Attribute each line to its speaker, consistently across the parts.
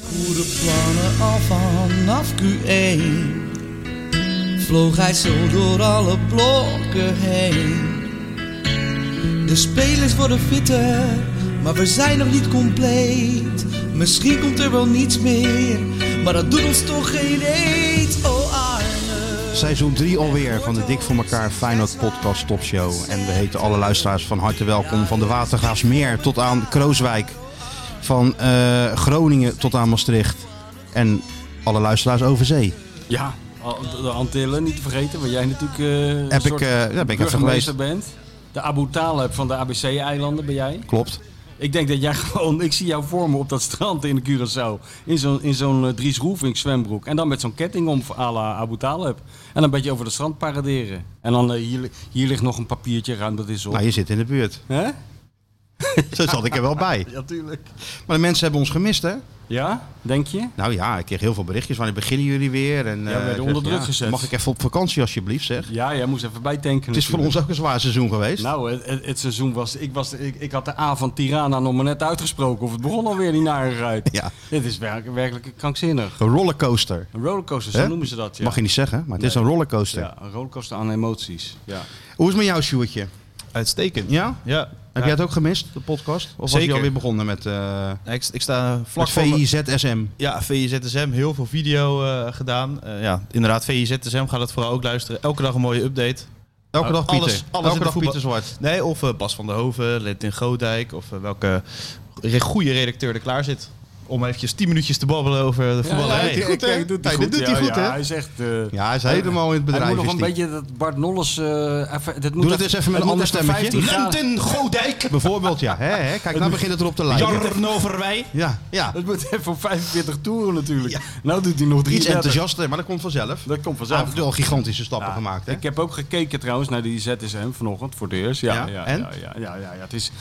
Speaker 1: Goede plannen al vanaf Q1 Vloog hij zo door alle blokken heen De spelers worden fitter Maar we zijn nog niet compleet Misschien komt er wel niets meer Maar dat doet ons toch geen eet Oh Arne
Speaker 2: Seizoen 3 alweer van de Dik voor elkaar Feyenoord Podcast Topshow. En we heten alle luisteraars van harte welkom. Van de Watergraafsmeer tot aan Krooswijk. Van eh, Groningen tot aan Maastricht. En alle luisteraars over zee.
Speaker 3: Ja, al- de Antillen niet te vergeten, waar jij natuurlijk eh
Speaker 2: Heb
Speaker 3: een
Speaker 2: ik,
Speaker 3: soort
Speaker 2: eh, ja, ben ik even
Speaker 3: burgemeester bent. De Abu Talib van de ABC-eilanden ben jij.
Speaker 2: Klopt.
Speaker 3: Ik denk dat jij gewoon, ik zie jou voor me op dat strand in de Curaçao. In zo'n in zo'n eh, Dries Roefink zwembroek. En dan met zo'n ketting om à la Abu Talib. En een beetje over het strand paraderen. En dan eh, hier, li- hier ligt nog een papiertje ruim, dat is op.
Speaker 2: Nou, je zit in de buurt.
Speaker 3: Hè?
Speaker 2: Zo zat ik er wel bij.
Speaker 3: Ja, tuurlijk.
Speaker 2: Maar de mensen hebben ons gemist, hè?
Speaker 3: Ja, denk je?
Speaker 2: Nou ja, ik kreeg heel veel berichtjes. Wanneer beginnen jullie weer? En,
Speaker 3: we
Speaker 2: eh,
Speaker 3: werden
Speaker 2: ik
Speaker 3: onder
Speaker 2: dacht,
Speaker 3: druk gezet.
Speaker 2: Mag ik even op vakantie, alsjeblieft, zeg?
Speaker 3: Ja, jij moest even bijtanken.
Speaker 2: Het is voor ons ook een zwaar seizoen geweest.
Speaker 3: Nou, het, het- het seizoen was. Ik, was ik, ik had de A van Tirana nog maar net uitgesproken. Of het begon alweer die narigheid.
Speaker 2: Ja.
Speaker 3: Dit is werkelijk, werkelijk krankzinnig.
Speaker 2: Een rollercoaster.
Speaker 3: Een rollercoaster, zo
Speaker 2: Hè?
Speaker 3: noemen ze dat. Ja.
Speaker 2: Mag je niet zeggen, maar het is
Speaker 3: Nee.
Speaker 2: een rollercoaster.
Speaker 3: Ja, een rollercoaster aan emoties. Ja.
Speaker 2: Hoe is het met jou, Sjoertje?
Speaker 4: Uitstekend.
Speaker 2: Ja?
Speaker 4: Ja.
Speaker 2: Heb
Speaker 4: Ja.
Speaker 2: jij het ook gemist, de podcast? Of was je
Speaker 4: Zeker.
Speaker 2: alweer begonnen met, eh
Speaker 4: Ja, Ik, ik sta vlak
Speaker 2: met
Speaker 4: voor me-
Speaker 2: VIZSM?
Speaker 4: Ja, VIZSM. Heel veel video eh, gedaan. Eh, ja, inderdaad, VIZSM gaat het vooral ook luisteren. Elke dag een mooie update.
Speaker 2: Elke
Speaker 3: Nou,
Speaker 2: dag Pieter.
Speaker 4: alles- alles in
Speaker 2: Elke
Speaker 4: de
Speaker 2: dag
Speaker 4: voetbal-
Speaker 2: Pieter Zwart.
Speaker 4: Nee, of eh, Bas van der Hoven, Lentin Goodijk of eh, welke re- goede redacteur er klaar zit. Om eventjes 10 minuutjes te babbelen over de voetballerij.
Speaker 2: hij doet die goed, hè?
Speaker 3: Kijk, doet hij
Speaker 2: Nee, dit doet hij goed, hè?
Speaker 3: Hij is echt. eh,
Speaker 2: Ja, hij is helemaal in het bedrijf.
Speaker 3: hij moet nog
Speaker 2: is
Speaker 3: een
Speaker 2: die.
Speaker 3: beetje dat Bart Nolles. eh even, dat moet
Speaker 2: Doe dat eens even met een
Speaker 3: het
Speaker 2: ander
Speaker 3: moet even
Speaker 2: stemmetje.
Speaker 3: 15 graden-
Speaker 4: Lentin Goodijk,
Speaker 2: Bijvoorbeeld, ja. Hè, hè? Kijk, nou begint het erop te lijken.
Speaker 4: Jarno Verwij.
Speaker 2: Ja, ja.
Speaker 3: Het moet even op 45 toeren natuurlijk. Nou doet hij nog drie
Speaker 2: Iets enthousiaster, maar dat komt vanzelf.
Speaker 3: Dat komt
Speaker 2: Hij
Speaker 3: vanzelf.
Speaker 2: heeft al gigantische stappen
Speaker 3: Ja,
Speaker 2: gemaakt, hè?
Speaker 3: Ik heb ook gekeken trouwens naar die ZSM vanochtend voor de eerst. Ja,
Speaker 2: Ja,
Speaker 3: ja, ja,
Speaker 2: en?
Speaker 3: ja, ja, ja, ja. Het is, ik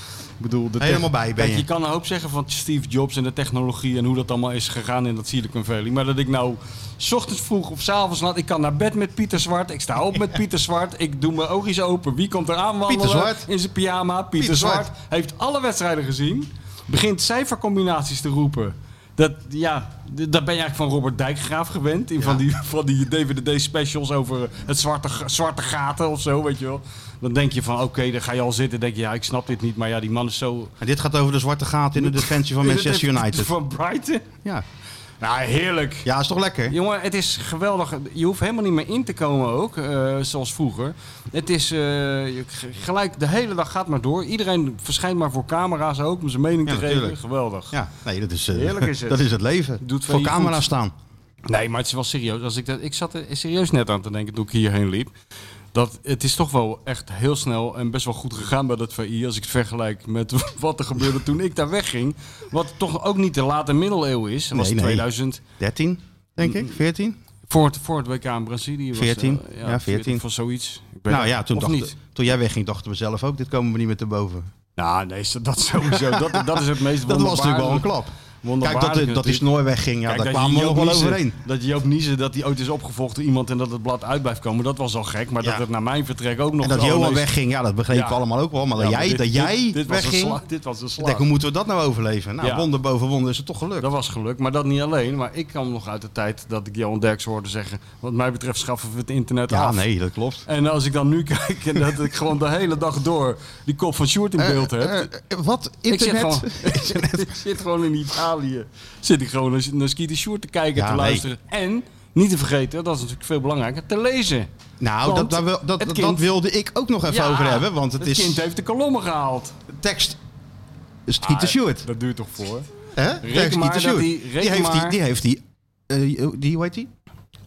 Speaker 3: bedoel, de
Speaker 2: Helemaal
Speaker 3: tech-
Speaker 2: bij ben
Speaker 3: Kijk,
Speaker 2: je.
Speaker 3: je kan een hoop zeggen van Steve Jobs en de technologie en hoe dat allemaal is gegaan in dat Silicon Valley. Maar dat ik nou 's ochtends vroeg of 's avonds laat, ik kan naar bed met Pieter Zwart, ik sta op met Pieter Zwart, ik doe mijn oogjes open. Wie komt er aan
Speaker 2: Pieter Zwart.
Speaker 3: in zijn pyjama? Pieter,
Speaker 2: Pieter
Speaker 3: Zwart.
Speaker 2: Zwart.
Speaker 3: heeft alle wedstrijden gezien, begint cijfercombinaties te roepen. Dat, ja, d- dat ben je eigenlijk van Robert Dijkgraaf gewend. In van die, van die DVD-specials over het zwarte, g- zwarte gaten of zo, weet je wel. Dan denk je van, oké, dan ga je al zitten. denk je, ja, ik snap dit niet. Maar ja, die man is zo...
Speaker 2: En dit gaat over de zwarte gaten in de defensie van Manchester United.
Speaker 3: Van Brighton.
Speaker 2: Ja.
Speaker 3: Nou, heerlijk.
Speaker 2: ja, is toch lekker?
Speaker 3: Jongen, het is geweldig. Je hoeft helemaal niet meer in te komen ook, eh, zoals vroeger. Het is eh, je- g- gelijk, de hele dag gaat maar door. Iedereen verschijnt maar voor camera's ook om zijn mening
Speaker 2: Ja,
Speaker 3: te
Speaker 2: natuurlijk.
Speaker 3: geven. Geweldig.
Speaker 2: Ja, nee, dat is, eh,
Speaker 3: Heerlijk is het.
Speaker 2: dat is het leven.
Speaker 3: Doet
Speaker 2: Voor
Speaker 3: VI
Speaker 2: camera
Speaker 3: goed.
Speaker 2: staan.
Speaker 3: Nee, maar het is wel serieus. Als ik, dat, ik zat er serieus net aan te denken toen ik hierheen liep. Dat het is toch wel echt heel snel en best wel goed gegaan bij dat VI. Als ik het vergelijk met wat er gebeurde toen ik daar wegging. Wat toch ook niet de late middeleeuwen is. Dat was
Speaker 2: Nee, nee.
Speaker 3: 2000.
Speaker 2: 13,
Speaker 3: Mm.
Speaker 2: denk ik? 14?
Speaker 3: Voor het, voor het WK in Brazilië. Was,
Speaker 2: 14,
Speaker 3: eh,
Speaker 2: ja, 14.
Speaker 3: Van zoiets. Ik weet
Speaker 2: Nou
Speaker 3: het-
Speaker 2: ja, toen,
Speaker 3: of
Speaker 2: dacht,
Speaker 3: niet.
Speaker 2: toen jij wegging dachten we zelf ook, dit komen we niet meer te boven.
Speaker 3: Nou, nee, zo- dat sowieso. Dat, dat is het meest
Speaker 2: Dat was natuurlijk wel een klap. Kijk, dat, de- dat die Snoor wegging, ja, daar kwamen we nog wel overheen.
Speaker 3: Dat Joop Niezen, dat hij ooit is opgevolgd door iemand en dat het blad uit blijft komen, dat was al gek. Maar
Speaker 2: Ja.
Speaker 3: dat het naar mijn vertrek ook nog...
Speaker 2: En dat
Speaker 3: zo
Speaker 2: Johan
Speaker 3: ineens-
Speaker 2: wegging, ja, dat begrepen
Speaker 3: Ja.
Speaker 2: we allemaal ook wel. Maar
Speaker 3: Ja,
Speaker 2: dat
Speaker 3: maar
Speaker 2: jij,
Speaker 3: dit-
Speaker 2: dat
Speaker 3: dit-
Speaker 2: jij
Speaker 3: dit was een
Speaker 2: wegging,
Speaker 3: sla- Dit was een
Speaker 2: ik
Speaker 3: slag.
Speaker 2: denk, hoe moeten we dat nou overleven? Nou,
Speaker 3: Ja.
Speaker 2: wonder boven wonder is het toch gelukt.
Speaker 3: Dat was geluk, maar dat niet alleen. Maar ik kwam nog uit de tijd dat ik Johan Derks hoorde zeggen... wat mij betreft schaffen we het internet
Speaker 2: ja,
Speaker 3: af.
Speaker 2: nee, dat klopt.
Speaker 3: En als ik dan nu kijk en dat ik gewoon de hele dag door die kop van Sjoerd in beeld heb...
Speaker 2: Eh, eh, eh, wat?
Speaker 3: Ik zit,
Speaker 2: Internet?
Speaker 3: gewoon, ik zit gewoon in Italië. Zit ik gewoon naar, naar Skeeter Sjoerd te kijken,
Speaker 2: Ja,
Speaker 3: te
Speaker 2: nee.
Speaker 3: luisteren. En, niet te vergeten, dat is natuurlijk veel belangrijker, te lezen.
Speaker 2: nou,
Speaker 3: Want
Speaker 2: dat, daar wil- dat,
Speaker 3: het
Speaker 2: dat,
Speaker 3: kind-
Speaker 2: wilde ik ook nog even
Speaker 3: Ja,
Speaker 2: over hebben. Want het,
Speaker 3: het
Speaker 2: is
Speaker 3: kind heeft de kolommen gehaald.
Speaker 2: tekst Skeeter Stewart.
Speaker 3: Dat duurt toch voor?
Speaker 2: Hè? Tekst Skeeter
Speaker 3: maar dat
Speaker 2: Stewart.
Speaker 3: die-
Speaker 2: Die
Speaker 3: reken
Speaker 2: heeft die-
Speaker 3: maar-
Speaker 2: Die heeft die... eh, Die, hoe heet die?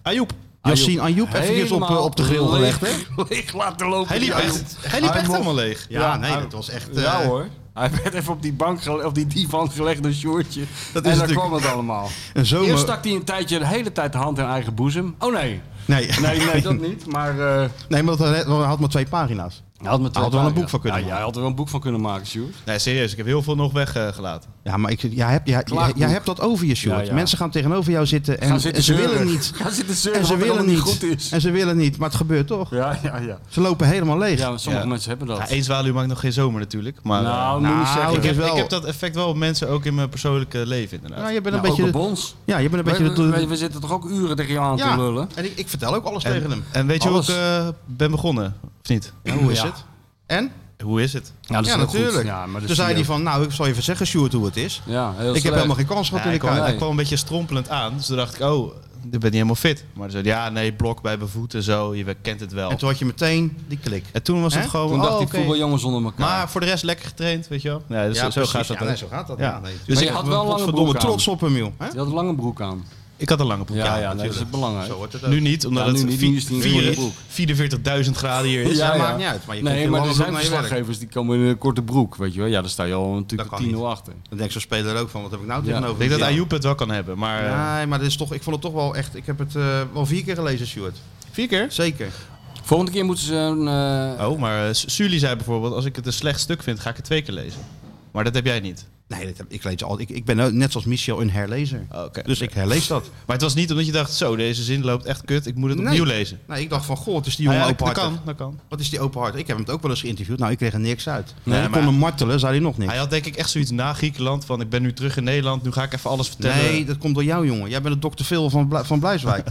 Speaker 4: Ajoep.
Speaker 2: Yassine Ayoub eventjes op, eh, op de grill gelegd, hè?
Speaker 3: Ah, Leeg, leeg laten lopen.
Speaker 4: Hij liep
Speaker 3: Ja,
Speaker 4: echt, hij liep echt helemaal leeg.
Speaker 2: Ja,
Speaker 3: Ja,
Speaker 2: nee,
Speaker 3: hij-
Speaker 2: dat was echt...
Speaker 3: Ja
Speaker 2: eh,
Speaker 3: hoor. Hij werd even op die bank gele- op die divan gelegd door Sjoertje.
Speaker 2: Dat is
Speaker 3: en daar
Speaker 2: natuurlijk-
Speaker 3: kwam het allemaal.
Speaker 2: Een zomer...
Speaker 3: Eerst stak hij een tijdje de hele tijd de hand in eigen boezem. Oh nee.
Speaker 2: Nee.
Speaker 3: Nee, nee, dat niet. Maar eh,
Speaker 2: Nee, maar dat had maar twee pagina's.
Speaker 3: had me
Speaker 2: Hij had er wel een boek van kunnen
Speaker 3: ja,
Speaker 2: maken.
Speaker 3: Jij had er wel een boek van kunnen maken, Sjoerd.
Speaker 4: Nee, serieus. Ik heb heel veel nog eh, weggelaten.
Speaker 2: Ja, maar ik, jij, hebt, jij, jij,
Speaker 3: Klaagboek.
Speaker 2: jij hebt dat over je, Sjoerd.
Speaker 3: Ja, ja.
Speaker 2: Mensen gaan tegenover jou zitten en,
Speaker 3: Gaan zitten
Speaker 2: en ze
Speaker 3: zeuren.
Speaker 2: willen niet.
Speaker 3: Gaan zitten zeuren
Speaker 2: En ze
Speaker 3: wat er
Speaker 2: willen
Speaker 3: allemaal
Speaker 2: niet.
Speaker 3: goed is.
Speaker 2: En ze willen niet, maar het gebeurt toch.
Speaker 3: Ja, ja, ja.
Speaker 2: Ze lopen helemaal leeg.
Speaker 3: Ja, maar sommige
Speaker 4: Ja.
Speaker 3: mensen hebben dat.
Speaker 4: Ja, één zwaluw maakt nog geen zomer natuurlijk. Maar eh,
Speaker 3: nou, moet
Speaker 2: nou,
Speaker 3: ik zeggen.
Speaker 2: het
Speaker 4: ik,
Speaker 2: is
Speaker 4: heb,
Speaker 2: wel-
Speaker 4: ik heb dat effect wel op mensen ook in mijn persoonlijke leven inderdaad.
Speaker 2: Nou, je bent een
Speaker 3: Nou, ook
Speaker 2: beetje...
Speaker 3: op ons.
Speaker 2: Ja, je bent een beetje...
Speaker 3: we,
Speaker 2: de-
Speaker 3: we- we zitten toch ook uren tegen jou aan
Speaker 2: Ja.
Speaker 3: te lullen?
Speaker 2: En ik, ik vertel ook alles
Speaker 4: en,
Speaker 2: tegen hem.
Speaker 4: en weet je hoe ik
Speaker 3: Alles.
Speaker 4: eh, ben begonnen? Of niet?
Speaker 2: En hoe is
Speaker 3: Ja.
Speaker 2: het? En?
Speaker 4: Hoe is het?
Speaker 3: Ja, dat is
Speaker 2: ja,
Speaker 3: heel goed.
Speaker 2: natuurlijk.
Speaker 3: Ja, maar dat
Speaker 2: Toen
Speaker 3: zie
Speaker 2: zei
Speaker 3: je
Speaker 2: hij van, nou, ik zal je even zeggen, Sjoerd, hoe het is.
Speaker 3: ook. Ja, heel
Speaker 2: ik heb
Speaker 3: slecht.
Speaker 2: helemaal geen kans gehad
Speaker 4: Ja,
Speaker 2: in
Speaker 4: ik,
Speaker 2: de
Speaker 4: kwam,
Speaker 2: kaart.
Speaker 3: Nee.
Speaker 4: ik kwam een beetje strompelend aan. Dus toen dacht ik, oh, ik ben niet helemaal fit. Maar ze zei, ja, nee, blok bij mijn voeten, zo, je kent het wel.
Speaker 2: En toen had je meteen die klik.
Speaker 4: En toen was het
Speaker 2: Hè?
Speaker 4: gewoon,
Speaker 3: Toen
Speaker 4: oh,
Speaker 3: dacht ik,
Speaker 4: oké.
Speaker 3: voetbaljongens onder elkaar.
Speaker 4: Maar voor de rest lekker getraind, weet je wel. Ja, dus zo
Speaker 2: precies.
Speaker 4: gaat dat
Speaker 2: Ja,
Speaker 4: ook.
Speaker 2: nee, zo gaat dat.
Speaker 4: Ja.
Speaker 2: Ja, nee,
Speaker 3: dus
Speaker 2: tuurlijk.
Speaker 3: je had wel een lange
Speaker 2: Verdomme
Speaker 3: broek aan.
Speaker 2: trots op hem, joh. Hè?
Speaker 3: Je had een lange broek aan.
Speaker 4: Ik had een lange broek
Speaker 3: Ja,
Speaker 4: aan,
Speaker 3: ja, nee, dat
Speaker 4: natuurlijk.
Speaker 3: is belangrijk.
Speaker 2: Zo wordt het ook.
Speaker 4: Nu niet, omdat
Speaker 3: Ja, nu
Speaker 4: het
Speaker 3: niet,
Speaker 4: vi-
Speaker 3: nu is het niet
Speaker 4: vier-
Speaker 3: een lange
Speaker 4: 44.000 graden hier is.
Speaker 2: Ja, maakt niet uit, maar je komt
Speaker 3: nee,
Speaker 2: in
Speaker 3: maar
Speaker 2: lange
Speaker 3: er zijn
Speaker 2: broek naar je werk.
Speaker 3: verslaggevers die komen in een korte broek, weet je wel. Ja, daar sta je al natuurlijk
Speaker 2: Dat kan
Speaker 3: 10-0
Speaker 2: niet.
Speaker 3: achter.
Speaker 2: Dan denkt zo'n speler ook van, wat heb ik nou
Speaker 3: Ja.
Speaker 2: tegenover
Speaker 4: Ik denk dat
Speaker 2: me?
Speaker 4: Ayoub het wel kan hebben, maar... eh,
Speaker 2: Nee, maar dit is toch, ik vond het toch wel echt... Ik heb het eh, wel vier keer gelezen, Sjoerd.
Speaker 4: Vier keer?
Speaker 2: Zeker.
Speaker 3: Volgende keer moeten ze een... eh,
Speaker 4: Oh, maar eh, Su- Suli zei bijvoorbeeld, als ik het een slecht stuk vind, ga ik het twee keer lezen. Maar dat heb jij niet.
Speaker 2: Nee, dat heb, ik, lees al, ik, ik ben ook net zoals Michel een herlezer.
Speaker 4: Oké.
Speaker 2: Dus ik herlees dat.
Speaker 4: Maar het was niet omdat je dacht, zo, deze zin loopt echt kut, ik moet het
Speaker 2: Nee.
Speaker 4: opnieuw lezen.
Speaker 2: Nou, ik dacht van, goh, het is die
Speaker 4: Ja,
Speaker 2: jongen
Speaker 4: ja, dat, dat
Speaker 2: openhartig.
Speaker 4: kan, dat kan.
Speaker 2: Wat is die openhartig? Ik heb hem ook wel eens geïnterviewd. Nou, ik kreeg er niks uit.
Speaker 4: Nee,
Speaker 2: ik
Speaker 4: maar-
Speaker 2: kon hem martelen, zei hij nog niks.
Speaker 4: Hij had denk ik echt zoiets na Griekenland van, ik ben nu terug in Nederland, nu ga ik even alles vertellen.
Speaker 2: Nee, dat komt door jou, jongen. Jij bent de dokter Phil van, Bla- van Blijswijk.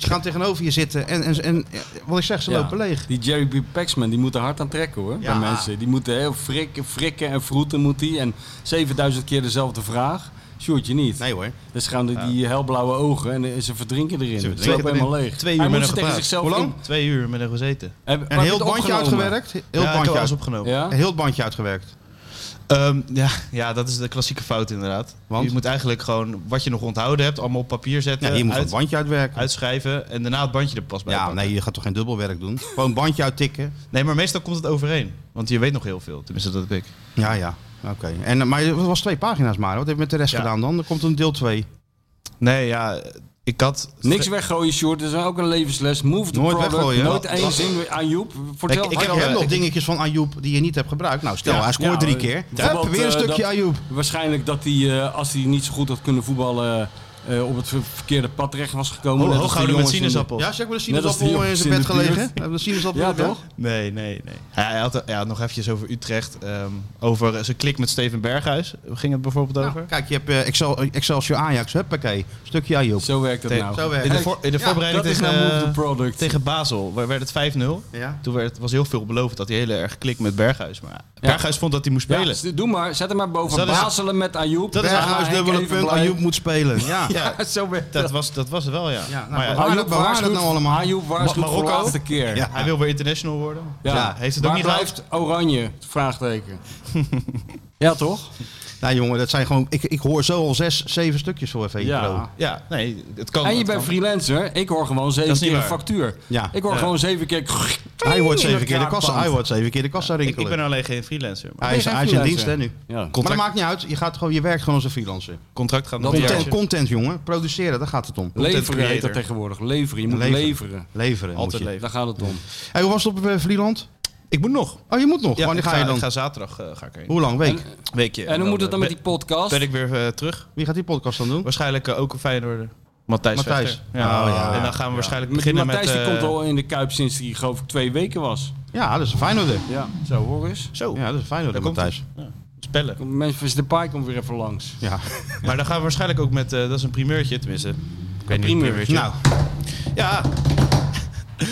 Speaker 2: Ze gaan tegenover je zitten en, en, en eh, wat ik zeg, ze
Speaker 3: ja.
Speaker 2: lopen leeg.
Speaker 3: Die Jerry B. Paxman, die moet er hard aan trekken hoor.
Speaker 2: Ja.
Speaker 3: Bij mensen. Die moeten heel frikken, frikken en vroeten moet hij. En 7000 keer dezelfde vraag. Sjoerdje niet.
Speaker 2: Nee hoor.
Speaker 3: Dus gaan die, die helblauwe ogen en eh, ze verdrinken erin. Ze
Speaker 2: verdrinken
Speaker 3: lopen helemaal leeg.
Speaker 4: Twee uur
Speaker 3: Hij
Speaker 4: met
Speaker 3: moet
Speaker 4: hem
Speaker 3: ze tegen
Speaker 4: gepraat.
Speaker 3: zichzelf
Speaker 2: Hoe lang?
Speaker 3: in-
Speaker 4: Twee uur met hem gezeten.
Speaker 3: Heb- heb
Speaker 2: En
Speaker 3: je
Speaker 2: heel
Speaker 3: het
Speaker 2: het bandje
Speaker 3: opgenomen?
Speaker 2: uitgewerkt. Heel
Speaker 4: ja, ik
Speaker 2: bandje
Speaker 4: heb alles
Speaker 2: uit-
Speaker 4: opgenomen.
Speaker 3: Ja?
Speaker 2: Heel het bandje uitgewerkt.
Speaker 4: Ehm, ja, ja, dat is de klassieke fout inderdaad.
Speaker 2: Want?
Speaker 4: Je moet eigenlijk gewoon wat je nog onthouden hebt, allemaal op papier zetten,
Speaker 2: Ja,
Speaker 3: Eh,
Speaker 2: hier moet
Speaker 4: uit-
Speaker 2: het bandje uitwerken.
Speaker 4: uitschrijven en daarna het bandje er pas bij
Speaker 2: Ja,
Speaker 4: pakken.
Speaker 2: nee, je gaat toch geen dubbelwerk doen? Gewoon bandje uittikken.
Speaker 4: Nee, maar meestal komt het overeen. Want je weet nog heel veel. Tenminste, dat heb ik.
Speaker 2: Ja, ja. Oké. En, eh, Maar het was twee pagina's maar. Wat heb je met de rest
Speaker 4: Ja.
Speaker 2: gedaan dan? Er komt een deel 2.
Speaker 4: Nee, ja, ik had...
Speaker 3: Niks weggooien, Sjoerd. Dat is ook een levensles. Move the
Speaker 2: Nooit
Speaker 3: product.
Speaker 2: weggooien, hè?
Speaker 3: Nooit één zin weer aan Joep. Vertel.
Speaker 4: Ik- ik
Speaker 2: Ik
Speaker 4: heb
Speaker 2: heb
Speaker 4: al, eh,
Speaker 2: nog
Speaker 4: ik-
Speaker 2: dingetjes van Ayoub die je niet hebt gebruikt. Nou, stel,
Speaker 4: Ja.
Speaker 2: hij scoort
Speaker 3: Ja,
Speaker 2: drie
Speaker 3: eh,
Speaker 2: keer.
Speaker 3: bijvoorbeeld,
Speaker 2: Hup, weer een
Speaker 3: eh,
Speaker 2: stukje
Speaker 3: dat-
Speaker 2: Ayoub.
Speaker 3: Waarschijnlijk dat hij, eh, als hij niet zo goed had kunnen voetballen, eh, op het ver- verkeerde pad terecht was gekomen. Net als die
Speaker 4: Hooghouden met
Speaker 3: jongens in de-
Speaker 4: sinaasappel.
Speaker 2: Ja, zeg maar de
Speaker 3: Net als
Speaker 2: sinaasappel
Speaker 3: die
Speaker 2: in
Speaker 3: jongens
Speaker 2: zijn bed
Speaker 3: in de buurt.
Speaker 2: gelegen. Hebben de sinaasappel
Speaker 3: Ja,
Speaker 2: in bed?
Speaker 3: toch?
Speaker 4: Nee, nee, nee. Ja, hij had ja, nog eventjes over Utrecht. ehm, over zijn klik met Steven Berghuis. Ging het bijvoorbeeld
Speaker 2: Nou,
Speaker 4: over?
Speaker 2: kijk, je hebt eh, Excel, Excelsior Ajax. Huppakee. Stukje Ayoub.
Speaker 3: Zo werkt dat
Speaker 4: Te-
Speaker 3: nou.
Speaker 2: Zo werkt
Speaker 4: In de,
Speaker 2: het.
Speaker 4: voor, in de
Speaker 2: Ja,
Speaker 4: voorbereiding
Speaker 3: dat is
Speaker 4: tegen,
Speaker 3: nou move
Speaker 4: eh,
Speaker 3: the product.
Speaker 4: tegen Basel waar werd het 5-0.
Speaker 2: Ja.
Speaker 4: Toen werd, was heel veel beloofd dat hij heel erg klik met Berghuis. Maar Berghuis vond dat hij moest
Speaker 3: Ja,
Speaker 4: spelen.
Speaker 3: dus doe maar. Zet hem maar boven.
Speaker 4: Dat is-
Speaker 3: Baselen met Ayoub.
Speaker 4: Dat is
Speaker 3: Ja,
Speaker 2: Berghuis
Speaker 3: Henk
Speaker 2: dubbele
Speaker 3: even
Speaker 2: punt.
Speaker 3: blij.
Speaker 2: Ayoub moet spelen. Ja.
Speaker 4: Ja,
Speaker 3: Zo werkt
Speaker 4: dat was, dat was het wel, ja.
Speaker 2: Ja, nou,
Speaker 4: maar ja,
Speaker 2: Ayoub,
Speaker 3: Ayoub
Speaker 2: bewaar dat
Speaker 3: waarschuwt-
Speaker 2: nou allemaal.
Speaker 3: Ayoub waarschuwt voor de
Speaker 4: Marokko?
Speaker 3: laatste keer.
Speaker 2: Ja.
Speaker 4: hij wil weer international worden.
Speaker 3: Ja.
Speaker 2: Ja,
Speaker 4: Heeft het ook
Speaker 3: Waar
Speaker 4: niet gehaald.
Speaker 3: blijft oranje? Vraagteken. ja, toch?
Speaker 2: Nou jongen, dat zijn gewoon... Ik, ik hoor zo al zes, zeven stukjes voor even.
Speaker 3: Ja.
Speaker 2: Ja.
Speaker 4: Ja, nee, het kan.
Speaker 3: En je
Speaker 4: het
Speaker 3: bent
Speaker 4: kan.
Speaker 3: freelancer. Ik hoor gewoon zeven
Speaker 4: Dat is niet
Speaker 3: keer een
Speaker 4: waar.
Speaker 3: factuur.
Speaker 2: Ja.
Speaker 3: Ik hoor
Speaker 4: Ja.
Speaker 3: gewoon zeven keer...
Speaker 2: Hij hoort zeven
Speaker 3: dat
Speaker 2: keer de kassa,
Speaker 3: kraakpand.
Speaker 2: hij hoort zeven keer de kassa
Speaker 4: Ik, ik
Speaker 2: rinkelen.
Speaker 4: ben alleen geen freelancer. Maar
Speaker 2: Hij is,
Speaker 3: Nee, geen
Speaker 2: hij is in dienst
Speaker 3: freelancer.
Speaker 2: hè, nu.
Speaker 3: Ja.
Speaker 2: Maar dat
Speaker 4: contract,
Speaker 2: maakt niet uit. Je, gaat gewoon, je werkt gewoon als een freelancer.
Speaker 4: contract gaat nog
Speaker 3: Dat
Speaker 4: een
Speaker 2: Content,
Speaker 4: jaartje.
Speaker 2: content jongen. Produceren, daar gaat het om.
Speaker 3: Leveren heet
Speaker 4: creator.
Speaker 3: dat tegenwoordig. Leveren. Je moet
Speaker 2: Leveren.
Speaker 3: leveren.
Speaker 2: Leveren
Speaker 4: Altijd
Speaker 2: moet je.
Speaker 4: leveren.
Speaker 3: Daar gaat het om.
Speaker 2: Hey, hoe was het op eh, Vlieland?
Speaker 4: Ik moet nog.
Speaker 2: Oh, je moet nog.
Speaker 4: Ja,
Speaker 2: Wanneer
Speaker 4: ik
Speaker 2: ga je dan?
Speaker 4: Ik ga zaterdag eh, ga ik heen.
Speaker 2: Hoe lang? Week?
Speaker 3: En-
Speaker 4: Weekje.
Speaker 3: En hoe moet het dan met die
Speaker 4: eh, ben-
Speaker 3: podcast?
Speaker 4: Ben ik weer eh, terug.
Speaker 2: Wie gaat die podcast dan doen?
Speaker 4: Waarschijnlijk eh, ook een Feyenoorder. Matthijs
Speaker 2: Hm? Matthijs.
Speaker 4: Vechter. Ja.
Speaker 2: Oh, ja.
Speaker 4: En dan gaan we waarschijnlijk
Speaker 3: Met die
Speaker 4: beginnen
Speaker 3: Matthijs
Speaker 4: met...
Speaker 3: die
Speaker 4: eh,
Speaker 3: komt al in de Kuip sinds die geloof ik twee weken was.
Speaker 2: Ja, dat is een Feyenoorder.
Speaker 3: Ja, zo hoor eens.
Speaker 4: Zo,
Speaker 2: Ja, dat is een Feyenoorder,
Speaker 4: daar komt
Speaker 2: Matthijs.
Speaker 4: het. Ja. Spellen.
Speaker 3: Kom, Memphis Depay komt weer even langs.
Speaker 2: Ja.
Speaker 4: Maar dan gaan we waarschijnlijk ook met... eh, dat is een primeurtje tenminste. Ik weet niet,
Speaker 3: primeurtje.
Speaker 2: Nou,
Speaker 4: Ja.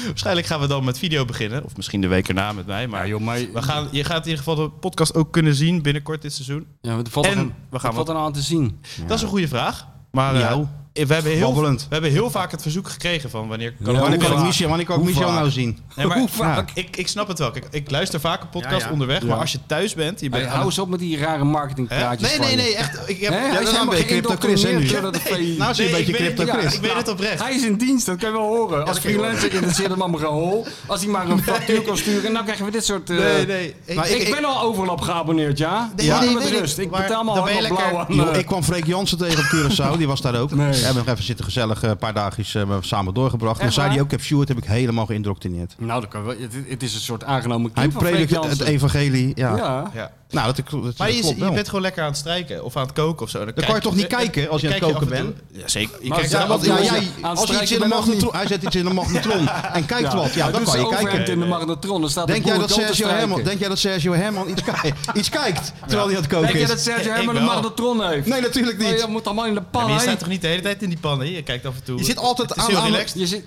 Speaker 4: waarschijnlijk gaan we dan met video beginnen. Of misschien de week erna met mij. Maar
Speaker 3: Ja, joh, maar-
Speaker 4: we gaan, je gaat in ieder geval de podcast ook kunnen zien binnenkort dit seizoen.
Speaker 3: Ja, want er valt,
Speaker 4: En
Speaker 3: er een,
Speaker 4: we gaan
Speaker 3: er valt een aan te zien.
Speaker 4: Dat is een goede vraag. Maar eh,
Speaker 2: Nou,
Speaker 4: we, hebben heel,
Speaker 2: babbelend.
Speaker 4: we hebben heel vaak het verzoek gekregen van wanneer kan
Speaker 3: Ja,
Speaker 4: ik-
Speaker 2: wanneer kan
Speaker 3: hoe
Speaker 2: ik
Speaker 3: vaak?
Speaker 2: Michel, wanneer kan ik
Speaker 3: Hoe
Speaker 2: Michel
Speaker 3: vaak?
Speaker 2: nou zien?
Speaker 4: Nee, maar,
Speaker 3: Hoe vaak?
Speaker 4: Ja, ik, ik snap het wel. Kijk, ik luister vaak een podcast
Speaker 2: Ja, ja.
Speaker 4: onderweg.
Speaker 3: Ja.
Speaker 4: Maar als je thuis bent, je bent
Speaker 3: Hey,
Speaker 4: aan
Speaker 3: hou eens op met die rare marketingpraatjes
Speaker 2: Nee,
Speaker 3: van
Speaker 2: nee,
Speaker 3: je.
Speaker 2: nee, echt. Ik heb,
Speaker 3: Hè? Hij is
Speaker 2: dat
Speaker 3: helemaal
Speaker 2: crypto Chris, hè, nu.
Speaker 3: geïndoctrineerd door dat
Speaker 2: Nee,
Speaker 3: VI.
Speaker 2: Nou zie je een
Speaker 4: Nee,
Speaker 2: beetje
Speaker 4: ik weet-
Speaker 2: crypto
Speaker 4: ja,
Speaker 2: Chris.
Speaker 4: ik weet het oprecht.
Speaker 3: Hij is in dienst, dat kan je wel horen. Als
Speaker 2: kan je
Speaker 3: freelancer interesseert hem allemaal geen hol. Als hij maar een factuur kan sturen, dan krijgen we dit soort... eh,
Speaker 4: Nee, nee. Ik,
Speaker 2: Maar
Speaker 3: Ik, ben al overlap geabonneerd, ja?
Speaker 2: Nee,
Speaker 3: ja,
Speaker 2: nee,
Speaker 3: met
Speaker 2: weet ik.
Speaker 3: rust. Ik
Speaker 2: Maar
Speaker 3: betaal me
Speaker 2: dan ben
Speaker 3: hard
Speaker 2: je
Speaker 3: op blauw
Speaker 2: lekker-
Speaker 3: aan.
Speaker 2: Joh,
Speaker 3: eh,
Speaker 2: Ik kwam Freek Jansen tegen op Curaçao, die was daar ook.
Speaker 3: Nee.
Speaker 2: We hebben nog even zitten gezellig eh, een paar dagjes eh, samen doorgebracht. En
Speaker 3: Echt
Speaker 2: zei hij
Speaker 3: waar?
Speaker 2: ook, ik heb Sjoerd heb ik helemaal geïndoctrineerd.
Speaker 3: Nou, dat kan wel. Het, het is een soort aangenomen
Speaker 2: Hij
Speaker 3: kind van Freek
Speaker 2: predikt het,
Speaker 3: Jansen.
Speaker 2: evangelie. Ja.
Speaker 3: Ja.
Speaker 4: Ja.
Speaker 2: Nou, dat, dat, dat
Speaker 4: Maar je,
Speaker 2: klopt wel.
Speaker 4: je bent gewoon lekker aan het strijken of aan het koken of zo. Dan,
Speaker 2: Dan kan je toch niet
Speaker 4: eh, eh,
Speaker 2: kijken als je aan het
Speaker 4: kijk
Speaker 2: koken
Speaker 4: af en
Speaker 2: bent?
Speaker 4: toe- Ja, zeker. Je
Speaker 3: Maar
Speaker 4: kijkt
Speaker 3: ja,
Speaker 4: er
Speaker 2: want
Speaker 4: af en toe-
Speaker 3: als
Speaker 2: ja,
Speaker 3: je-
Speaker 2: jij,
Speaker 3: aan het
Speaker 2: als je iets in
Speaker 3: strijken
Speaker 2: de
Speaker 3: bent,
Speaker 2: magnetron, hij zet iets in de magnetron en kijkt wat, ja, dan
Speaker 3: Hij doet
Speaker 2: kan je
Speaker 3: zijn overhand
Speaker 2: kijken.
Speaker 3: in de magnetron. Er staat
Speaker 2: Denk
Speaker 3: een
Speaker 2: jij, dat
Speaker 3: boerenkool
Speaker 2: Sergio
Speaker 3: te strijken.
Speaker 2: Herman, denk jij dat Sergio Herman iets, ki- iets kijkt terwijl hij aan het
Speaker 3: Denk
Speaker 2: koken
Speaker 3: jij
Speaker 2: is?
Speaker 3: dat Sergio
Speaker 4: Ik
Speaker 3: Herman een
Speaker 4: wel.
Speaker 3: magnetron heeft?
Speaker 2: Nee, natuurlijk
Speaker 3: Oh,
Speaker 2: niet.
Speaker 3: je moet allemaal in de
Speaker 4: Ja,
Speaker 3: pan.
Speaker 4: maar je
Speaker 3: hè?
Speaker 4: staat toch niet de hele tijd in die pannen? Je kijkt af en toe.
Speaker 2: Je zit altijd
Speaker 4: het is
Speaker 2: aan-
Speaker 4: heel
Speaker 2: aan-
Speaker 4: relaxed.
Speaker 3: Je zit...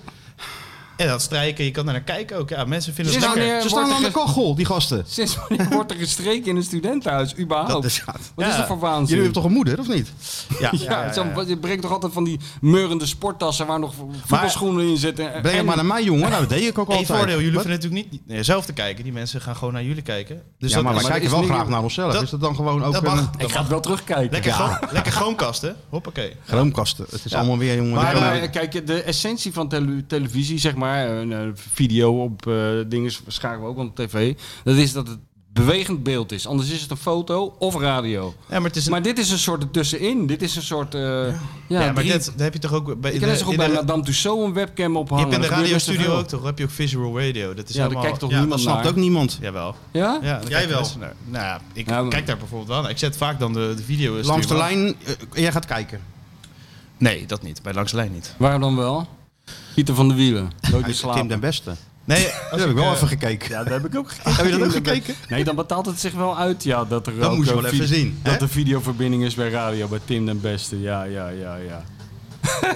Speaker 4: En dat strijken, je kan daar naar kijken ook. Ja, mensen vinden
Speaker 3: Je
Speaker 4: het
Speaker 3: zit
Speaker 4: lekker.
Speaker 3: aan
Speaker 2: Ze
Speaker 3: wordt
Speaker 2: staan
Speaker 3: er
Speaker 2: aan de
Speaker 3: ge-
Speaker 2: kachel, die gasten.
Speaker 3: Sinds wanneer wordt er gestreken in een studentenhuis, überhaupt?
Speaker 2: Dat is- ja.
Speaker 3: Wat
Speaker 4: Ja.
Speaker 3: is dat voor
Speaker 2: Jullie
Speaker 3: waanzin?
Speaker 2: hebben toch een moeder, of niet?
Speaker 4: Ja,
Speaker 3: ja, zo- je brengt toch altijd van die meurende sporttassen waar nog vo- voetbalschoenen in zitten. en-
Speaker 2: Breng het
Speaker 3: en-
Speaker 2: maar naar mij, jongen. Nou, dat deed ik ook
Speaker 4: Eén
Speaker 2: altijd.
Speaker 4: voordeel, jullie
Speaker 2: Wat?
Speaker 4: hoeven natuurlijk niet nee, zelf te kijken. Die mensen gaan gewoon naar jullie kijken. Dus
Speaker 2: Ja, maar
Speaker 4: dat
Speaker 2: wij
Speaker 4: is
Speaker 2: kijken
Speaker 3: is
Speaker 2: wel
Speaker 3: niet-
Speaker 2: graag naar onszelf.
Speaker 4: dat-
Speaker 2: Is dat dan gewoon ook
Speaker 4: dat mag.
Speaker 2: een
Speaker 3: Ik ga het wel terugkijken.
Speaker 4: lekker,
Speaker 2: Ja.
Speaker 4: schoon- lekker schoonkasten. Hoppakee.
Speaker 2: groomkasten? Het is allemaal weer, jongen.
Speaker 4: Maar,
Speaker 2: dat kan
Speaker 3: Maar,
Speaker 2: ook.
Speaker 3: eh, kijk, de essentie van tele- televisie, zeg maar, een eh, video op eh, dingen schakelen we ook op tv. Dat is dat het bewegend beeld is. Anders is het een foto of radio.
Speaker 4: Ja, maar het is een-
Speaker 3: Maar dit is een soort ertussenin. Dit is een soort. eh, ja,
Speaker 4: ja, maar
Speaker 3: drie-
Speaker 4: dat, dat heb je toch ook bij
Speaker 3: je
Speaker 4: in
Speaker 3: kan net zo
Speaker 4: de,
Speaker 3: goed
Speaker 4: in
Speaker 3: bij
Speaker 4: de-
Speaker 3: Madame Tussauds een webcam
Speaker 4: je
Speaker 3: ophangen.
Speaker 4: hebt in de
Speaker 3: Dat gebeurt best
Speaker 4: radiostudio
Speaker 3: wel.
Speaker 4: ook toch? Heb je ook visual radio? Dat
Speaker 3: Ja,
Speaker 4: is
Speaker 3: daar
Speaker 4: helemaal,
Speaker 3: kijkt toch
Speaker 4: ja,
Speaker 3: niemand
Speaker 2: Dat
Speaker 3: naar.
Speaker 2: snapt ook niemand. Dus
Speaker 4: Jawel.
Speaker 3: Ja?
Speaker 4: Ja, dan
Speaker 2: Jij
Speaker 4: kijken
Speaker 2: wel.
Speaker 4: mensen naar- Nou ja, ik
Speaker 3: Ja, maar-
Speaker 4: kijk daar bijvoorbeeld wel naar. Ik zet vaak dan de, de video.
Speaker 2: Langs de
Speaker 4: stream
Speaker 2: lijn, eh, jij gaat kijken.
Speaker 4: aan. Nee, dat niet. Bij langs de lijn niet.
Speaker 3: Waarom dan wel? Pieter van de Wielen. Nooit
Speaker 2: Hij
Speaker 3: meer
Speaker 2: is Tim den
Speaker 3: slapen.
Speaker 2: Beste.
Speaker 4: Nee,
Speaker 2: Dat heb ik wel even gekeken.
Speaker 3: Ja, dat heb ik ook gekeken.
Speaker 2: Heb je dat ook gekeken?
Speaker 3: Nee, dan betaalt het zich wel uit. Ja, dat er
Speaker 2: Dat
Speaker 3: ook
Speaker 2: moest je
Speaker 3: een
Speaker 2: wel
Speaker 3: vi-
Speaker 2: even zien,
Speaker 3: Dat
Speaker 2: hè?
Speaker 3: de videoverbinding is bij radio, bij Tim den Beste. Ja, ja, ja, ja.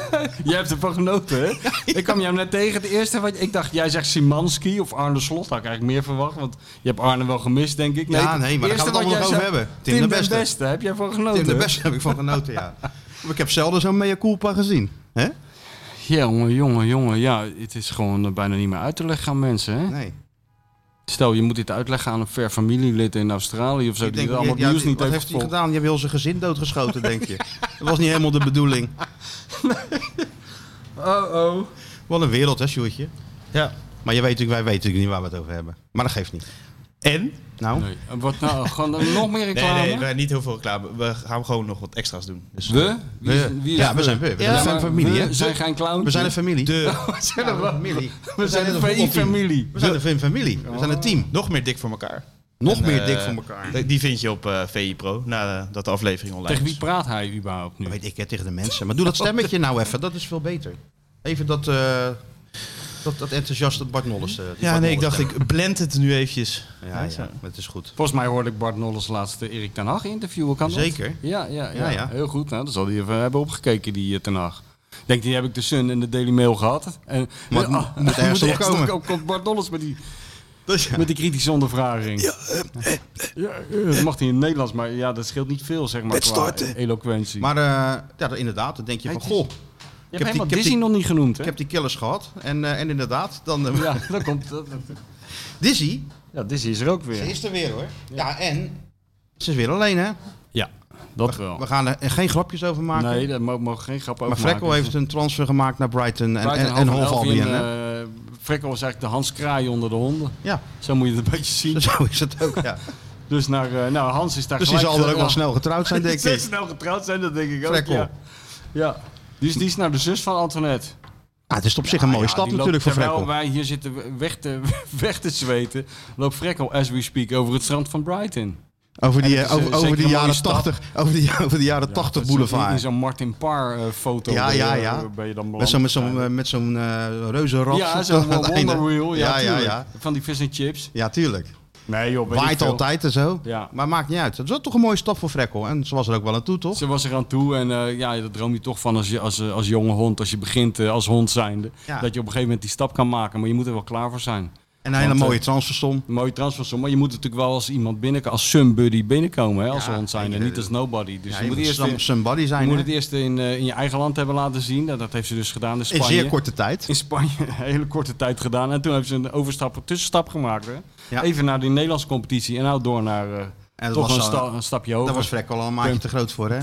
Speaker 3: jij hebt ervan genoten, hè? Ik kwam jou net tegen. Het eerste wat ik dacht, jij zegt Simanski of Arne Slot. Had ik eigenlijk meer verwacht, want je hebt Arne wel gemist, denk ik.
Speaker 2: Ja, nee, maar daar gaan we het allemaal nog over hebben.
Speaker 3: Tim, den Beste. Heb jij van genoten?
Speaker 2: Tim de Beste heb ik van genoten, ja. Maar ik heb zelden zo'n mea culpa gezien. hè?
Speaker 3: Ja, jongen, jongen, jongen. Ja, het is gewoon eh, bijna niet meer uit te leggen aan mensen, hè?
Speaker 2: Nee.
Speaker 3: Stel, je moet dit uitleggen aan een ver familielid in Australië of zo, die het allemaal
Speaker 2: ja,
Speaker 3: nieuws niet
Speaker 2: wat
Speaker 3: heeft
Speaker 2: heeft hij
Speaker 3: gevolgd.
Speaker 2: gedaan? Je wil zijn gezin doodgeschoten, denk je. Dat was niet helemaal de bedoeling.
Speaker 3: Oh-oh.
Speaker 2: Wat een wereld, hè, Sjoerdje?
Speaker 4: ja.
Speaker 2: Maar je weet, natuurlijk- wij weten natuurlijk niet waar we het over hebben. Maar dat geeft niet.
Speaker 4: En?
Speaker 2: Nou,
Speaker 3: Nee. eh, Wat nou? Gewoon dan nog meer
Speaker 4: Nee,
Speaker 3: reclame?
Speaker 4: nee, wij niet heel veel reclame. We gaan gewoon nog wat extra's doen. Dus
Speaker 3: We? Wie is- wie is
Speaker 2: ja, we zijn we. We
Speaker 4: Ja,
Speaker 2: zijn
Speaker 3: maar
Speaker 2: een familie,
Speaker 3: We
Speaker 2: hè?
Speaker 3: zijn geen clown. Dus
Speaker 2: We zijn een familie.
Speaker 4: de,
Speaker 3: We Oh, zijn een-
Speaker 2: familie.
Speaker 3: we zijn een
Speaker 2: voetbalteam.
Speaker 3: VI-familie.
Speaker 2: We zijn een familie. We zijn een team.
Speaker 4: nog meer dik voor elkaar.
Speaker 2: Nog
Speaker 4: En,
Speaker 2: meer
Speaker 4: eh,
Speaker 2: dik voor elkaar.
Speaker 4: Die vind je op eh VI Pro, nadat de aflevering online
Speaker 3: Tegen
Speaker 4: is.
Speaker 3: wie praat hij überhaupt nu?
Speaker 2: Dat weet ik hè, tegen de mensen. Maar doe dat stemmetje nou even. Dat is veel beter. Even dat, eh, dat, dat enthousiaste Bart Nolles. eh, die
Speaker 4: Ja,
Speaker 2: Bart
Speaker 4: nee, ik
Speaker 2: Nolles
Speaker 4: dacht, ik blend het nu eventjes.
Speaker 2: stem. Ja, ja, maar het is goed.
Speaker 3: Volgens mij hoorde ik Bart Nolles laatste Erik ten Hag interviewen. Kan dat?
Speaker 2: Zeker.
Speaker 3: Ja, ja, ja,
Speaker 2: Ja, ja.
Speaker 3: heel goed. Nou, dat zal hij even hebben opgekeken, die eh, ten Hag. Ik denk, die heb ik de Sun en de Daily Mail gehad. En,
Speaker 2: Maar het
Speaker 3: Ah,
Speaker 2: moet ergens
Speaker 3: moet
Speaker 2: opkomen.
Speaker 3: Ook komt Bart Nolles met die,
Speaker 2: Dus ja.
Speaker 3: met die kritische ondervraging. Ja, eh, dat mag hij in het Nederlands, maar ja, dat scheelt niet veel, zeg maar,
Speaker 2: Met
Speaker 3: qua
Speaker 2: starten.
Speaker 3: eloquentie.
Speaker 2: Maar eh, ja, dat- inderdaad, dan denk je
Speaker 3: Hey,
Speaker 2: van,
Speaker 3: het is-
Speaker 2: goh,
Speaker 3: je
Speaker 2: heb
Speaker 3: hebt helemaal
Speaker 2: die- ik heb
Speaker 3: Disney nog niet genoemd, hè?
Speaker 2: ik heb die killers gehad. En, eh, en inderdaad, dan... eh,
Speaker 3: Ja, dat komt... dat- dat-
Speaker 2: Dizzy,
Speaker 3: Ja, Disney is er ook weer.
Speaker 2: ze is er weer hoor. Ja, en... Ze is weer alleen hè.
Speaker 3: Ja, dat wel.
Speaker 2: We gaan er geen grapjes over maken.
Speaker 3: nee, daar mo- mogen geen grap over
Speaker 2: maar Frekkel
Speaker 3: maken. dus,
Speaker 2: heeft een transfer gemaakt naar Brighton en,
Speaker 3: Buiten
Speaker 2: en, en
Speaker 3: half
Speaker 2: Hove Albion.
Speaker 3: elf in,
Speaker 2: hè?
Speaker 3: eh, Frekkel is eigenlijk de Hans Kraai onder de honden.
Speaker 2: Ja,
Speaker 3: Zo moet je het een beetje zien.
Speaker 2: zo is het ook. Ja.
Speaker 3: Dus naar, eh, nou, Hans is daar
Speaker 2: Dus die
Speaker 3: gelijk... eh,
Speaker 2: zal er ook
Speaker 3: ja.
Speaker 2: wel snel getrouwd zijn, denk
Speaker 3: Zeer
Speaker 2: ik.
Speaker 3: snel getrouwd zijn, dat denk ik
Speaker 2: Frekkel.
Speaker 3: ook, ja. ja. Die is, die is naar de zus van Antoinette.
Speaker 2: Ah, het is op zich een mooie
Speaker 3: Ja,
Speaker 2: stap
Speaker 3: die
Speaker 2: natuurlijk voor
Speaker 3: loopt-
Speaker 2: Frekkel.
Speaker 3: Terwijl wij hier zitten weg te, weg te zweten, loopt Frekkel, as we speak, over het strand van Brighton.
Speaker 2: Over die,
Speaker 3: En het
Speaker 2: eh,
Speaker 3: is, eh,
Speaker 2: over, over
Speaker 3: zeker
Speaker 2: die
Speaker 3: een mooie
Speaker 2: jaren
Speaker 3: stad.
Speaker 2: 80, over die, over die jaren 80 boulevard.
Speaker 3: In zo'n Martin Parr eh, foto
Speaker 2: Ja,
Speaker 3: ben je-
Speaker 2: ja, ja.
Speaker 3: ben je dan beland.
Speaker 2: met zo'n met zo'n eh, met zo'n eh, reuzenrad.
Speaker 3: Ja,
Speaker 2: aan
Speaker 3: zo'n
Speaker 2: het einde.
Speaker 3: Wonder Wheel. Ja,
Speaker 2: Ja, ja,
Speaker 3: tuurlijk.
Speaker 2: ja.
Speaker 3: Van die vis en chips.
Speaker 2: Ja, tuurlijk.
Speaker 3: Nee joh, weet ik
Speaker 2: Waait
Speaker 3: veel.
Speaker 2: altijd en zo.
Speaker 3: Ja.
Speaker 2: Maar maakt niet uit. Het was toch een mooie stap voor Frekkel. En ze was er ook wel aan toe, toch?
Speaker 3: Ze was er aan toe en eh, ja, dat droom je toch van als, je, als, eh, als jonge hond. Als je begint eh, als hond zijnde.
Speaker 2: Ja.
Speaker 3: Dat je op een gegeven moment die stap kan maken. Maar je moet er wel klaar voor zijn.
Speaker 2: En een hele
Speaker 3: Want, eh,
Speaker 2: mooie transfersom.
Speaker 3: Een mooie transfersom. Maar je moet natuurlijk wel als iemand binnenkomen. Als somebody binnenkomen. Hè, als
Speaker 2: Ja,
Speaker 3: hond zijnde.
Speaker 2: en je-
Speaker 3: Niet als nobody. Dus
Speaker 2: Ja,
Speaker 3: je, moet eerst,
Speaker 2: some-
Speaker 3: in-
Speaker 2: somebody
Speaker 3: je
Speaker 2: zijn.
Speaker 3: moet
Speaker 2: hè?
Speaker 3: het eerst in, eh, in je eigen land hebben laten zien. Dat, dat heeft ze dus gedaan in
Speaker 2: In
Speaker 3: Spanje.
Speaker 2: zeer korte tijd.
Speaker 3: in Spanje een hele korte tijd gedaan. En toen hebben ze een overstap, een tussenstap gemaakt. Hè?
Speaker 2: Ja.
Speaker 3: Even naar die Nederlandse competitie en nou door naar eh,
Speaker 2: En dat
Speaker 3: toch
Speaker 2: was,
Speaker 3: een,
Speaker 2: zo-
Speaker 3: sta- een stapje hoger.
Speaker 2: daar was Frekkel al een maatje te groot voor, hè?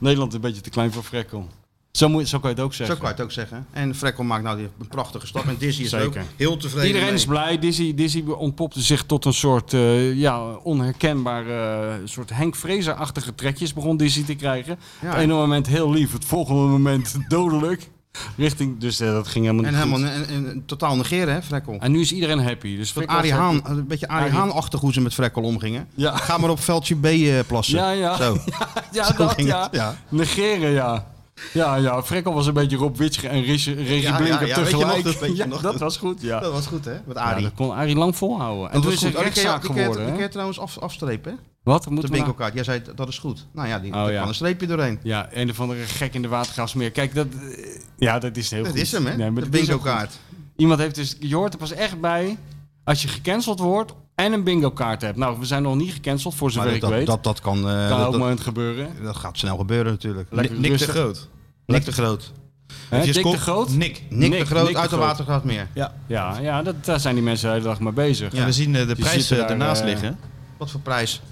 Speaker 3: Nederland een beetje te klein voor Frekkel. Zo, moet, zo kan je het ook zeggen.
Speaker 2: Zo kan je het ook zeggen. En Frekkel maakt nou die- een prachtige stap. En Dizzy is er ook
Speaker 3: Zeker.
Speaker 2: heel tevreden
Speaker 3: Iedereen is
Speaker 2: mee.
Speaker 3: blij. Dizzy, Dizzy ontpopte zich tot een soort eh, ja, onherkenbare eh, soort Henk Fraser-achtige trekjes begon Dizzy te krijgen.
Speaker 2: Ja.
Speaker 3: Op het ene moment heel lief, het volgende moment dodelijk. Richting, dus eh, dat ging helemaal
Speaker 2: En
Speaker 3: niet
Speaker 2: helemaal
Speaker 3: goed.
Speaker 2: en, en totaal negeren, hè, Frekkel.
Speaker 3: En nu is iedereen happy. Dus
Speaker 2: Dat
Speaker 3: Frik was
Speaker 2: Arie
Speaker 3: happy.
Speaker 2: Haan, een beetje Arie
Speaker 3: Arie.
Speaker 2: Haan-achtig hoe ze met Frekkel omgingen.
Speaker 3: Ja,
Speaker 2: Ga maar op veldje B eh, plassen.
Speaker 3: ja, ja.
Speaker 2: Zo.
Speaker 3: ja
Speaker 2: Zo
Speaker 3: dat
Speaker 2: ging
Speaker 3: ja.
Speaker 2: het, ja.
Speaker 3: Negeren, ja. Ja, ja. Frekkel was een beetje Rob Witsch en Regie Regie
Speaker 2: Ja, ja,
Speaker 3: Blinker
Speaker 2: ja, weet je nog
Speaker 3: tegelijk.
Speaker 2: dat, weet je
Speaker 3: Ja,
Speaker 2: nog
Speaker 3: dat
Speaker 2: dat?
Speaker 3: was goed, ja.
Speaker 2: Dat was goed, hè? Met
Speaker 3: Ja,
Speaker 2: Arie.
Speaker 3: dat kon Arie lang volhouden. En toen is
Speaker 2: was
Speaker 3: het
Speaker 2: goed. Oh, die kun je-
Speaker 3: rechtszaak
Speaker 2: die kun je-
Speaker 3: geworden.
Speaker 2: Die kun
Speaker 3: hè?
Speaker 2: je trouwens af, afstrepen, hè?
Speaker 3: Wat? Moeten
Speaker 2: De
Speaker 3: we nou-
Speaker 2: winkelkaart. Jij zei, dat is goed. Nou ja, die,
Speaker 3: Oh,
Speaker 2: daar
Speaker 3: ja.
Speaker 2: kan een streepje doorheen.
Speaker 3: Ja, een of andere gek in de watergraafsmeer. Kijk, dat, eh, ja, dat is heel
Speaker 2: Dat
Speaker 3: goed.
Speaker 2: is hem, hè?
Speaker 3: Nee, maar
Speaker 2: de
Speaker 3: dat is ook
Speaker 2: winkelkaart.
Speaker 3: goed. Iemand heeft dus... Je hoort er pas echt bij als je gecanceld wordt en een bingo kaart hebt. Nou, we zijn nog niet gecanceld, voor zover
Speaker 2: Maar
Speaker 3: ik
Speaker 2: dat,
Speaker 3: weet.
Speaker 2: dat, dat, dat kan... eh,
Speaker 3: kan
Speaker 2: dat,
Speaker 3: ook
Speaker 2: dat-
Speaker 3: maar het gebeuren.
Speaker 2: dat gaat snel gebeuren natuurlijk.
Speaker 3: Lekker
Speaker 4: Nick te
Speaker 3: rustig.
Speaker 4: groot.
Speaker 2: Nick de Groot.
Speaker 3: Hè,
Speaker 4: Je
Speaker 3: Dick
Speaker 4: kop-
Speaker 3: de Groot?
Speaker 4: Nick.
Speaker 2: Nick,
Speaker 3: Nick-
Speaker 2: de Groot
Speaker 3: Nick de
Speaker 2: uit de
Speaker 3: Groot.
Speaker 2: Watergraafmeer.
Speaker 3: Ja, ja dat, daar zijn die mensen de hele dag mee bezig.
Speaker 2: Ja.
Speaker 4: En we zien eh, de
Speaker 3: Die
Speaker 4: prijs
Speaker 3: zitten
Speaker 4: eh,
Speaker 3: daar,
Speaker 4: ernaast
Speaker 3: eh,
Speaker 4: liggen.
Speaker 2: Wat voor prijs?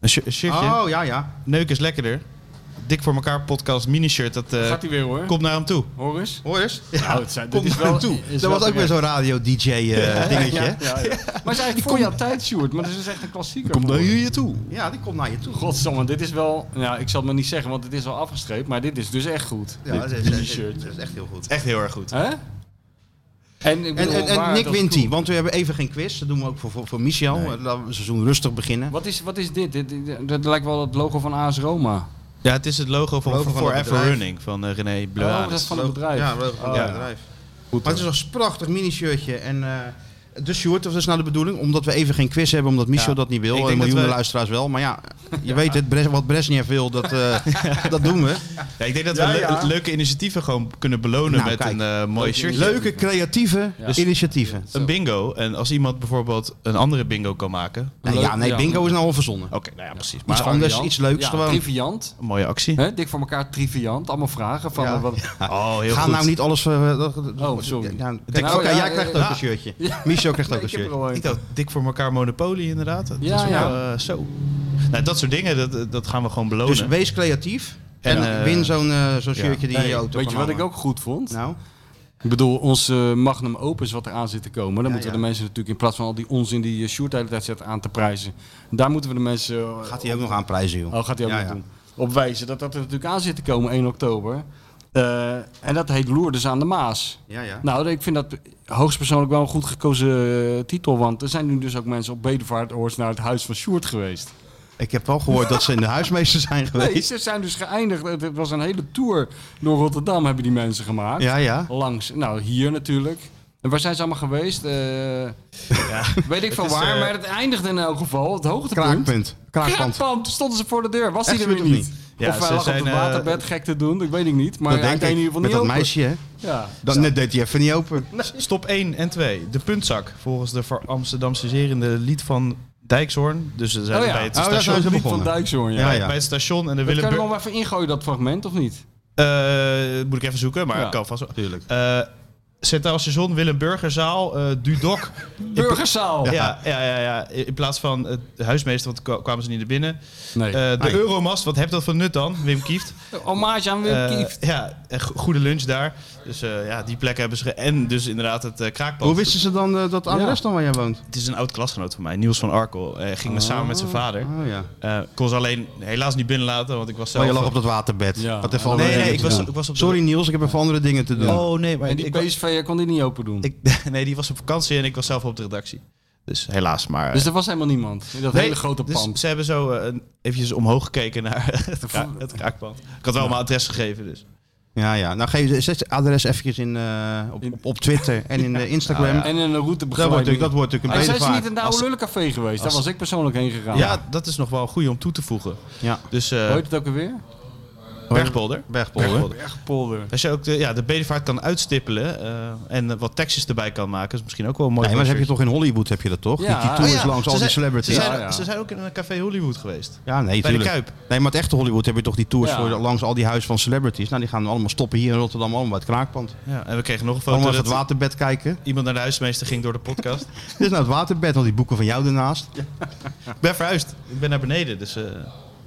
Speaker 4: Een, shi- een shirtje.
Speaker 2: Oh, ja, ja.
Speaker 4: Neuk is lekkerder. Dik voor elkaar podcast mini-shirt. Dat eh,
Speaker 3: Gaat hij weer hoor.
Speaker 4: komt naar hem toe.
Speaker 3: Hoor eens.
Speaker 2: Hoor eens.
Speaker 3: Nou, het zijn,
Speaker 2: Kom
Speaker 3: dit is
Speaker 2: naar hem
Speaker 3: wel,
Speaker 2: toe.
Speaker 3: is
Speaker 2: Dat was
Speaker 3: wel
Speaker 2: ook weer
Speaker 3: terecht.
Speaker 2: zo'n
Speaker 4: eh,
Speaker 2: eh, radio-dj-dingetje, hè?
Speaker 3: Ja, ja, ja. Maar het is eigenlijk voor jouw tijd, Sjoerd. Maar het is echt een klassieker. geworden.
Speaker 4: je toe.
Speaker 2: Ja, die komt naar je toe.
Speaker 3: Godsamme, dit is wel... Nou, ik zal het maar niet zeggen, want het is al afgestreept. Maar dit is dus echt goed.
Speaker 2: Ja, dat is,
Speaker 3: Dit
Speaker 2: dat is-
Speaker 3: t-shirt.
Speaker 2: dat is echt heel goed.
Speaker 4: Echt heel erg goed.
Speaker 3: Hè? En, ik
Speaker 2: En,
Speaker 3: bedoel,
Speaker 2: en, en
Speaker 3: waar
Speaker 2: Nick
Speaker 3: dat
Speaker 2: wint
Speaker 3: toe-
Speaker 2: die, want we hebben even geen quiz. Dat doen we ook voor, voor, voor Michel. Eh, Laten we het seizoen rustig beginnen.
Speaker 3: Wat is, wat is dit? Dit- dit- Dat lijkt wel het logo van AS Roma.
Speaker 4: Ja, het is het logo van
Speaker 2: Logo van het
Speaker 4: Forever
Speaker 2: bedrijf.
Speaker 4: Running van eh, René
Speaker 3: Oh, dat
Speaker 4: Bleuaders.
Speaker 3: is van het bedrijf. Oh.
Speaker 2: Ja, we van
Speaker 4: Ja.
Speaker 2: het bedrijf. maar het is een prachtig minishirtje. En eh de short, of dat is nou de bedoeling, omdat we even geen quiz hebben, omdat Michel
Speaker 4: Ja.
Speaker 2: dat niet
Speaker 4: Ik
Speaker 2: wil.
Speaker 4: denk
Speaker 2: En
Speaker 4: dat
Speaker 2: miljoenen
Speaker 4: we-
Speaker 2: luisteraars wel. Maar ja, je weet het, Bres- wat Bresnev wil, dat, eh, dat doen we.
Speaker 4: ja, ik denk dat we
Speaker 3: Ja,
Speaker 4: le-
Speaker 3: ja.
Speaker 4: leuke initiatieven gewoon kunnen belonen
Speaker 2: Nou,
Speaker 4: met
Speaker 2: kijk.
Speaker 4: een eh mooi shirtje.
Speaker 2: Leuke, creatieve
Speaker 3: Ja. Dus-
Speaker 2: initiatieven.
Speaker 4: Een bingo. En als iemand bijvoorbeeld een andere bingo kan maken.
Speaker 2: Nou ja, nee,
Speaker 3: Ja.
Speaker 2: bingo is nou al verzonnen.
Speaker 4: Oké, nou ja, precies.
Speaker 2: Iets
Speaker 4: Maar
Speaker 2: anders,
Speaker 3: Variant.
Speaker 2: iets leuks
Speaker 3: ja,
Speaker 2: gewoon.
Speaker 3: Triviant.
Speaker 4: een mooie actie.
Speaker 3: Hè? Dik voor elkaar triviant. Allemaal vragen. Van,
Speaker 2: Ja.
Speaker 3: wat,
Speaker 4: Oh, heel
Speaker 2: Ga
Speaker 4: goed.
Speaker 2: nou niet alles... eh, dat- dat-
Speaker 3: Oh, sorry.
Speaker 2: Ja, kijk,
Speaker 3: Nou,
Speaker 2: Oké,
Speaker 3: ja,
Speaker 2: jij
Speaker 3: ja,
Speaker 2: krijgt
Speaker 3: ja.
Speaker 2: ook een shirtje. Michel krijgt ook een
Speaker 3: ik heb er
Speaker 2: shirtje.
Speaker 3: al een.
Speaker 4: Ik dacht, dik voor elkaar Monopoly inderdaad. Dat
Speaker 3: Ja,
Speaker 4: is wel,
Speaker 3: ja.
Speaker 4: eh, zo. Nou, dat soort dingen, dat, dat gaan we gewoon belonen.
Speaker 2: Dus
Speaker 3: Oh,
Speaker 2: wees creatief. En,
Speaker 4: En, eh,
Speaker 2: win zo'n eh, zo'n
Speaker 4: ja.
Speaker 2: shirtje die in
Speaker 3: Nee,
Speaker 2: je auto
Speaker 3: weet je
Speaker 2: kan
Speaker 3: wat ik
Speaker 2: hangen.
Speaker 3: ook goed vond?
Speaker 2: Nou,
Speaker 3: Ik bedoel, ons eh, magnum opus wat eraan zit te komen. Dan
Speaker 2: Ja,
Speaker 3: moeten we
Speaker 2: ja.
Speaker 3: de mensen natuurlijk in plaats van al die onzin die eh, Sjoerd de hele tijd zet aan te prijzen. Daar moeten we de mensen... eh,
Speaker 2: gaat hij ook nog aanprijzen, joh.
Speaker 3: Oh, gaat hij ook
Speaker 2: Ja,
Speaker 3: nog
Speaker 2: ja.
Speaker 3: doen. Op wijzen dat dat er natuurlijk aan zit te komen 1 oktober. Eh, en dat heet Loerders aan de Maas.
Speaker 2: Ja, ja.
Speaker 3: Nou, ik vind dat hoogstpersoonlijk wel een goed gekozen eh, titel. Want er zijn nu dus ook mensen op bedevaartoord naar het huis van Sjoerd geweest.
Speaker 2: Ik heb wel gehoord dat ze in de huismeester zijn
Speaker 3: Nee,
Speaker 2: geweest.
Speaker 3: ze zijn dus geëindigd. Het het was een hele tour door Rotterdam hebben die mensen gemaakt.
Speaker 2: Ja, ja.
Speaker 3: Langs, nou hier natuurlijk. En waar zijn ze allemaal geweest? Eh, Weet ik van
Speaker 4: is,
Speaker 3: waar,
Speaker 4: eh,
Speaker 3: maar het eindigde in elk geval. Het hoogtepunt.
Speaker 2: Kraakpunt. Kraakpand.
Speaker 3: Kraakpand, stonden ze voor de deur. Was
Speaker 2: Echt,
Speaker 3: hij er weer
Speaker 2: weet ik
Speaker 3: niet?
Speaker 4: Ja,
Speaker 3: of
Speaker 4: ze
Speaker 3: hij lag
Speaker 4: zijn,
Speaker 3: op het
Speaker 4: eh,
Speaker 3: waterbed gek te doen, ik weet het niet. Maar
Speaker 2: Dat
Speaker 3: hij
Speaker 2: denk
Speaker 3: deed in
Speaker 2: ik.
Speaker 3: ieder
Speaker 2: Met
Speaker 3: geval niet
Speaker 2: dat
Speaker 3: open.
Speaker 2: meisje, hè.
Speaker 3: Ja.
Speaker 2: Dat net deed hij even niet open.
Speaker 4: Stop 1 en 2. De puntzak. Volgens de voor Amsterdamse zerende lied van Dijkshoorn. Dus ze zijn
Speaker 3: Oh ja.
Speaker 4: bij
Speaker 2: Oh,
Speaker 4: het
Speaker 2: daar
Speaker 4: station.
Speaker 2: zijn ze
Speaker 3: Niet
Speaker 2: begonnen.
Speaker 3: van Dijkshoorn, ja.
Speaker 2: Ja,
Speaker 4: Ja,
Speaker 2: ja.
Speaker 4: Bij het station en
Speaker 3: Dat
Speaker 4: de
Speaker 3: kan je
Speaker 4: Willem.
Speaker 3: nog wel even ingooien, dat fragment, of niet?
Speaker 4: Eh, moet ik even zoeken, maar
Speaker 3: Ja.
Speaker 4: ik kan vast wel.
Speaker 2: Tuurlijk.
Speaker 4: Eh, Centraal Station, Willem Burgerzaal, eh Dudok.
Speaker 3: Burgerzaal!
Speaker 4: ja. Ja, ja, ja, In plaats van het huismeester, want kwa- kwamen ze niet naar binnen.
Speaker 3: Nee.
Speaker 4: Eh,
Speaker 2: Ah,
Speaker 4: de Euromast, wat heb dat van nut dan? Wim Kieft.
Speaker 3: Hommage aan Wim
Speaker 4: Eh,
Speaker 3: Kieft.
Speaker 4: ja, en go- goede lunch daar. Dus eh, ja, die plek hebben ze. ge- En dus inderdaad het eh, kraakpand.
Speaker 2: Hoe wisten ze dan eh, dat adres dan waar jij woont?
Speaker 4: Het is een oud klasgenoot van mij, Niels van Arkel. Eh, ging me samen met zijn vader.
Speaker 2: Oh ja.
Speaker 4: Eh, ik kon ze alleen helaas niet binnenlaten, want ik was zelf...
Speaker 2: Maar je lag op dat waterbed.
Speaker 3: Ja.
Speaker 2: Wat even
Speaker 3: Nee,
Speaker 2: andere
Speaker 4: Nee, nee,
Speaker 2: dingen
Speaker 4: ik
Speaker 2: te
Speaker 4: was,
Speaker 2: doen.
Speaker 4: ik was op de-
Speaker 2: Sorry Niels, ik heb even andere dingen te doen.
Speaker 4: Oh nee, maar
Speaker 3: En die
Speaker 4: ik, was-
Speaker 3: PSV eh, kon die niet open doen.
Speaker 4: ik- nee, die was op vakantie en ik was zelf op de redactie. Dus helaas, maar...
Speaker 3: Dus er was helemaal niemand in dat
Speaker 4: Nee,
Speaker 3: hele grote
Speaker 4: dus
Speaker 3: pand.
Speaker 4: ze hebben zo eh, een, eventjes omhoog gekeken naar het, kra- het kraakpand. Ik had wel mijn adres gegeven, dus.
Speaker 2: Ja, ja. Nou, geef zet het adres eventjes in, eh, op, op, op Twitter en in eh,
Speaker 4: Nou
Speaker 2: Instagram.
Speaker 3: En in een route
Speaker 2: Dat wordt natuurlijk, dat
Speaker 3: begeleiding.
Speaker 2: wordt natuurlijk
Speaker 4: Oh,
Speaker 3: En
Speaker 2: een
Speaker 3: zijn ze niet
Speaker 2: bedevaart.
Speaker 3: in de oude lullencafé geweest? Daar
Speaker 4: als-
Speaker 3: was ik persoonlijk heen gegaan.
Speaker 4: Ja, dat is nog wel goed om toe te voegen.
Speaker 2: Ja.
Speaker 4: Dus eh,
Speaker 3: Hoe heet het ook alweer?
Speaker 4: Bergpolder.
Speaker 2: Bergpolder.
Speaker 3: Bergpolder.
Speaker 4: Als je ook de, ja, de bedevaart kan uitstippelen eh, en eh, wat tekstjes erbij kan maken, is misschien ook wel een mooi.
Speaker 2: Nee, maar dat
Speaker 4: voor
Speaker 2: heb je toch in Hollywood heb je dat toch?
Speaker 3: Ja.
Speaker 2: Die, die tours
Speaker 4: Oh ja,
Speaker 2: langs
Speaker 4: ze
Speaker 2: al die
Speaker 4: zijn-
Speaker 2: celebrities.
Speaker 4: Ze zijn,
Speaker 3: Ja, ja.
Speaker 4: ze zijn ook in een café Hollywood geweest.
Speaker 2: Ja, nee,
Speaker 4: bij de
Speaker 2: tuurlijk.
Speaker 4: Kuip.
Speaker 2: Nee, maar het echte Hollywood heb je toch die tours
Speaker 3: Ja.
Speaker 2: voor, langs al die huizen van celebrities. Nou, die gaan allemaal stoppen hier in Rotterdam, allemaal bij het kraakpand.
Speaker 4: Ja, en we kregen nog een foto
Speaker 2: Allemaal even
Speaker 4: dat
Speaker 2: het waterbed kijken.
Speaker 4: iemand naar de huismeester ging door de podcast.
Speaker 2: Dit is nou het waterbed, al die boeken van jou ernaast.
Speaker 4: ik ben verhuisd. Ik ben naar beneden, dus eh,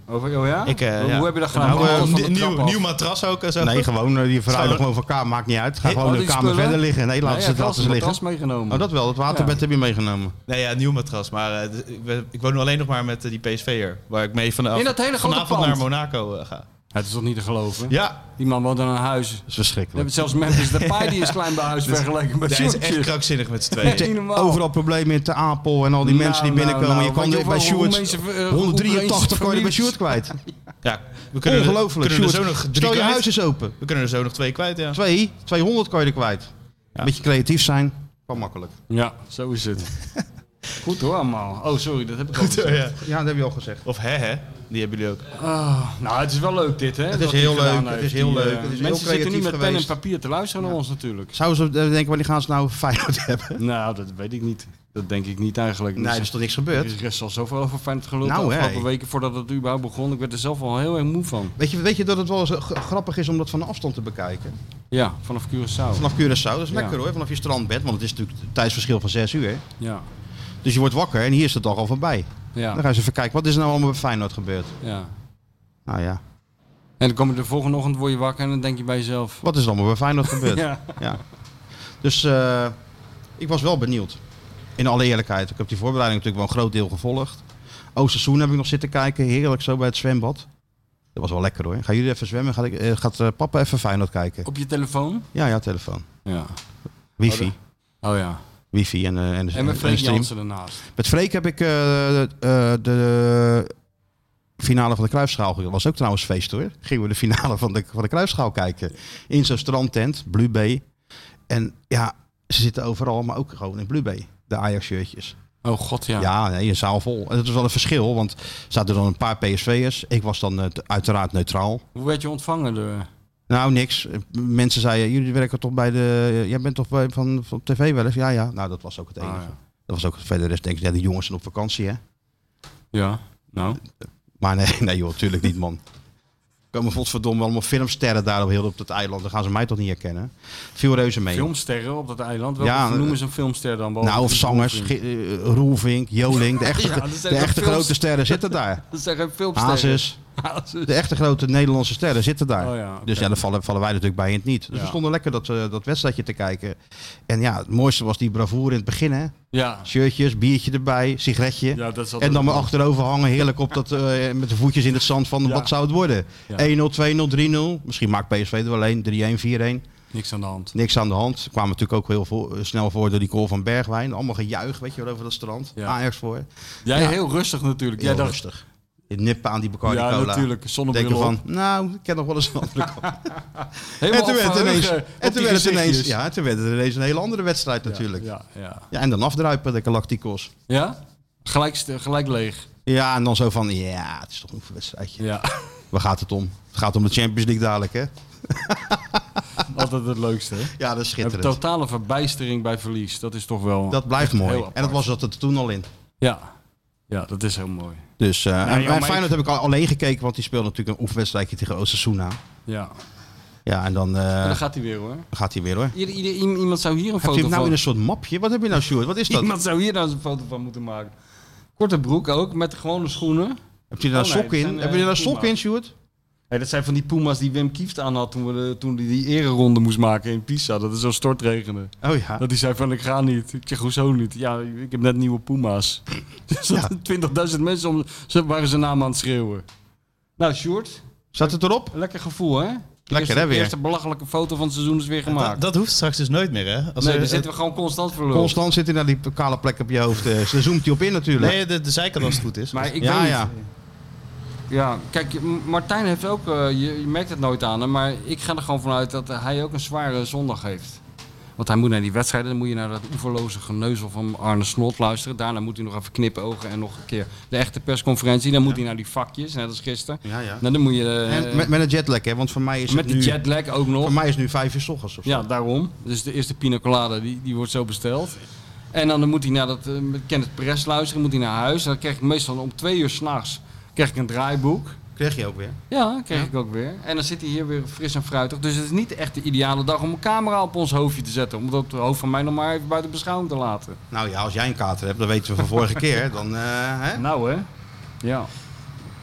Speaker 3: Over, oh ja?
Speaker 4: Ik, eh,
Speaker 3: hoe,
Speaker 4: ja.
Speaker 3: hoe heb je dat gedaan?
Speaker 4: Nou,
Speaker 3: Allemaal
Speaker 4: eh,
Speaker 3: van de
Speaker 4: een
Speaker 3: trap
Speaker 4: nieuw,
Speaker 3: af?
Speaker 4: nieuw matras ook en zo.
Speaker 2: Nee, gewoon eh, die verruilen
Speaker 4: Zou-
Speaker 2: gewoon van elkaar. Maakt niet uit. Ga
Speaker 3: Hey,
Speaker 2: gewoon
Speaker 3: al
Speaker 2: de
Speaker 3: die
Speaker 2: kamer
Speaker 3: spullen?
Speaker 2: verder liggen. Nee, laat
Speaker 3: Nee,
Speaker 2: ze
Speaker 3: hij
Speaker 2: het laten
Speaker 3: heeft
Speaker 2: ze
Speaker 3: wel
Speaker 2: liggen.
Speaker 3: zijn matras meegenomen.
Speaker 2: Oh, dat wel. Het waterbed
Speaker 3: Ja.
Speaker 2: heb je meegenomen.
Speaker 4: Nee, ja, een nieuw matras. Maar eh, d- ik, ben- ik woon nu alleen nog maar met eh, die PSV'er. Waar ik mee vanaf,
Speaker 3: In dat hele grote
Speaker 4: vanavond
Speaker 3: pand.
Speaker 4: naar Monaco eh, ga.
Speaker 3: Het is toch niet te geloven?
Speaker 4: Ja,
Speaker 3: Die man woont in een
Speaker 2: Dat
Speaker 3: huis.
Speaker 2: is
Speaker 3: We hebben
Speaker 2: verschrikkelijk.
Speaker 3: zelfs Memphis Depay, die is klein bij huis vergeleken met
Speaker 4: dat is echt
Speaker 3: Sjoerdje.
Speaker 4: krankzinnig met z'n
Speaker 3: Echt
Speaker 4: tweeën.
Speaker 3: niet normaal.
Speaker 2: Overal problemen in Te Apel en al die
Speaker 3: Nou,
Speaker 2: mensen die
Speaker 3: nou,
Speaker 2: binnenkomen.
Speaker 3: nou,
Speaker 2: je kan
Speaker 3: weet je
Speaker 2: dit bij
Speaker 3: hoeveel
Speaker 2: Sjoerd...
Speaker 3: mensen, eh,
Speaker 2: 183 kan je er bij
Speaker 3: families-
Speaker 2: Sjoerd kwijt.
Speaker 4: Ja, we kunnen, er-
Speaker 2: Ongelooflijk.
Speaker 4: kunnen er zo
Speaker 2: Sjoerd,
Speaker 4: nog drie
Speaker 2: Stel je
Speaker 4: kwijt.
Speaker 2: huis eens open.
Speaker 4: We kunnen er zo nog twee kwijt, ja.
Speaker 2: Twee, 200 kan je er kwijt.
Speaker 4: Ja.
Speaker 2: Beetje creatief zijn. Kan makkelijk.
Speaker 3: Ja, zo is het. Goed hoor allemaal. Oh, sorry, dat heb ik al
Speaker 4: Goed, ja.
Speaker 2: Ja, dat heb je al gezegd.
Speaker 4: Of hè, hè. Die hebben jullie ook.
Speaker 3: Ah, nou, het is wel leuk dit, hè?
Speaker 2: Het
Speaker 3: wat
Speaker 2: is
Speaker 3: hij
Speaker 2: heel
Speaker 3: gedaan
Speaker 2: leuk, het
Speaker 3: heeft.
Speaker 2: is heel
Speaker 3: Die,
Speaker 2: leuk,
Speaker 3: eh,
Speaker 2: het is heel
Speaker 3: Mensen zitten niet met
Speaker 2: creatief
Speaker 3: pen en
Speaker 2: geweest.
Speaker 3: papier te luisteren naar ons natuurlijk.
Speaker 2: Zouden ze eh, denken, wanneer gaan ze nou Feyenoord hebben?
Speaker 3: Nou, dat weet ik niet. Dat denk ik niet eigenlijk. Dus
Speaker 2: Nee, er is toch niks gebeurd?
Speaker 3: er is rest al zoveel over Feyenoord geluld
Speaker 2: Nou,
Speaker 3: de afgelopen
Speaker 2: hè.
Speaker 3: weken voordat het überhaupt begon. Ik werd er zelf al heel erg moe van.
Speaker 2: Weet je, weet je dat het wel eens eh, g- grappig is om dat van afstand te bekijken?
Speaker 3: Ja, vanaf Curaçao.
Speaker 2: Vanaf Curaçao, dat is
Speaker 3: Ja.
Speaker 2: lekker hoor, vanaf je strandbed. Want het is natuurlijk het tijdsverschil van 6 uur.
Speaker 3: Ja,
Speaker 2: Dus je wordt wakker en hier is de dag al voorbij. Dan
Speaker 3: ja,
Speaker 2: gaan ze even kijken, wat is er nou allemaal bij Feyenoord gebeurd?
Speaker 3: ja.
Speaker 2: Nou ja,
Speaker 3: En dan kom je de volgende ochtend, word je wakker en dan denk je bij jezelf...
Speaker 2: wat is er allemaal bij Feyenoord gebeurd? ja.
Speaker 3: Ja,
Speaker 2: Dus eh, ik was wel benieuwd. In alle eerlijkheid, ik heb die voorbereiding natuurlijk wel een groot deel gevolgd. Oosterseizoen heb ik nog zitten kijken, heerlijk zo bij het zwembad. Dat was wel lekker hoor. Gaan jullie even zwemmen? Gaat, ik, eh, gaat eh, papa even Feyenoord kijken?
Speaker 3: op je telefoon?
Speaker 2: Ja, ja, telefoon.
Speaker 3: Ja.
Speaker 2: Wifi.
Speaker 3: Oh, Oh ja.
Speaker 2: Wifi en, eh, en,
Speaker 3: En met
Speaker 2: en
Speaker 3: Freek
Speaker 2: stream.
Speaker 3: Jansen ernaast.
Speaker 2: Met Freek heb ik eh, de, eh, de finale van de Kruisschaal gezien. Dat was ook trouwens feest hoor. Gingen we de finale van de, van de Kruisschaal kijken. In zo'n strandtent, Blue Bay. En ja, ze zitten overal, maar ook gewoon in Blue Bay. De Ajax-shirtjes.
Speaker 3: Oh god, ja.
Speaker 2: Ja, nee, een zaal vol. En dat is wel een verschil, want er zaten dan een paar PSV'ers. Ik was dan eh, uiteraard neutraal.
Speaker 3: Hoe werd je ontvangen? De...
Speaker 2: Nou, niks. Mensen zeiden, jullie werken toch bij de... Jij bent toch bij, van, van tv wel eens? Ja, ja. Nou, dat was ook het enige.
Speaker 3: Ah, ja.
Speaker 2: Dat was ook verder is denk ik, ja, die jongens zijn op vakantie, hè?
Speaker 3: ja, nou.
Speaker 2: Maar nee, nee joh, tuurlijk niet, man. Er komen godverdomme allemaal filmsterren daar op heel op dat eiland. Dan gaan ze mij toch niet herkennen. Veel reuze mee.
Speaker 3: Filmsterren op dat eiland. Welke
Speaker 2: Ja, eh,
Speaker 3: noemen ze een filmster dan? behalve
Speaker 2: nou, of
Speaker 3: die
Speaker 2: zangers.
Speaker 3: Roelvink?
Speaker 2: Ge- eh, Roelvink, Joling. De echte,
Speaker 3: Oh, Ja, dat
Speaker 2: de
Speaker 3: zijn ook
Speaker 2: echte
Speaker 3: films.
Speaker 2: grote sterren zitten daar.
Speaker 3: Dat zijn geen filmsterren.
Speaker 2: Hazes.
Speaker 3: Hazes.
Speaker 2: De echte grote Nederlandse sterren zitten daar.
Speaker 3: Oh ja, oké.
Speaker 2: Dus ja, daar vallen, vallen wij natuurlijk bij in het niet. Dus
Speaker 3: Ja.
Speaker 2: we stonden lekker dat, eh, dat wedstrijdje te kijken. En ja, het mooiste was die bravoure in het begin, hè.
Speaker 3: Ja.
Speaker 2: Shirtjes, biertje erbij, sigaretje.
Speaker 3: ja, dat is altijd
Speaker 2: En dan maar
Speaker 3: leuk.
Speaker 2: achterover hangen, heerlijk op dat, eh, met de voetjes in het zand van
Speaker 3: Ja.
Speaker 2: wat zou het worden?
Speaker 3: Ja.
Speaker 2: 1-0, 2-0, 3-0. Misschien maakt PSV er wel een, 3-1, 4-1.
Speaker 3: Niks aan de hand.
Speaker 2: Niks aan de hand. Ze kwamen natuurlijk ook heel voor, eh, snel voor door die goal van Bergwijn. Allemaal gejuich, weet je wel, over dat strand.
Speaker 3: Ja.
Speaker 2: Ajax voor.
Speaker 3: Jij
Speaker 2: Ja.
Speaker 3: heel rustig natuurlijk.
Speaker 2: Heel
Speaker 3: Jij dacht,
Speaker 2: rustig. Je nippen aan die Bacardi
Speaker 3: ja,
Speaker 2: Cola.
Speaker 3: natuurlijk. Zonnebril
Speaker 2: Denken
Speaker 3: op.
Speaker 2: van, nou, ik ken nog wel eens een andere kant.
Speaker 3: Helemaal
Speaker 2: En toen werd het
Speaker 3: opgehangen
Speaker 2: ineens,
Speaker 3: op
Speaker 2: en
Speaker 3: die
Speaker 2: toen werd het ineens,
Speaker 3: gezichtjes.
Speaker 2: ja, toen werd het ineens een hele andere wedstrijd natuurlijk. Ja,
Speaker 3: Ja, ja.
Speaker 2: en dan afdruipen, de Galacticos.
Speaker 3: ja? Gelijk, st- gelijk leeg.
Speaker 2: Ja, en dan zo van, ja, het is toch een oefenwedstrijdje.
Speaker 3: Ja,
Speaker 2: Waar gaat het om? Het gaat om de Champions League dadelijk, hè?
Speaker 3: altijd het leukste. hè?
Speaker 2: Ja, dat is
Speaker 3: Een
Speaker 2: schitterend. Dat,
Speaker 3: totale verbijstering bij verlies. Dat is toch wel...
Speaker 2: blijft
Speaker 3: heel
Speaker 2: mooi.
Speaker 3: apart.
Speaker 2: En dat was dat er toen al in.
Speaker 3: Ja. ja, dat is heel mooi.
Speaker 2: Dus, eh en
Speaker 4: ja, maar
Speaker 2: en Feyenoord heb ik al- alleen gekeken, want die speelde natuurlijk een oefenwedstrijdje tegen Osasuna.
Speaker 3: Ja.
Speaker 2: Ja, en dan eh,
Speaker 3: En dan gaat hij weer hoor.
Speaker 2: gaat hij weer hoor.
Speaker 3: Ieder, ieder- i- iemand zou hier een
Speaker 2: Heb
Speaker 3: foto
Speaker 2: je hem
Speaker 3: van...
Speaker 2: nou in een soort mapje? Wat heb je nou, Sjoerd? Wat is dat?
Speaker 3: Iemand zou hier nou eens een foto van moeten maken. Korte broek ook, met gewone schoenen.
Speaker 2: Heb je daar
Speaker 3: Oh, nee,
Speaker 2: sokken
Speaker 3: dat
Speaker 2: in?
Speaker 3: zijn, eh,
Speaker 2: heb je daar sokken
Speaker 3: Puma.
Speaker 2: in, Sjoerd?
Speaker 3: Hey, dat zijn van die Puma's die Wim Kieft aan had toen hij toen die, die ereronde moest maken in Pisa. Dat het zo stortregende.
Speaker 2: Oh ja.
Speaker 3: Dat hij zei van ik ga niet. Ik zeg hoezo niet? Ja, ik heb net nieuwe Puma's. Dus
Speaker 2: Ja.
Speaker 3: dat 20.000 mensen om, ze waren zijn naam aan het schreeuwen. Nou Sjoerd,
Speaker 2: Zat het erop?
Speaker 3: een lekker gevoel hè? De eerste,
Speaker 2: hè, weer?
Speaker 3: De eerste belachelijke foto van het seizoen is weer
Speaker 4: Dat,
Speaker 3: gemaakt.
Speaker 4: dat hoeft straks dus nooit meer, hè? Als
Speaker 3: nee,
Speaker 4: er-
Speaker 3: daar zitten we gewoon constant voor lul.
Speaker 2: Constant zit hij naar die kale plek op je hoofd. eh, Ze zoomt hij op in natuurlijk.
Speaker 4: Nee, de, de zijkant als het goed is.
Speaker 3: Maar ik
Speaker 2: ja,
Speaker 3: weet
Speaker 2: ja.
Speaker 3: niet. Ja, kijk, M- Martijn heeft ook, eh, je, je merkt het nooit aan hem, maar ik ga er gewoon vanuit dat hij ook een zware zondag heeft. Want hij moet naar die wedstrijden, dan moet je naar dat oeverloze geneuzel van Arne Slot luisteren. Daarna moet hij nog even knipogen en nog een keer de echte persconferentie. Dan moet hij naar die vakjes, net als gisteren.
Speaker 2: Ja, ja.
Speaker 3: Nou, dan moet je eh,
Speaker 2: En met, met een jetlag, hè? Want voor mij is
Speaker 3: met
Speaker 2: het
Speaker 3: de
Speaker 2: nu,
Speaker 3: jetlag ook nog.
Speaker 2: Voor mij is het nu vijf uur 's ochtends of zo.
Speaker 3: Ja, daarom. Dus de eerste pina colada, die, die wordt zo besteld. En dan moet hij naar dat, eh, met Kenneth Perez luisteren, moet hij naar huis. En dan krijg ik meestal om twee uur s'nachts een draaiboek.
Speaker 2: Kreeg je ook weer.
Speaker 3: Ja, kreeg ik ook weer. En dan zit hij hier weer fris en fruitig. Dus het is niet echt de ideale dag om een camera op ons hoofdje te zetten. Om dat op het hoofd van mij nog maar even buiten beschouwing te laten.
Speaker 2: Nou ja, als jij een kater hebt, dat weten we van vorige keer. Dan, eh, hè?
Speaker 3: Nou hè? Ja.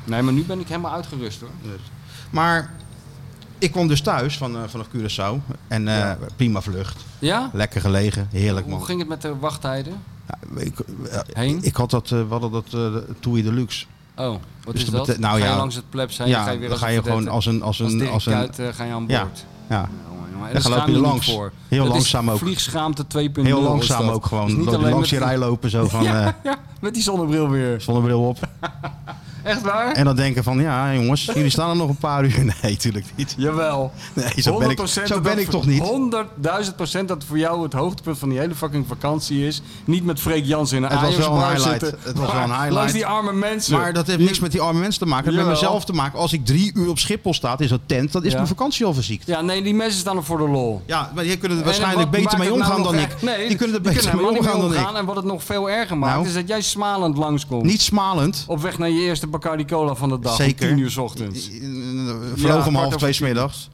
Speaker 3: Nee, maar nu ben ik helemaal uitgerust hoor.
Speaker 2: Maar ik kwam dus thuis van, eh, vanaf Curaçao. En eh, prima vlucht.
Speaker 3: Ja?
Speaker 2: Lekker gelegen. Heerlijk man.
Speaker 3: Hoe ging het met de wachttijden?
Speaker 2: Ja, ik, eh,
Speaker 3: Heen?
Speaker 2: ik had dat, eh, we hadden dat eh Toei Deluxe.
Speaker 3: Oh, wat
Speaker 2: Dus
Speaker 3: is
Speaker 2: dat
Speaker 3: dat?
Speaker 2: bete- nou
Speaker 3: ga je
Speaker 2: ja,
Speaker 3: langs het plebs heen,
Speaker 2: ja,
Speaker 3: ga je weer
Speaker 2: dan
Speaker 3: als
Speaker 2: ga je
Speaker 3: een
Speaker 2: gewoon
Speaker 3: vedette-
Speaker 2: als een... Als
Speaker 3: als
Speaker 2: een,
Speaker 3: Dirk
Speaker 2: als een
Speaker 3: Kuyt, eh, ga je aan
Speaker 2: Ja.
Speaker 3: boord.
Speaker 2: ja,
Speaker 3: Jongen, jongen. En
Speaker 2: dan
Speaker 3: daar
Speaker 2: loop
Speaker 3: schaam
Speaker 2: je
Speaker 3: je
Speaker 2: er
Speaker 3: niet
Speaker 2: langs.
Speaker 3: Voor.
Speaker 2: Heel
Speaker 3: Dat is
Speaker 2: langzaam ook.
Speaker 3: Vliegschaamte 2.0.
Speaker 2: heel
Speaker 3: is
Speaker 2: langzaam
Speaker 3: dat.
Speaker 2: ook
Speaker 3: Dus
Speaker 2: gewoon.
Speaker 3: niet
Speaker 2: Loop je
Speaker 3: alleen
Speaker 2: langs je
Speaker 3: met die-
Speaker 2: rij lopen zo van... eh
Speaker 3: Ja, met die zonnebril weer.
Speaker 2: zonnebril op.
Speaker 3: Echt waar?
Speaker 2: En dan denken van, ja jongens, jullie staan er nog een paar uur. Nee, tuurlijk niet.
Speaker 3: Jawel.
Speaker 2: Nee, zo ben ik,
Speaker 3: 100%
Speaker 2: zo ben
Speaker 3: dat-
Speaker 2: ik toch niet.
Speaker 3: 100.000 procent dat voor jou het hoogtepunt van die hele fucking vakantie is. Niet met Freek Jansen in een
Speaker 2: Het was wel een
Speaker 3: Ajax-bar
Speaker 2: highlight.
Speaker 3: zitten,
Speaker 2: Het was wel
Speaker 3: maar
Speaker 2: een highlight.
Speaker 3: Langs die arme mensen.
Speaker 2: Maar dat heeft niks met die arme mensen te maken. Het heeft met
Speaker 3: Jawel.
Speaker 2: mezelf te maken. Als ik drie uur op Schiphol sta in zo'n tent, dan is
Speaker 3: Ja.
Speaker 2: mijn vakantie al verziekt.
Speaker 3: Ja, nee, die mensen staan er voor de lol.
Speaker 2: Ja, maar die kunnen er
Speaker 3: En
Speaker 2: waarschijnlijk
Speaker 3: wat
Speaker 2: beter
Speaker 3: maakt
Speaker 2: mee
Speaker 3: het nou
Speaker 2: omgaan
Speaker 3: nog
Speaker 2: dan
Speaker 3: echt-
Speaker 2: ik.
Speaker 3: Nee,
Speaker 2: die kunnen er beter mee
Speaker 3: helemaal niet
Speaker 2: omgaan dan ik.
Speaker 3: En wat het nog veel erger maakt,
Speaker 2: Nou.
Speaker 3: is dat jij smalend langskomt.
Speaker 2: Niet smalend.
Speaker 3: Op weg naar je eerste Bacardi Cola van de dag.
Speaker 2: Zeker.
Speaker 3: Om 10 uur 's ochtends.
Speaker 2: Vloog om
Speaker 3: kwart
Speaker 2: half
Speaker 3: over
Speaker 2: twee 's middags.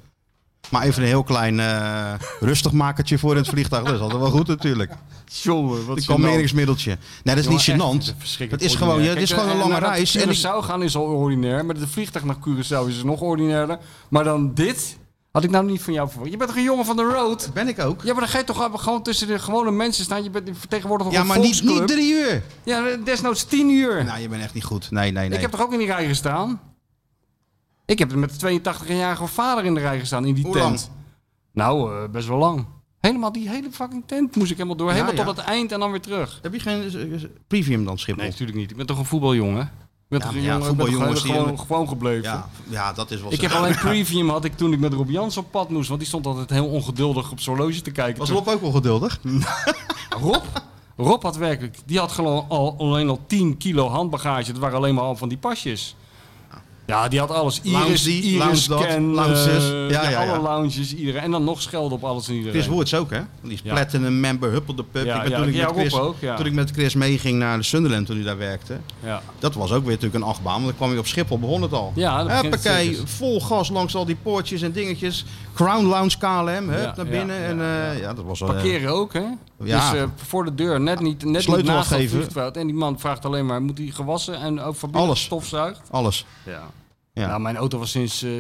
Speaker 2: Maar even een heel klein eh rustigmakertje voor in het vliegtuig. Dat is altijd wel goed natuurlijk.
Speaker 3: Jongen, wat
Speaker 2: Een
Speaker 3: gênant.
Speaker 2: kalmeringsmiddeltje. Nee, dat is niet
Speaker 3: Jongen, echt,
Speaker 2: gênant.
Speaker 3: het verschrikkelijk
Speaker 2: Het is gewoon, ja,
Speaker 3: ordinair.
Speaker 2: het is
Speaker 3: Kijk,
Speaker 2: gewoon een
Speaker 3: en-
Speaker 2: lange
Speaker 3: en naar
Speaker 2: reis. En ik-
Speaker 3: Curaçao gaan is al ordinair, maar de vliegtuig naar Curaçao is nog ordinairder. Maar dan dit had ik nou niet van jou verwacht. Je bent toch een jongen van de road?
Speaker 2: ben ik ook.
Speaker 3: Ja, maar dan ga je toch gewoon tussen de gewone mensen staan. Je bent vertegenwoordiger van
Speaker 2: Ja,
Speaker 3: een
Speaker 2: maar niet, niet
Speaker 3: volksclub.
Speaker 2: drie uur.
Speaker 3: Ja, desnoods tien uur.
Speaker 2: Nou, je bent echt niet goed. Nee, nee,
Speaker 3: Ik
Speaker 2: nee.
Speaker 3: heb toch ook in die rij gestaan? Ik heb met de 82-jarige vader in de rij gestaan in die
Speaker 2: Hoe
Speaker 3: tent.
Speaker 2: lang?
Speaker 3: Nou, eh, best wel lang. Helemaal die hele fucking tent moest ik helemaal door. Helemaal
Speaker 2: ja.
Speaker 3: tot het eind en dan weer terug.
Speaker 2: Heb je geen eh, premium dan, Schiphol?
Speaker 3: Nee, natuurlijk niet. Ik ben toch een voetbaljongen? Ik ben
Speaker 2: Ja,
Speaker 3: toch
Speaker 2: maar
Speaker 3: een
Speaker 2: ja,
Speaker 3: jongen, ik ben toch
Speaker 2: voetbaljongens die-
Speaker 3: gewoon, gewoon gebleven.
Speaker 2: Ja, ja, dat is wel
Speaker 3: Ik
Speaker 2: zo.
Speaker 3: heb alleen premium had ik toen ik met Rob Jans op pad moest. Want die stond altijd heel ongeduldig op zijn horloge te kijken.
Speaker 2: Was
Speaker 3: Toen-
Speaker 2: Rob ook wel geduldig?
Speaker 3: Rob? Rob had werkelijk, die had gewoon al, alleen al 10 kilo handbagage. Dat waren alleen maar al van die pasjes. Ja, die had alles. Iris,
Speaker 2: Lounge die,
Speaker 3: Iris
Speaker 2: lounge dat,
Speaker 3: Scan,
Speaker 2: lounges.
Speaker 3: eh,
Speaker 2: Ja, ja,
Speaker 3: alle
Speaker 2: ja.
Speaker 3: lounges, iedereen. En dan nog schelden op alles en iedereen.
Speaker 2: Chris Woods ook, hè? Die is
Speaker 3: Ja.
Speaker 2: platinum member, Huppel de Pup.
Speaker 3: Ja,
Speaker 2: ik ben,
Speaker 3: ja,
Speaker 2: toen, ik
Speaker 3: ja,
Speaker 2: met
Speaker 3: Rob
Speaker 2: Chris,
Speaker 3: ook, ja.
Speaker 2: toen ik met Chris meeging naar de Sunderland, toen hij daar werkte.
Speaker 3: ja.
Speaker 2: Dat was ook weer natuurlijk een achtbaan, want dan kwam je op Schiphol, begon het al.
Speaker 3: Ja, dan begint het
Speaker 2: Huppakee,
Speaker 3: circus.
Speaker 2: vol gas langs al die poortjes en dingetjes. Crown Lounge KLM, hup,
Speaker 3: Ja,
Speaker 2: naar
Speaker 3: ja,
Speaker 2: binnen.
Speaker 3: ja,
Speaker 2: en
Speaker 3: ja.
Speaker 2: eh, ja. dat was wel... eh,
Speaker 3: Parkeren ook, hè?
Speaker 2: Ja.
Speaker 3: Dus eh, voor de deur, net niet, net
Speaker 2: Sleutel
Speaker 3: niet naast het
Speaker 2: afgeven.
Speaker 3: vliegveld. En die man vraagt alleen maar, moet hij gewassen en ook van
Speaker 2: Alles.
Speaker 3: stofzuigt?
Speaker 2: alles.
Speaker 3: Ja.
Speaker 2: Ja.
Speaker 3: Nou, mijn auto was sinds, eh,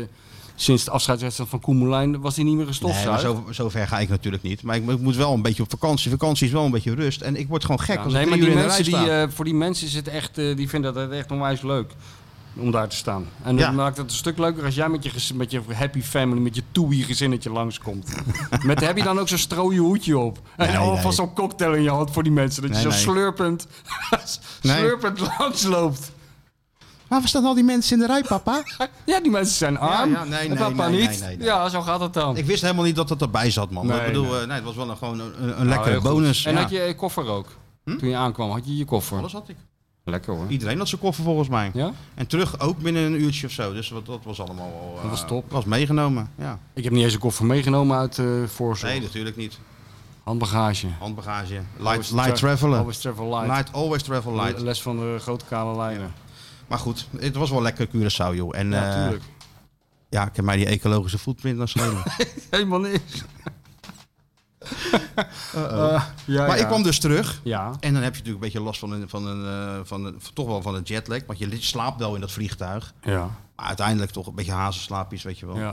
Speaker 3: sinds de afscheidswedstrijd van Koen Moulijn, was die niet meer
Speaker 2: Nee,
Speaker 3: gestofzuigd.
Speaker 2: maar zo, zo ver ga ik natuurlijk niet. Maar ik, ik moet wel een beetje op vakantie. Vakantie is wel een beetje rust. En ik word gewoon gek
Speaker 3: Ja,
Speaker 2: als ik
Speaker 3: nee, maar
Speaker 2: drie
Speaker 3: die
Speaker 2: uur in de
Speaker 3: mensen
Speaker 2: rij
Speaker 3: die,
Speaker 2: sta.
Speaker 3: eh, voor die mensen is het echt, eh, die vinden dat echt onwijs leuk om daar te staan. En
Speaker 2: Ja.
Speaker 3: dat maakt het een stuk leuker als jij met je, gezin- met je happy family, met je toei gezinnetje langskomt. met, heb je dan ook zo'n strooie hoedje op? En
Speaker 2: Nee,
Speaker 3: alvast zo'n cocktail in je hand voor die mensen. Dat je
Speaker 2: Nee,
Speaker 3: zo
Speaker 2: nee.
Speaker 3: slurpend,
Speaker 2: Nee.
Speaker 3: slurpend langsloopt.
Speaker 2: Maar waar staan al die mensen in de rij, papa?
Speaker 3: Ja, die mensen zijn arm.
Speaker 2: ja, nee,
Speaker 3: En
Speaker 2: nee,
Speaker 3: papa
Speaker 2: nee,
Speaker 3: niet.
Speaker 2: nee, nee, nee.
Speaker 3: Ja, zo gaat het dan.
Speaker 2: Ik wist helemaal niet dat dat erbij zat, man.
Speaker 3: Nee,
Speaker 2: ik bedoel,
Speaker 3: nee.
Speaker 2: eh, nee, het was wel een, gewoon een, een
Speaker 3: Nou,
Speaker 2: lekkere
Speaker 3: heel goed.
Speaker 2: bonus.
Speaker 3: En
Speaker 2: ja. Hm?
Speaker 3: had je eh, koffer ook? Toen je aankwam, had je je koffer?
Speaker 2: Alles had ik.
Speaker 3: Lekker hoor.
Speaker 2: Iedereen had zijn koffer volgens mij.
Speaker 3: Ja?
Speaker 2: En terug ook binnen een uurtje of zo. Dus wat, dat was allemaal wel... eh,
Speaker 3: Dat was top.
Speaker 2: Was meegenomen, ja.
Speaker 3: Ik heb niet eens een koffer meegenomen uit eh voorzorg.
Speaker 2: Nee, natuurlijk niet.
Speaker 3: Handbagage.
Speaker 2: Handbagage. Light,
Speaker 3: Always
Speaker 2: light
Speaker 3: tra-
Speaker 2: travelen.
Speaker 3: Always travel light.
Speaker 2: Light, always travel light.
Speaker 3: Les van de grote kale lijnen.
Speaker 2: Maar goed, het was wel lekker Curaçao, joh. En
Speaker 3: Ja,
Speaker 2: ja,
Speaker 3: natuurlijk.
Speaker 2: ja ik heb mij die ecologische footprint naar schelen.
Speaker 3: Helemaal niks. Eh, ja,
Speaker 2: Oh. maar
Speaker 3: ja.
Speaker 2: ik kwam dus terug.
Speaker 3: Ja.
Speaker 2: En dan heb je natuurlijk een beetje last van een, van een, eh, van een, toch wel van een jetlag. Want je slaapt wel in dat vliegtuig.
Speaker 3: Ja.
Speaker 2: Maar uiteindelijk toch een beetje hazenslaapjes, weet je wel.
Speaker 3: ja.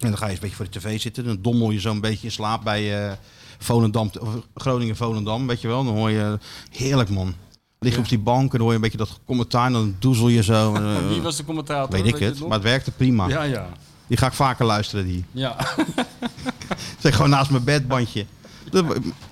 Speaker 2: En dan ga je eens een beetje voor de tv zitten. Dan dommel je zo'n beetje in slaap bij eh Volendam, of Groningen-Volendam, weet je wel. Dan hoor je, heerlijk man. Lig je op die bank en dan hoor je een beetje dat commentaar. En dan doezel je zo. en, eh,
Speaker 3: Wie was de commentator?
Speaker 2: weet ik
Speaker 3: je
Speaker 2: het,
Speaker 3: nog?
Speaker 2: maar het werkte prima.
Speaker 3: Ja, ja.
Speaker 2: Die ga ik vaker luisteren, die.
Speaker 3: Ja.
Speaker 2: Zeg gewoon naast mijn bedbandje. Dat-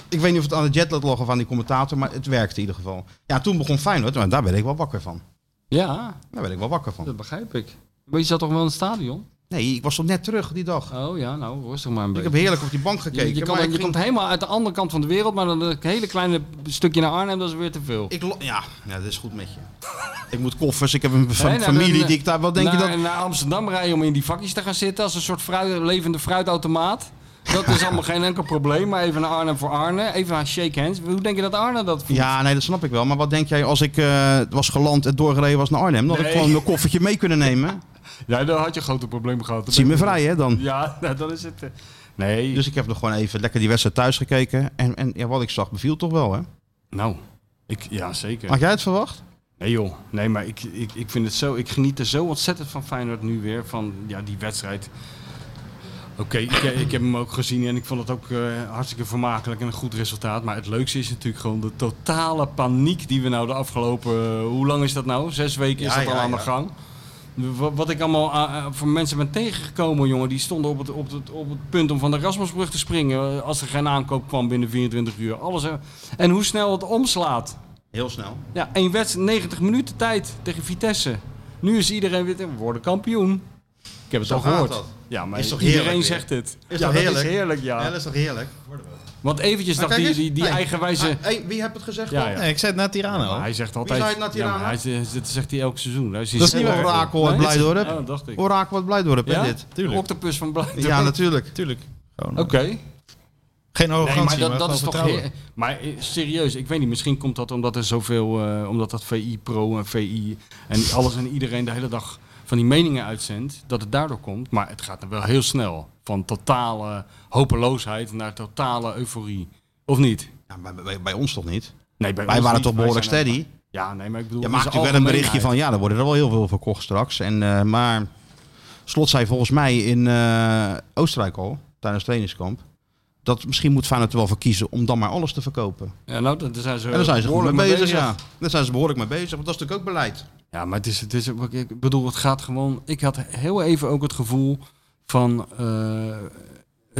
Speaker 2: Ik weet niet of het aan de jetlag lag of aan die commentator, maar het werkte in ieder geval. Ja, toen begon Feyenoord, maar daar ben ik wel wakker van.
Speaker 3: ja,
Speaker 2: Daar ben ik wel wakker van.
Speaker 3: dat begrijp ik. Maar je zat toch wel in het stadion?
Speaker 2: Nee, ik was toch net terug die dag.
Speaker 3: Oh ja, nou, rustig maar een
Speaker 2: Ik
Speaker 3: beetje.
Speaker 2: heb heerlijk op die bank
Speaker 3: je,
Speaker 2: gekeken.
Speaker 3: je,
Speaker 2: maar
Speaker 3: komt,
Speaker 2: ik
Speaker 3: je
Speaker 2: ging-
Speaker 3: komt helemaal uit de andere kant van de wereld, maar dan een hele kleine stukje naar Arnhem, dat is weer te veel.
Speaker 2: Ik lo- ja, ja, dat is goed met je. ik moet koffers, ik heb een fa-
Speaker 3: Nee, nou,
Speaker 2: familie
Speaker 3: dan, eh,
Speaker 2: die ik daar... Wat denk
Speaker 3: naar,
Speaker 2: je dat...
Speaker 3: naar Amsterdam rijden om in die vakjes te gaan zitten als een soort fruit, levende fruitautomaat. Dat is allemaal geen enkel probleem. Maar even naar Arnhem voor Arne. Even aan shake hands. Hoe denk je dat Arne dat vindt?
Speaker 2: Ja, nee, dat snap ik wel. Maar wat denk jij als ik eh, was geland en doorgereden was naar Arnhem? Dan had ik
Speaker 3: Nee.
Speaker 2: gewoon mijn koffertje mee kunnen nemen.
Speaker 3: Ja, dan had je een grote probleem gehad.
Speaker 2: Zie me vrij, hè, dan.
Speaker 3: Ja, nou, dan is het... eh, Nee.
Speaker 2: Dus ik heb nog gewoon even lekker die wedstrijd thuis gekeken. En, en ja, wat ik zag beviel toch wel, hè?
Speaker 3: nou, ik, ja, zeker.
Speaker 2: Had jij het verwacht?
Speaker 3: Nee joh, nee, maar ik, ik, ik vind het zo, ik geniet er zo ontzettend van Feyenoord nu weer, van ja, die wedstrijd. Oké, ik, eh, ik heb hem ook gezien en ik vond het ook eh, hartstikke vermakelijk en een goed resultaat. Maar het leukste is natuurlijk gewoon de totale paniek die we nou de afgelopen, eh, hoe lang is dat nou? Zes weken is
Speaker 4: Ja,
Speaker 3: dat al
Speaker 4: ja,
Speaker 3: aan
Speaker 4: ja.
Speaker 3: de gang. Wat, wat ik allemaal aan- aan- voor mensen ben tegengekomen, jongen, die stonden op het, op het, op het punt om van de Rasmusbrug te springen eh, als er geen aankoop kwam binnen 24 uur. Alles, eh, en hoe snel het omslaat.
Speaker 2: Heel snel.
Speaker 3: Ja, één wedstrijd, 90 minuten tijd tegen Vitesse. Nu is iedereen weer, we worden kampioen. Ik heb het
Speaker 2: Zo
Speaker 3: al
Speaker 2: gaat
Speaker 3: gehoord.
Speaker 2: dat.
Speaker 3: Ja, maar
Speaker 2: Is toch
Speaker 3: iedereen
Speaker 2: heerlijk weer?
Speaker 3: zegt het.
Speaker 2: Is
Speaker 3: ja,
Speaker 2: toch
Speaker 3: dat
Speaker 2: heerlijk?
Speaker 3: is heerlijk, ja.
Speaker 2: dat is toch heerlijk?
Speaker 3: Want eventjes
Speaker 2: Maar
Speaker 3: dacht
Speaker 2: kijk
Speaker 3: die,
Speaker 2: eens.
Speaker 3: die, die
Speaker 2: Nee.
Speaker 3: eigenwijze...
Speaker 2: Ah, hey, wie hebt het gezegd?
Speaker 3: Ja,
Speaker 2: dan?
Speaker 3: ja.
Speaker 4: Nee, ik zei het na Tirana
Speaker 3: Maar
Speaker 4: al.
Speaker 3: hij zegt
Speaker 2: Wie
Speaker 3: altijd...
Speaker 2: zei het nou,
Speaker 3: ja, maar
Speaker 2: Tirana?
Speaker 3: hij, zegt- dat zegt hij elk seizoen. Hij
Speaker 4: Dat is niet waar.
Speaker 2: Orakel uit
Speaker 3: Nee?
Speaker 2: Blijdorp.
Speaker 3: Ja, dat dacht ik.
Speaker 2: Orakel uit Blijdorp, hè,
Speaker 3: Ja?
Speaker 2: dit?
Speaker 4: Tuurlijk.
Speaker 3: Octopus van Blijdorp.
Speaker 2: Ja, natuurlijk.
Speaker 4: Tuurlijk. Gewoon,
Speaker 3: Oké.
Speaker 4: Geen
Speaker 3: Nee,
Speaker 4: arrogantie,
Speaker 3: maar dat, dat
Speaker 4: gewoon
Speaker 3: is toch...
Speaker 4: vertrouwen.
Speaker 3: heer- Maar eh, serieus, ik weet niet, misschien komt dat omdat er zoveel... eh, omdat dat VI Pro en VI en alles en iedereen de hele dag van die meningen uitzendt... dat het daardoor komt. Maar het gaat dan wel heel snel. Van totale hopeloosheid naar totale euforie. Of niet?
Speaker 2: Ja, maar bij, bij ons toch niet?
Speaker 3: Nee, bij
Speaker 2: Wij
Speaker 3: ons
Speaker 2: waren
Speaker 3: niet.
Speaker 2: toch behoorlijk
Speaker 3: Wij zijn
Speaker 2: steady?
Speaker 3: er- Ja, nee, maar ik bedoel...
Speaker 2: Je
Speaker 3: in
Speaker 2: maakt natuurlijk
Speaker 3: zijn
Speaker 2: wel een berichtje
Speaker 3: algemeenheid.
Speaker 2: van, ja, er worden er wel heel veel verkocht straks. En, eh, maar Slot zei volgens mij in eh, Oostenrijk al, tijdens het trainingskamp, dat misschien moet Feyenoord er wel voor kiezen om dan maar alles te verkopen.
Speaker 3: Ja, nou, daar zijn ze,
Speaker 2: en daar zijn ze goed mee
Speaker 3: behoorlijk
Speaker 2: bezig, ja. Daar zijn ze behoorlijk mee bezig, want dat is natuurlijk ook beleid.
Speaker 3: Ja, maar het is, het is, ik bedoel, het gaat gewoon. Ik had heel even ook het gevoel van. eh,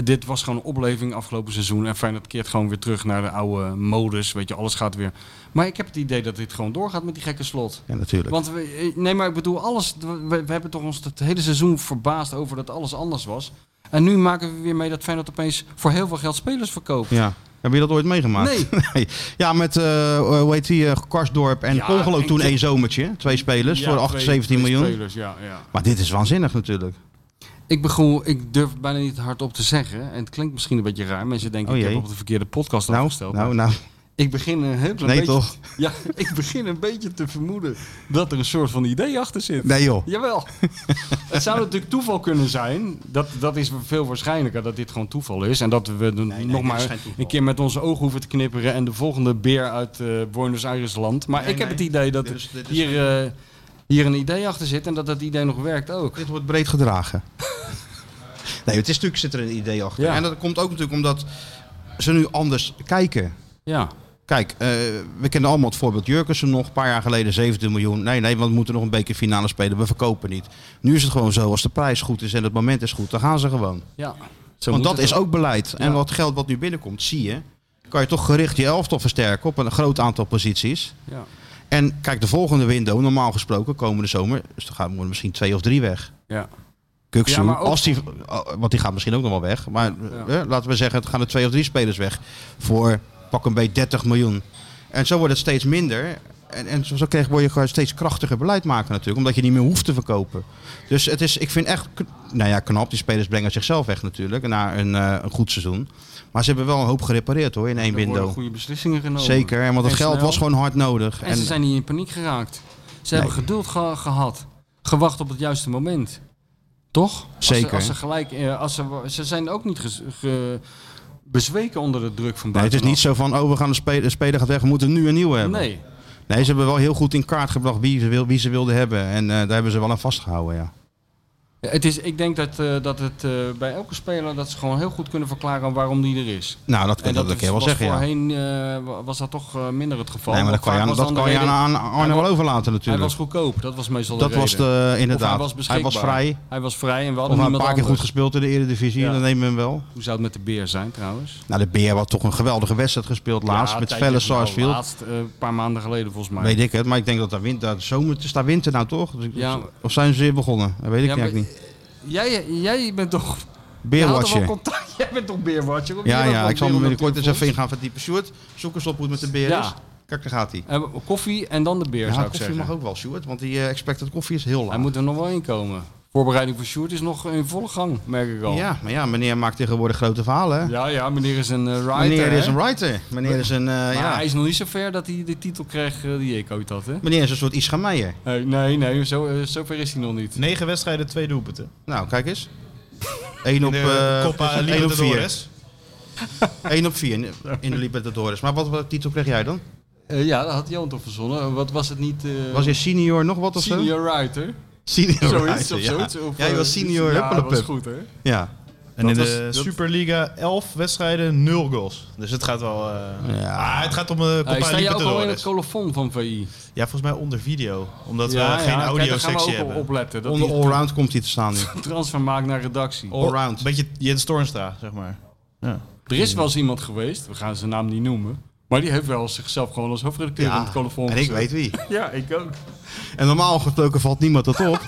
Speaker 3: dit was gewoon een opleving afgelopen seizoen. En Feyenoord keert gewoon weer terug naar de oude modus. Weet je, alles gaat weer. Maar ik heb het idee dat dit gewoon doorgaat met die gekke slot.
Speaker 2: Ja, natuurlijk.
Speaker 3: Want we, eh, nee, maar ik bedoel, alles. We, we hebben toch ons het hele seizoen verbaasd over dat alles anders was. En nu maken we weer mee dat Feyenoord opeens voor heel veel geld spelers verkoopt.
Speaker 2: Ja. Heb je dat ooit meegemaakt?
Speaker 3: Nee.
Speaker 2: Ja, met, eh hoe heet die, eh, Karsdorp en
Speaker 3: Ja,
Speaker 2: Congelo
Speaker 3: en-
Speaker 2: toen één zomertje. Twee spelers
Speaker 3: Ja,
Speaker 2: voor
Speaker 3: twee-
Speaker 2: 8, 17
Speaker 3: twee
Speaker 2: miljoen.
Speaker 3: Spelers, ja, ja.
Speaker 2: Maar dit is waanzinnig natuurlijk.
Speaker 3: Ik, begon, ik durf het bijna niet hardop te zeggen. En het klinkt misschien een beetje raar. Mensen denken,
Speaker 2: Oh
Speaker 3: ik heb
Speaker 2: jee.
Speaker 3: op de verkeerde podcast
Speaker 2: Nou,
Speaker 3: afgesteld.
Speaker 2: nou, nou.
Speaker 3: Ik begin een heel klein
Speaker 2: Nee,
Speaker 3: beetje...
Speaker 2: toch?
Speaker 3: Ja, ik begin een beetje te vermoeden dat er een soort van idee achter zit.
Speaker 2: Nee joh.
Speaker 3: Jawel. het zou natuurlijk toeval kunnen zijn. Dat, dat is veel waarschijnlijker dat dit gewoon toeval is. En dat we er nog
Speaker 2: dit is
Speaker 3: maar
Speaker 2: geen toeval.
Speaker 3: een keer met onze ogen hoeven te knipperen. En de volgende beer uit eh, Buenos Aires land. Maar
Speaker 2: Nee,
Speaker 3: ik heb
Speaker 2: nee.
Speaker 3: het idee dat
Speaker 2: Dit is- dit is
Speaker 3: hier, eh, hier een idee achter zit. En dat dat idee nog werkt ook.
Speaker 2: Dit wordt breed gedragen. nee, het is natuurlijk zit er een idee achter.
Speaker 3: Ja.
Speaker 2: En dat komt ook natuurlijk omdat ze nu anders kijken.
Speaker 3: Ja.
Speaker 2: Kijk, eh, we kennen allemaal het voorbeeld Jurkensen nog. Een paar jaar geleden 17 miljoen. Nee, nee, want we moeten nog een beetje finale spelen. We verkopen niet. Nu is het gewoon zo. Als de prijs goed is en het moment is goed, dan gaan ze gewoon.
Speaker 3: ja.
Speaker 2: want dat is ook, beleid. En wat geld wat nu binnenkomt, zie je. Kan je toch gericht je elftal versterken op een groot aantal posities.
Speaker 3: Ja.
Speaker 2: En kijk, de volgende window, normaal gesproken, komende zomer. Dus dan gaan er misschien twee of drie weg.
Speaker 3: Ja.
Speaker 2: Kuksu,
Speaker 3: Ja, maar ook-
Speaker 2: als die, want die gaat misschien ook nog wel weg. Maar eh, laten we zeggen, het gaan er twee of drie spelers weg. Voor pak een beetje 30 miljoen. En zo wordt het steeds minder. En, en zo zo krijg, word je gewoon steeds krachtiger beleid maken natuurlijk. Omdat je niet meer hoeft te verkopen. Dus het is, ik vind echt, kn- nou ja, knap. Die spelers brengen zichzelf weg natuurlijk. Na een, eh, een goed seizoen. Maar ze hebben wel een hoop gerepareerd hoor, in één
Speaker 3: Er worden
Speaker 2: window.
Speaker 3: goede beslissingen genomen.
Speaker 2: Zeker, en want het
Speaker 3: En
Speaker 2: geld
Speaker 3: snel.
Speaker 2: was gewoon hard nodig.
Speaker 3: En, ze zijn niet in paniek geraakt. Ze hebben geduld ge- gehad. Gewacht op het juiste moment. Toch? Als ze-
Speaker 2: Zeker.
Speaker 3: Als ze, gelijk... eh, Als ze, ze zijn ook niet ges- ge- bezweken onder de druk van
Speaker 2: Nee, het is
Speaker 3: buitenaf.
Speaker 2: niet zo van, oh we gaan een speler, een speler gaat weg, we moeten nu een nieuwe hebben.
Speaker 3: Nee.
Speaker 2: Nee, ze hebben wel heel goed in kaart gebracht wie ze, wil, wie ze wilden hebben. En eh, daar hebben ze wel aan vastgehouden, ja.
Speaker 3: Het is, ik denk dat, eh, dat het eh, bij elke speler... dat ze gewoon heel goed kunnen verklaren waarom die er is.
Speaker 2: Nou, dat kan
Speaker 3: En
Speaker 2: dat,
Speaker 3: dat
Speaker 2: ik wel
Speaker 3: was
Speaker 2: zeggen, ja.
Speaker 3: voorheen eh, wa- was dat toch eh, minder het geval.
Speaker 2: Nee, maar dat
Speaker 3: Want
Speaker 2: kan je
Speaker 3: vaak
Speaker 2: aan, dat
Speaker 3: was dan de
Speaker 2: kan je
Speaker 3: reden-
Speaker 2: aan Arne
Speaker 3: Hij
Speaker 2: wel overlaten
Speaker 3: Hij
Speaker 2: natuurlijk.
Speaker 3: was goedkoop. Dat was meestal de
Speaker 2: dat was
Speaker 3: reden.
Speaker 2: de,
Speaker 3: Of hij
Speaker 2: inderdaad.
Speaker 3: was
Speaker 2: hij
Speaker 3: beschikbaar.
Speaker 2: was vrij.
Speaker 3: Hij was vrij en we
Speaker 2: Of
Speaker 3: hadden
Speaker 2: hij een
Speaker 3: niemand
Speaker 2: paar keer goed
Speaker 3: anders.
Speaker 2: gespeeld in de Eredivisie.
Speaker 3: Ja.
Speaker 2: Dan nemen we hem wel.
Speaker 3: Hoe zou het met de beer zijn trouwens?
Speaker 2: Nou, de Beer had toch een geweldige wedstrijd gespeeld laatst.
Speaker 3: Ja,
Speaker 2: met
Speaker 3: tijdje-
Speaker 2: Felle
Speaker 3: nou,
Speaker 2: Sarsfield.
Speaker 3: Laatst, eh, een paar maanden geleden volgens mij.
Speaker 2: Weet ik het. Maar ik denk dat daar winter, daar zomer, het is daar winter nou toch? Dus ik-
Speaker 3: Ja.
Speaker 2: Of zijn ze weer begonnen? Dat weet ik
Speaker 3: Ja, maar-
Speaker 2: eigenlijk niet.
Speaker 3: Jij, jij bent toch... jij had toch wel
Speaker 2: Beerwatcher.
Speaker 3: contact? Jij bent toch beerwatcher? Of
Speaker 2: Ja,
Speaker 3: jij bent
Speaker 2: ja.
Speaker 3: wel
Speaker 2: Ik zal me
Speaker 3: beer-
Speaker 2: binnenkort eens even
Speaker 3: natuurlijk
Speaker 2: ingaan verdiepen. Sjoerd, zoek eens op hoe het met de Beer
Speaker 3: Ja.
Speaker 2: is. Kijk, daar gaat hij.
Speaker 3: Eh, Koffie en dan de beer,
Speaker 2: Ja,
Speaker 3: zou ik
Speaker 2: koffie
Speaker 3: zeggen.
Speaker 2: mag ook wel, Sjoerd. Want die eh, expected koffie is heel laag.
Speaker 3: Hij moet er nog wel in komen. Voorbereiding voor Sjoerd is nog in volle gang, merk ik al.
Speaker 2: Ja, maar ja, meneer maakt tegenwoordig grote verhalen. hè?
Speaker 3: ja, ja, meneer is een eh, writer.
Speaker 2: meneer is
Speaker 3: hè?
Speaker 2: een writer. Meneer is een, eh,
Speaker 3: Maar
Speaker 2: ja.
Speaker 3: hij is nog niet zo ver dat hij de titel kreeg eh, die ik ooit had, hè?
Speaker 2: meneer is een soort Ischa Meijer.
Speaker 3: Nee, nee, nee zo, eh, zo ver is hij nog niet.
Speaker 4: Negen wedstrijden, twee doelpunten.
Speaker 2: Nou, kijk eens. 1 op,
Speaker 4: In de
Speaker 2: eh,
Speaker 4: Copa
Speaker 2: één op vier.
Speaker 4: Libertadores.
Speaker 2: 1 op 4 in de Libertadores. Maar wat, wat titel kreeg jij dan?
Speaker 3: Eh, ja, dat had Johan toch verzonnen. Wat was het niet? eh,
Speaker 2: Was je senior nog wat of zo?
Speaker 3: senior writer?
Speaker 2: Senior
Speaker 3: Zoiets
Speaker 2: writer,
Speaker 3: of
Speaker 2: ja.
Speaker 3: zoiets. Of,
Speaker 2: ja, je
Speaker 3: eh,
Speaker 2: was senior.
Speaker 3: Ja, dat was
Speaker 2: huppelepup.
Speaker 3: goed hè.
Speaker 2: Ja.
Speaker 4: En in
Speaker 2: Dat
Speaker 4: de
Speaker 2: was- dat-
Speaker 4: Superliga 11 wedstrijden 0 goals. Dus het gaat wel. eh,
Speaker 2: Ja.
Speaker 4: ah, het gaat om eh Copa
Speaker 3: Hij sta je ook al in het
Speaker 4: Libertadores.
Speaker 3: colofon van VI.
Speaker 4: Ja, volgens mij onder video. Omdat we geen
Speaker 3: kijk, daar gaan we
Speaker 4: audio-sectie
Speaker 3: ook
Speaker 4: hebben.
Speaker 3: op opletten. Dat
Speaker 2: Onder
Speaker 3: hij
Speaker 2: allround komt hij te staan nu.
Speaker 3: een transfer maakt naar redactie.
Speaker 2: Allround.
Speaker 4: Een beetje Jens Toornstra, zeg maar. Ja.
Speaker 3: Er is wel eens iemand geweest, we gaan zijn naam niet noemen. Maar die heeft wel zichzelf gewoon als hoofdredacteur in het colofon
Speaker 2: en ik
Speaker 3: gezet.
Speaker 2: weet wie.
Speaker 3: Ja, ik ook.
Speaker 2: En normaal gesproken valt niemand dat op,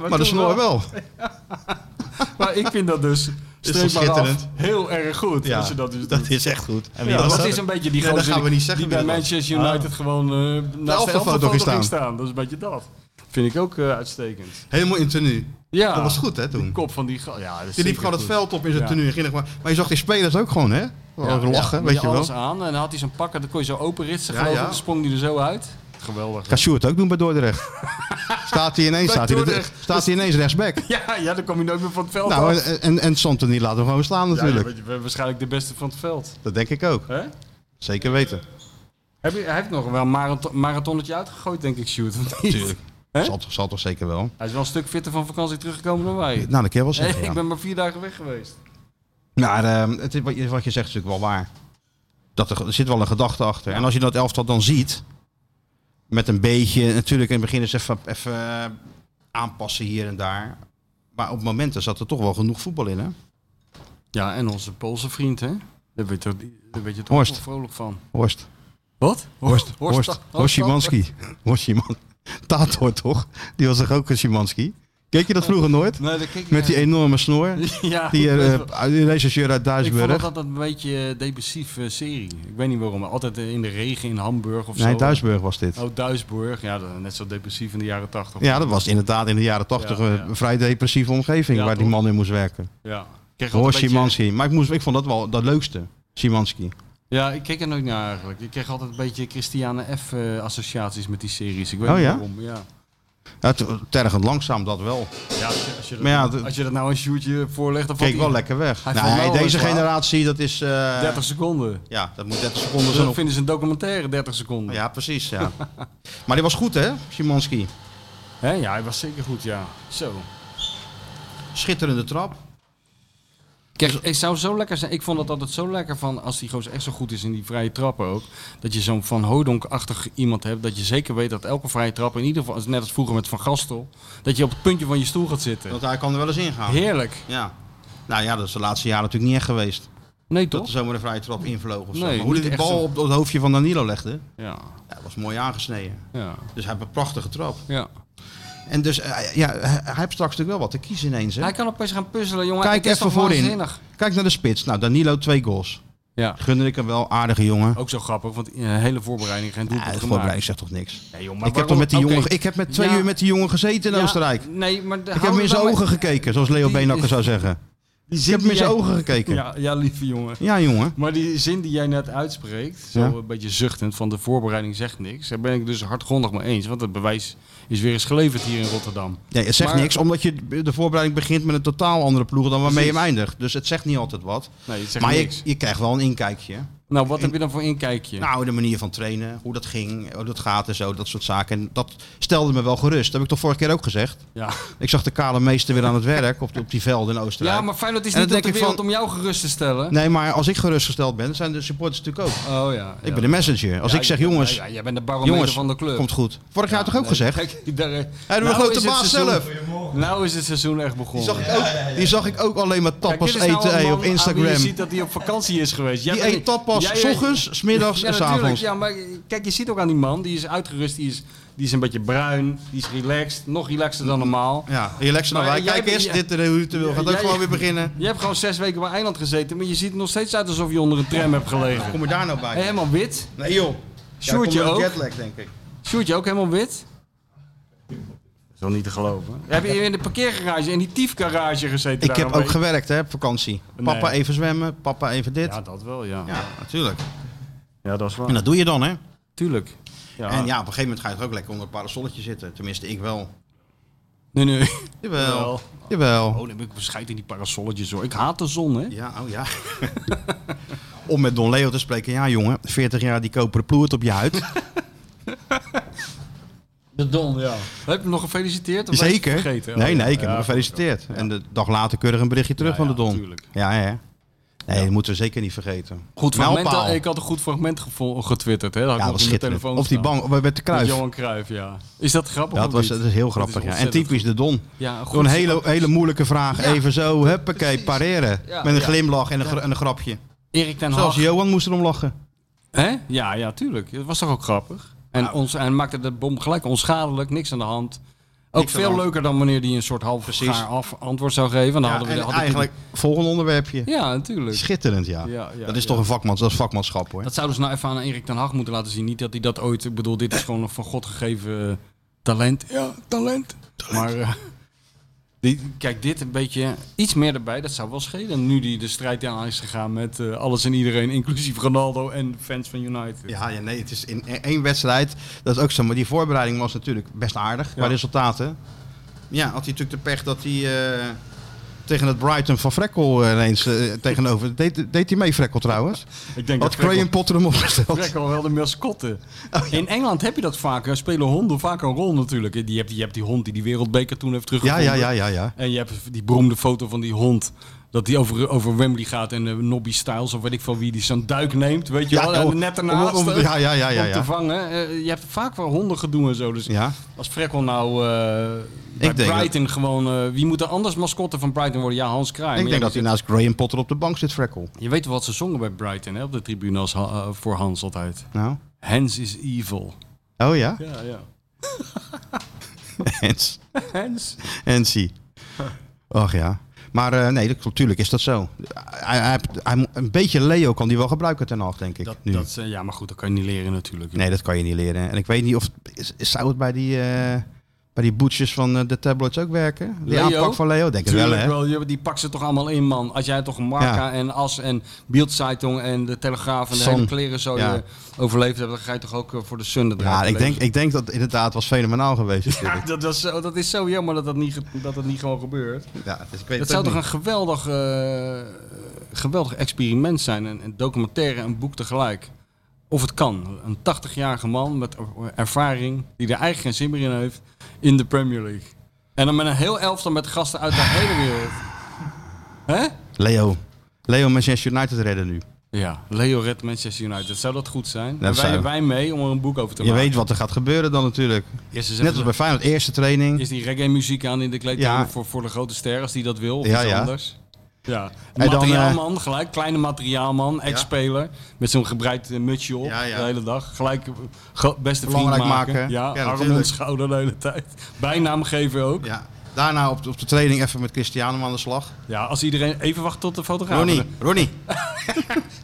Speaker 2: maar de
Speaker 3: toch
Speaker 2: snor wel.
Speaker 3: Maar ik vind dat dus,
Speaker 2: toch
Speaker 3: streep maar af,
Speaker 2: schitterend?
Speaker 3: heel erg goed
Speaker 2: Ja,
Speaker 3: als je dat dus doet.
Speaker 2: dat is echt goed. En
Speaker 3: Ja,
Speaker 4: was
Speaker 3: dat
Speaker 4: dat?
Speaker 3: is een beetje die
Speaker 2: Nee, dat
Speaker 3: gozer
Speaker 2: gaan we
Speaker 3: die-
Speaker 2: niet zeggen
Speaker 3: die bij
Speaker 2: wie dat
Speaker 3: Manchester United gewoon eh naast de
Speaker 2: elftalfoto
Speaker 3: elftalfoto
Speaker 2: ging
Speaker 3: ging
Speaker 2: staan.
Speaker 3: staan. Dat is een beetje dat. Vind ik ook eh, uitstekend.
Speaker 2: Helemaal in tenue.
Speaker 3: Ja,
Speaker 2: Dat was goed, hè, toen?
Speaker 3: De kop van Ah. die... go- Ja, dat is
Speaker 2: Die liep
Speaker 3: zeker
Speaker 2: gewoon het
Speaker 3: goed.
Speaker 2: veld op in zijn
Speaker 3: Ja.
Speaker 2: tenue. en ging er gewoon- Maar je zag die spelers ook gewoon, hè? Gewoon lachen,
Speaker 3: ja,
Speaker 2: weet je
Speaker 3: alles
Speaker 2: wel.
Speaker 3: aan en dan had hij zo'n pak en dan kon je zo open ritsen.
Speaker 2: Ja,
Speaker 3: geloof ik.
Speaker 2: ja.
Speaker 3: Dan sprong hij er zo uit. Geweldig.
Speaker 2: Kan Sjoerd ook doen bij Dordrecht. staat hij ineens,
Speaker 3: Bij
Speaker 2: staat hij,
Speaker 3: Dordrecht.
Speaker 2: staat hij ineens rechtsback.
Speaker 3: Ja, ja, dan kom je nooit meer van het veld af.
Speaker 2: Nou, en, en, en Santoni laten we gewoon slaan
Speaker 3: Ja,
Speaker 2: natuurlijk.
Speaker 3: ja, weet je, waarschijnlijk de beste van het veld.
Speaker 2: Dat denk ik ook.
Speaker 3: Hè?
Speaker 2: Zeker weten.
Speaker 3: Heb je, hij heeft nog wel een marathon, marathonnetje uitgegooid, denk ik, Sjoerd. of niet?
Speaker 2: Tuurlijk.
Speaker 3: Hè?
Speaker 2: Zal, toch- zal toch zeker wel.
Speaker 3: Hij is wel een stuk fitter van vakantie teruggekomen dan wij.
Speaker 2: Nou, dat kan je wel zeggen,
Speaker 3: Hey,
Speaker 2: ja.
Speaker 3: Ik ben maar vier dagen weg geweest.
Speaker 2: Maar ehm, het is, wat, je, wat je zegt is natuurlijk wel waar. Dat er, er zit wel een gedachte achter. En als je dat elftal dan ziet, met een beetje, natuurlijk in het begin is even, even eh, aanpassen hier en daar. Maar op momenten zat er toch wel genoeg voetbal in, hè?
Speaker 3: Ja, en onze Poolse vriend, hè? Daar weet je, toch- daar weet je toch
Speaker 2: Horst.
Speaker 3: wel vrolijk van.
Speaker 2: Horst.
Speaker 3: Wat?
Speaker 2: Horst.
Speaker 3: Horst.
Speaker 2: Horst. Horst Szymanski. Horst Szyman- Tator, toch? Die was toch ook een Szymanski? Keek je dat vroeger nooit?
Speaker 3: Nee, dat keek
Speaker 2: Met die enorme snor.
Speaker 3: ja,
Speaker 2: Die
Speaker 3: ik weet wel.
Speaker 2: eh, die rechercheur uit
Speaker 3: Ik vond dat
Speaker 2: Duisburg.
Speaker 3: altijd een beetje eh, depressieve serie. Ik weet niet waarom. Altijd eh, in de regen in Hamburg of
Speaker 2: Nee,
Speaker 3: zo.
Speaker 2: Duisburg was dit.
Speaker 3: Oh, Duisburg. Ja, dat- net zo depressief in de jaren tachtig.
Speaker 2: Ja, dat was inderdaad in de jaren tachtig
Speaker 3: Ja, ja.
Speaker 2: een vrij depressieve omgeving
Speaker 3: Ja,
Speaker 2: waar die
Speaker 3: toch?
Speaker 2: man in moest werken.
Speaker 3: Ja. Ik kreeg
Speaker 2: Hoor
Speaker 3: altijd een beetje-
Speaker 2: Szymanski. Maar ik, moest, ik vond dat wel dat leukste. Szymanski.
Speaker 3: Ja, ik keek er nooit naar eigenlijk. Ik kreeg altijd een beetje Christiane F-associaties met die series. Ik weet
Speaker 2: Oh
Speaker 3: niet
Speaker 2: ja?
Speaker 3: waarom. Ja,
Speaker 2: Ja, te- tergend langzaam, dat wel.
Speaker 3: ja, als, je, als, je dat,
Speaker 2: Maar ja, d-
Speaker 3: als je dat nou een shootje voorlegt, dan valt
Speaker 2: Keek
Speaker 3: hij
Speaker 2: wel lekker weg.
Speaker 3: Hij
Speaker 2: Nou,
Speaker 3: vond wel
Speaker 2: deze
Speaker 3: wel waar.
Speaker 2: generatie, dat is... eh,
Speaker 3: 30 seconden.
Speaker 2: Ja, dat moet 30 seconden
Speaker 3: Dus
Speaker 2: zijn.
Speaker 3: dan
Speaker 2: Op...
Speaker 3: vinden ze een documentaire 30 seconden.
Speaker 2: Ja, precies. Ja. maar die was goed, hè, Szymanski.
Speaker 3: Hè? ja, hij was zeker goed, ja. Zo.
Speaker 2: Schitterende trap.
Speaker 3: Kijk, het zou zo lekker zijn. Ik vond het altijd zo lekker van als die gozer echt zo goed is in die vrije trappen ook. Dat je zo'n Van Hodonk-achtig iemand hebt. Dat je zeker weet dat elke vrije trap, in ieder geval, net als vroeger met Van Gastel, dat je op het puntje van je stoel gaat zitten.
Speaker 2: Want hij kan er wel eens ingaan.
Speaker 3: Heerlijk.
Speaker 2: Ja. Nou ja, dat is de laatste jaren natuurlijk niet echt geweest.
Speaker 3: Nee,
Speaker 2: Dat er
Speaker 3: toch?
Speaker 2: zomaar een vrije trap invloog of zo.
Speaker 3: Nee,
Speaker 2: maar hoe
Speaker 3: niet
Speaker 2: hij de
Speaker 3: echt
Speaker 2: bal
Speaker 3: zo.
Speaker 2: op het hoofdje van Danilo legde,
Speaker 3: Ja.
Speaker 2: ja, dat was mooi aangesneden.
Speaker 3: Ja.
Speaker 2: Dus hij heeft een prachtige trap.
Speaker 3: Ja.
Speaker 2: En dus eh, ja, hij hij heeft straks natuurlijk wel wat te kiezen ineens. Hè?
Speaker 3: Hij kan opeens gaan puzzelen, jongen.
Speaker 2: Kijk
Speaker 3: Het is
Speaker 2: even
Speaker 3: toch
Speaker 2: voorin.
Speaker 3: waanzinnig.
Speaker 2: Kijk naar de spits. Nou, Danilo twee goals.
Speaker 3: Ja.
Speaker 2: Gunde ik hem wel, aardige jongen.
Speaker 3: Ook zo grappig, want in een hele voorbereiding geen doelpunt
Speaker 2: Ja, de
Speaker 3: Oh, gemaakt.
Speaker 2: voorbereiding zegt toch niks.
Speaker 3: Nee, joh, maar
Speaker 2: Ik heb, toch
Speaker 3: waarom-
Speaker 2: met die
Speaker 3: Oké.
Speaker 2: jongen, ik heb met twee
Speaker 3: Ja.
Speaker 2: uur met die jongen gezeten in
Speaker 3: Ja,
Speaker 2: Oostenrijk.
Speaker 3: Nee, maar
Speaker 2: Ik heb hem in zijn ogen gekeken, zoals Leo
Speaker 3: Die-
Speaker 2: Beenakker zou zeggen. Ik heb hem in zijn ogen gekeken. Ja,
Speaker 3: Ja, ja, lieve jongen.
Speaker 2: jongen.
Speaker 3: Maar die zin die jij net uitspreekt, zo
Speaker 2: Ja.
Speaker 3: een beetje zuchtend van de voorbereiding zegt niks, daar ben ik dus hardgrondig mee eens, want het bewijs is weer eens geleverd hier in Rotterdam.
Speaker 2: Ja, het zegt
Speaker 3: Maar-
Speaker 2: niks, omdat je de voorbereiding begint met een totaal andere ploeg dan waarmee je hem eindigt. Dus het zegt niet altijd wat.
Speaker 3: Nee, het zegt
Speaker 2: Maar je,
Speaker 3: niks.
Speaker 2: je krijgt wel een inkijkje.
Speaker 3: nou, wat heb je dan voor inkijkje?
Speaker 2: Nou, de manier van trainen, hoe dat ging, hoe dat gaat en zo, dat soort zaken. En dat stelde me wel gerust. Dat heb ik toch vorige keer ook gezegd.
Speaker 3: ja.
Speaker 2: Ik zag de kale meester weer aan het werk op, op die velden in Oostenrijk.
Speaker 3: ja, maar Feyenoord is
Speaker 2: En dan
Speaker 3: niet op
Speaker 2: denk
Speaker 3: de
Speaker 2: ik
Speaker 3: wereld
Speaker 2: van-
Speaker 3: om jou gerust te stellen.
Speaker 2: Nee, maar als ik gerustgesteld ben, zijn de supporters natuurlijk ook.
Speaker 3: Oh ja.
Speaker 2: Ik ben de messenger. Als ik zeg, jongens,
Speaker 3: Ja, jij bent de barometer
Speaker 2: jongens,
Speaker 3: van de club.
Speaker 2: komt goed. Vorig jaar toch ook gezegd?
Speaker 3: Kijk, daar, nou
Speaker 2: Hij doet een grote
Speaker 3: is het
Speaker 2: baas
Speaker 3: seizoen-
Speaker 2: zelf.
Speaker 3: Nou is het seizoen echt begonnen.
Speaker 2: Die zag, ik ook, die zag ik ook alleen maar
Speaker 3: Kijk, dit
Speaker 2: tapas
Speaker 3: is nou
Speaker 2: eten
Speaker 3: een
Speaker 2: hey,
Speaker 3: man
Speaker 2: op
Speaker 3: aan wie Je
Speaker 2: Instagram.
Speaker 3: ziet dat hij op vakantie is geweest. Jij
Speaker 2: Die
Speaker 3: bent-
Speaker 2: eet tapas
Speaker 3: jij-
Speaker 2: s ochtends, s middags
Speaker 3: Ja,
Speaker 2: en s
Speaker 3: natuurlijk.
Speaker 2: avonds.
Speaker 3: Ja, maar kijk, je ziet ook aan die man. Die is uitgerust, die is, die is een beetje bruin, die is relaxed. Nog relaxeder dan normaal.
Speaker 2: Ja, relax nou
Speaker 3: Maar
Speaker 2: wij.
Speaker 3: jij-
Speaker 2: Kijk eens,
Speaker 3: jij-
Speaker 2: dit eh, de ritueel gaat ook
Speaker 3: jij-
Speaker 2: gewoon weer beginnen.
Speaker 3: Je hebt gewoon zes weken bij Eiland gezeten, maar je ziet er nog steeds uit alsof je onder een tram hebt gelegen.
Speaker 2: Kom je daar nou bij?
Speaker 3: Helemaal wit.
Speaker 2: Nee joh.
Speaker 3: Sjoerdje
Speaker 2: komt door de
Speaker 3: ook?
Speaker 2: jetlag denk ik.
Speaker 3: Sjoerdje ook helemaal wit. Dat is wel niet te geloven. Heb je in de parkeergarage, in die tiefgarage gezeten?
Speaker 2: Ik
Speaker 3: daar
Speaker 2: heb
Speaker 3: een
Speaker 2: ook
Speaker 3: week?
Speaker 2: gewerkt hè, op vakantie. Papa even zwemmen, papa even dit.
Speaker 3: Ja, dat wel, ja.
Speaker 2: Ja, natuurlijk.
Speaker 3: Ja, dat is
Speaker 2: En
Speaker 3: waar.
Speaker 2: dat doe je dan hè.
Speaker 3: Tuurlijk. Ja.
Speaker 2: En ja, op een gegeven moment ga je toch ook lekker onder een parasolletje zitten. Tenminste, ik wel.
Speaker 3: Nee, nee.
Speaker 2: Jawel.
Speaker 3: Wel.
Speaker 2: Jawel.
Speaker 3: Oh, dan heb ik bescheid in die parasolletjes hoor. Ik haat de zon, hè?
Speaker 2: Ja, oh ja. oh, Om met Don Leo te spreken. Ja, jongen, 40 jaar die koperen ploert op je huid.
Speaker 3: De Don, ja. Heb je hem nog gefeliciteerd? Of was je het
Speaker 2: Zeker.
Speaker 3: Vergeten? Oh,
Speaker 2: nee, nee, ik heb
Speaker 3: Ja,
Speaker 2: hem gefeliciteerd. En de dag later keurig een berichtje terug
Speaker 3: Ja,
Speaker 2: van de
Speaker 3: ja,
Speaker 2: Don.
Speaker 3: tuurlijk.
Speaker 2: Ja, ja. Nee, dat moeten we zeker niet vergeten.
Speaker 3: Goed fragment, eh,
Speaker 2: Mijlpaal.
Speaker 3: ik had een goed fragment gevo- getwitterd. Hè? Dat had ik
Speaker 2: Ja,
Speaker 3: nog
Speaker 2: dat was
Speaker 3: op mijn
Speaker 2: schitterend.
Speaker 3: telefoon
Speaker 2: Of die
Speaker 3: staan.
Speaker 2: bank, bij met de
Speaker 3: Met
Speaker 2: kruif. Ja,
Speaker 3: Johan Cruijff, ja. Is dat grappig?
Speaker 2: dat,
Speaker 3: of
Speaker 2: was,
Speaker 3: niet?
Speaker 2: dat is heel
Speaker 3: Dat is
Speaker 2: grappig. ja. En
Speaker 3: ontzettend-
Speaker 2: typisch de Don.
Speaker 3: Ja, een
Speaker 2: Door een
Speaker 3: goed-
Speaker 2: hele, hele moeilijke vraag
Speaker 3: Ja.
Speaker 2: even zo, huppakee, pareren.
Speaker 3: Ja,
Speaker 2: Met een
Speaker 3: ja. Nou,
Speaker 2: glimlach en een, gr- en een grapje.
Speaker 3: Erik ten Hag.
Speaker 2: Zelfs Johan moest erom lachen.
Speaker 3: Hè? Ja, ja, tuurlijk. Dat was toch ook grappig? En, ons, en maakte de bom gelijk onschadelijk, niks aan de hand. Ook
Speaker 2: Niks aan
Speaker 3: veel
Speaker 2: de hand.
Speaker 3: leuker dan wanneer hij een soort half
Speaker 2: Precies.
Speaker 3: gaar af antwoord zou geven. Dan
Speaker 2: Ja,
Speaker 3: hadden we
Speaker 2: en
Speaker 3: de- had ik-
Speaker 2: eigenlijk, volgende onderwerpje.
Speaker 3: Ja, natuurlijk.
Speaker 2: Schitterend, ja.
Speaker 3: Ja, ja,
Speaker 2: dat is
Speaker 3: ja.
Speaker 2: toch een vakmans, dat is vakmanschap hoor.
Speaker 3: Dat zouden ze nou even aan Erik ten Hag moeten laten zien. Niet dat hij dat ooit... Ik bedoel, dit is gewoon een van God gegeven eh, talent. Ja, talent. Maar eh, die, kijk, dit een beetje... Iets meer erbij, dat zou wel schelen. Nu die de strijd aan is gegaan met eh, alles en iedereen... inclusief Ronaldo en fans van United.
Speaker 2: Ja, ja, nee, het is in e- één wedstrijd. Dat is ook zo. Maar die voorbereiding was natuurlijk best aardig qua
Speaker 3: Ja.
Speaker 2: resultaten. Ja, had hij natuurlijk de pech dat hij eh, tegen het Brighton van Frekkel eh, ineens eh, tegenover. Deed, deed hij mee, Frekkel trouwens?
Speaker 3: Ik denk
Speaker 2: Had
Speaker 3: dat Frank-
Speaker 2: Graham Potter Oh, hem opgesteld?
Speaker 3: Trek al wel de mascotte. In Engeland heb je dat vaak. Daar spelen honden vaak een rol natuurlijk. Je hebt, je hebt die hond die die wereldbeker toen heeft
Speaker 2: Ja,
Speaker 3: teruggevonden.
Speaker 2: ja, ja, ja, ja.
Speaker 3: En je hebt die beroemde foto van die hond. Dat die over, over Wembley gaat en eh, Nobby Styles of weet ik van wie die zo'n duik neemt. Weet je
Speaker 2: Ja,
Speaker 3: wel, en
Speaker 2: om-
Speaker 3: net ernaast
Speaker 2: om- om-
Speaker 3: eh,
Speaker 2: ja, ja, ja, ja,
Speaker 3: om
Speaker 2: ja.
Speaker 3: te vangen. Eh, je hebt vaak wel honden gedoe en zo. Dus
Speaker 2: Ja,
Speaker 3: als Frekkel nou eh bij
Speaker 2: denk dat-
Speaker 3: Brighton gewoon... eh, wie moet er anders mascotte van Brighton worden? Ja, Hans Kraai.
Speaker 2: ik
Speaker 3: Maar
Speaker 2: denk
Speaker 3: ja,
Speaker 2: dat hij nou- naast Graham Potter op de bank zit, Frekkel.
Speaker 3: Je weet wel wat ze zongen bij Brighton hè, op de tribune als, ha- eh, voor Hans altijd.
Speaker 2: Nou.
Speaker 3: Hans is evil.
Speaker 2: Oh ja?
Speaker 3: Ja, ja.
Speaker 2: Hens.
Speaker 3: Hens.
Speaker 2: Hensie. Och ja. Maar eh, nee, dat- natuurlijk is dat zo. Hij, hij, hij moet- een beetje Leo kan die wel gebruiken ten acht, denk ik.
Speaker 3: Dat,
Speaker 2: nu.
Speaker 3: dat, is, eh, ja, maar goed, dat kan je niet leren natuurlijk.
Speaker 2: Nee, dat kan je niet leren. En ik weet niet of is, is- zou het bij die, eh, bij die boetjes van eh, de tablets ook werken? Die
Speaker 3: Leo?
Speaker 2: aanpak van Leo, denk ik wel,
Speaker 3: Tuurlijk
Speaker 2: hè?
Speaker 3: wel, je- die pakt ze toch allemaal in, man. Als jij toch Marca
Speaker 2: Ja.
Speaker 3: en As en Bildzeitung en de Telegraaf en de
Speaker 2: Sun.
Speaker 3: hele kleren zo
Speaker 2: Ja.
Speaker 3: je overleefd hebt, dan ga je toch ook eh, voor de Sun eruit
Speaker 2: Ja, ik
Speaker 3: leven.
Speaker 2: denk, ik denk dat het inderdaad was fenomenaal geweest.
Speaker 3: Ja,
Speaker 2: natuurlijk.
Speaker 3: dat, was zo, dat is zo jammer dat dat niet, ge- dat dat niet gewoon gebeurt.
Speaker 2: Ja, dus ik weet
Speaker 3: Dat
Speaker 2: het
Speaker 3: zou
Speaker 2: ook
Speaker 3: toch
Speaker 2: niet.
Speaker 3: een geweldig, eh, geweldig experiment zijn. Een, een documentaire en een boek tegelijk. Of het kan. Een 80-jarige man met er- ervaring, die er eigenlijk geen zin meer in heeft, in de Premier League. En dan met een heel elftal met gasten uit de hele wereld. Hè?
Speaker 2: Leo. Leo Manchester United redden nu.
Speaker 3: Ja, Leo redt Manchester United. Zou dat goed zijn?
Speaker 2: Dat
Speaker 3: en wij,
Speaker 2: zou-
Speaker 3: wij mee om er een boek over te
Speaker 2: Je
Speaker 3: maken.
Speaker 2: weet wat er gaat gebeuren dan natuurlijk.
Speaker 3: Eerst eens
Speaker 2: Net
Speaker 3: even-
Speaker 2: als bij Feyenoord, eerste training.
Speaker 3: Is die reggae-muziek aan in de kleedkamer
Speaker 2: Ja.
Speaker 3: voor, voor de grote ster, als die dat wil, of
Speaker 2: Ja,
Speaker 3: iets
Speaker 2: ja.
Speaker 3: anders? Ja.
Speaker 2: dan, eh,
Speaker 3: materiaalman, gelijk. Kleine materiaalman, ex-speler. Met zo'n gebreid eh, mutsje op
Speaker 2: Ja, ja.
Speaker 3: de hele dag. Gelijk eh, ge- beste vriend
Speaker 2: Belangrijk
Speaker 3: maken.
Speaker 2: maken. Ja,
Speaker 3: Ja, arm en
Speaker 2: natuurlijk.
Speaker 3: schouder de hele tijd. Bijnaam geven ook. Ja,
Speaker 2: Ja. Daarna op de, op de training even met Cristiano aan de slag.
Speaker 3: als iedereen... Even wachten tot de fotograaf.
Speaker 2: Ronnie, Ronnie.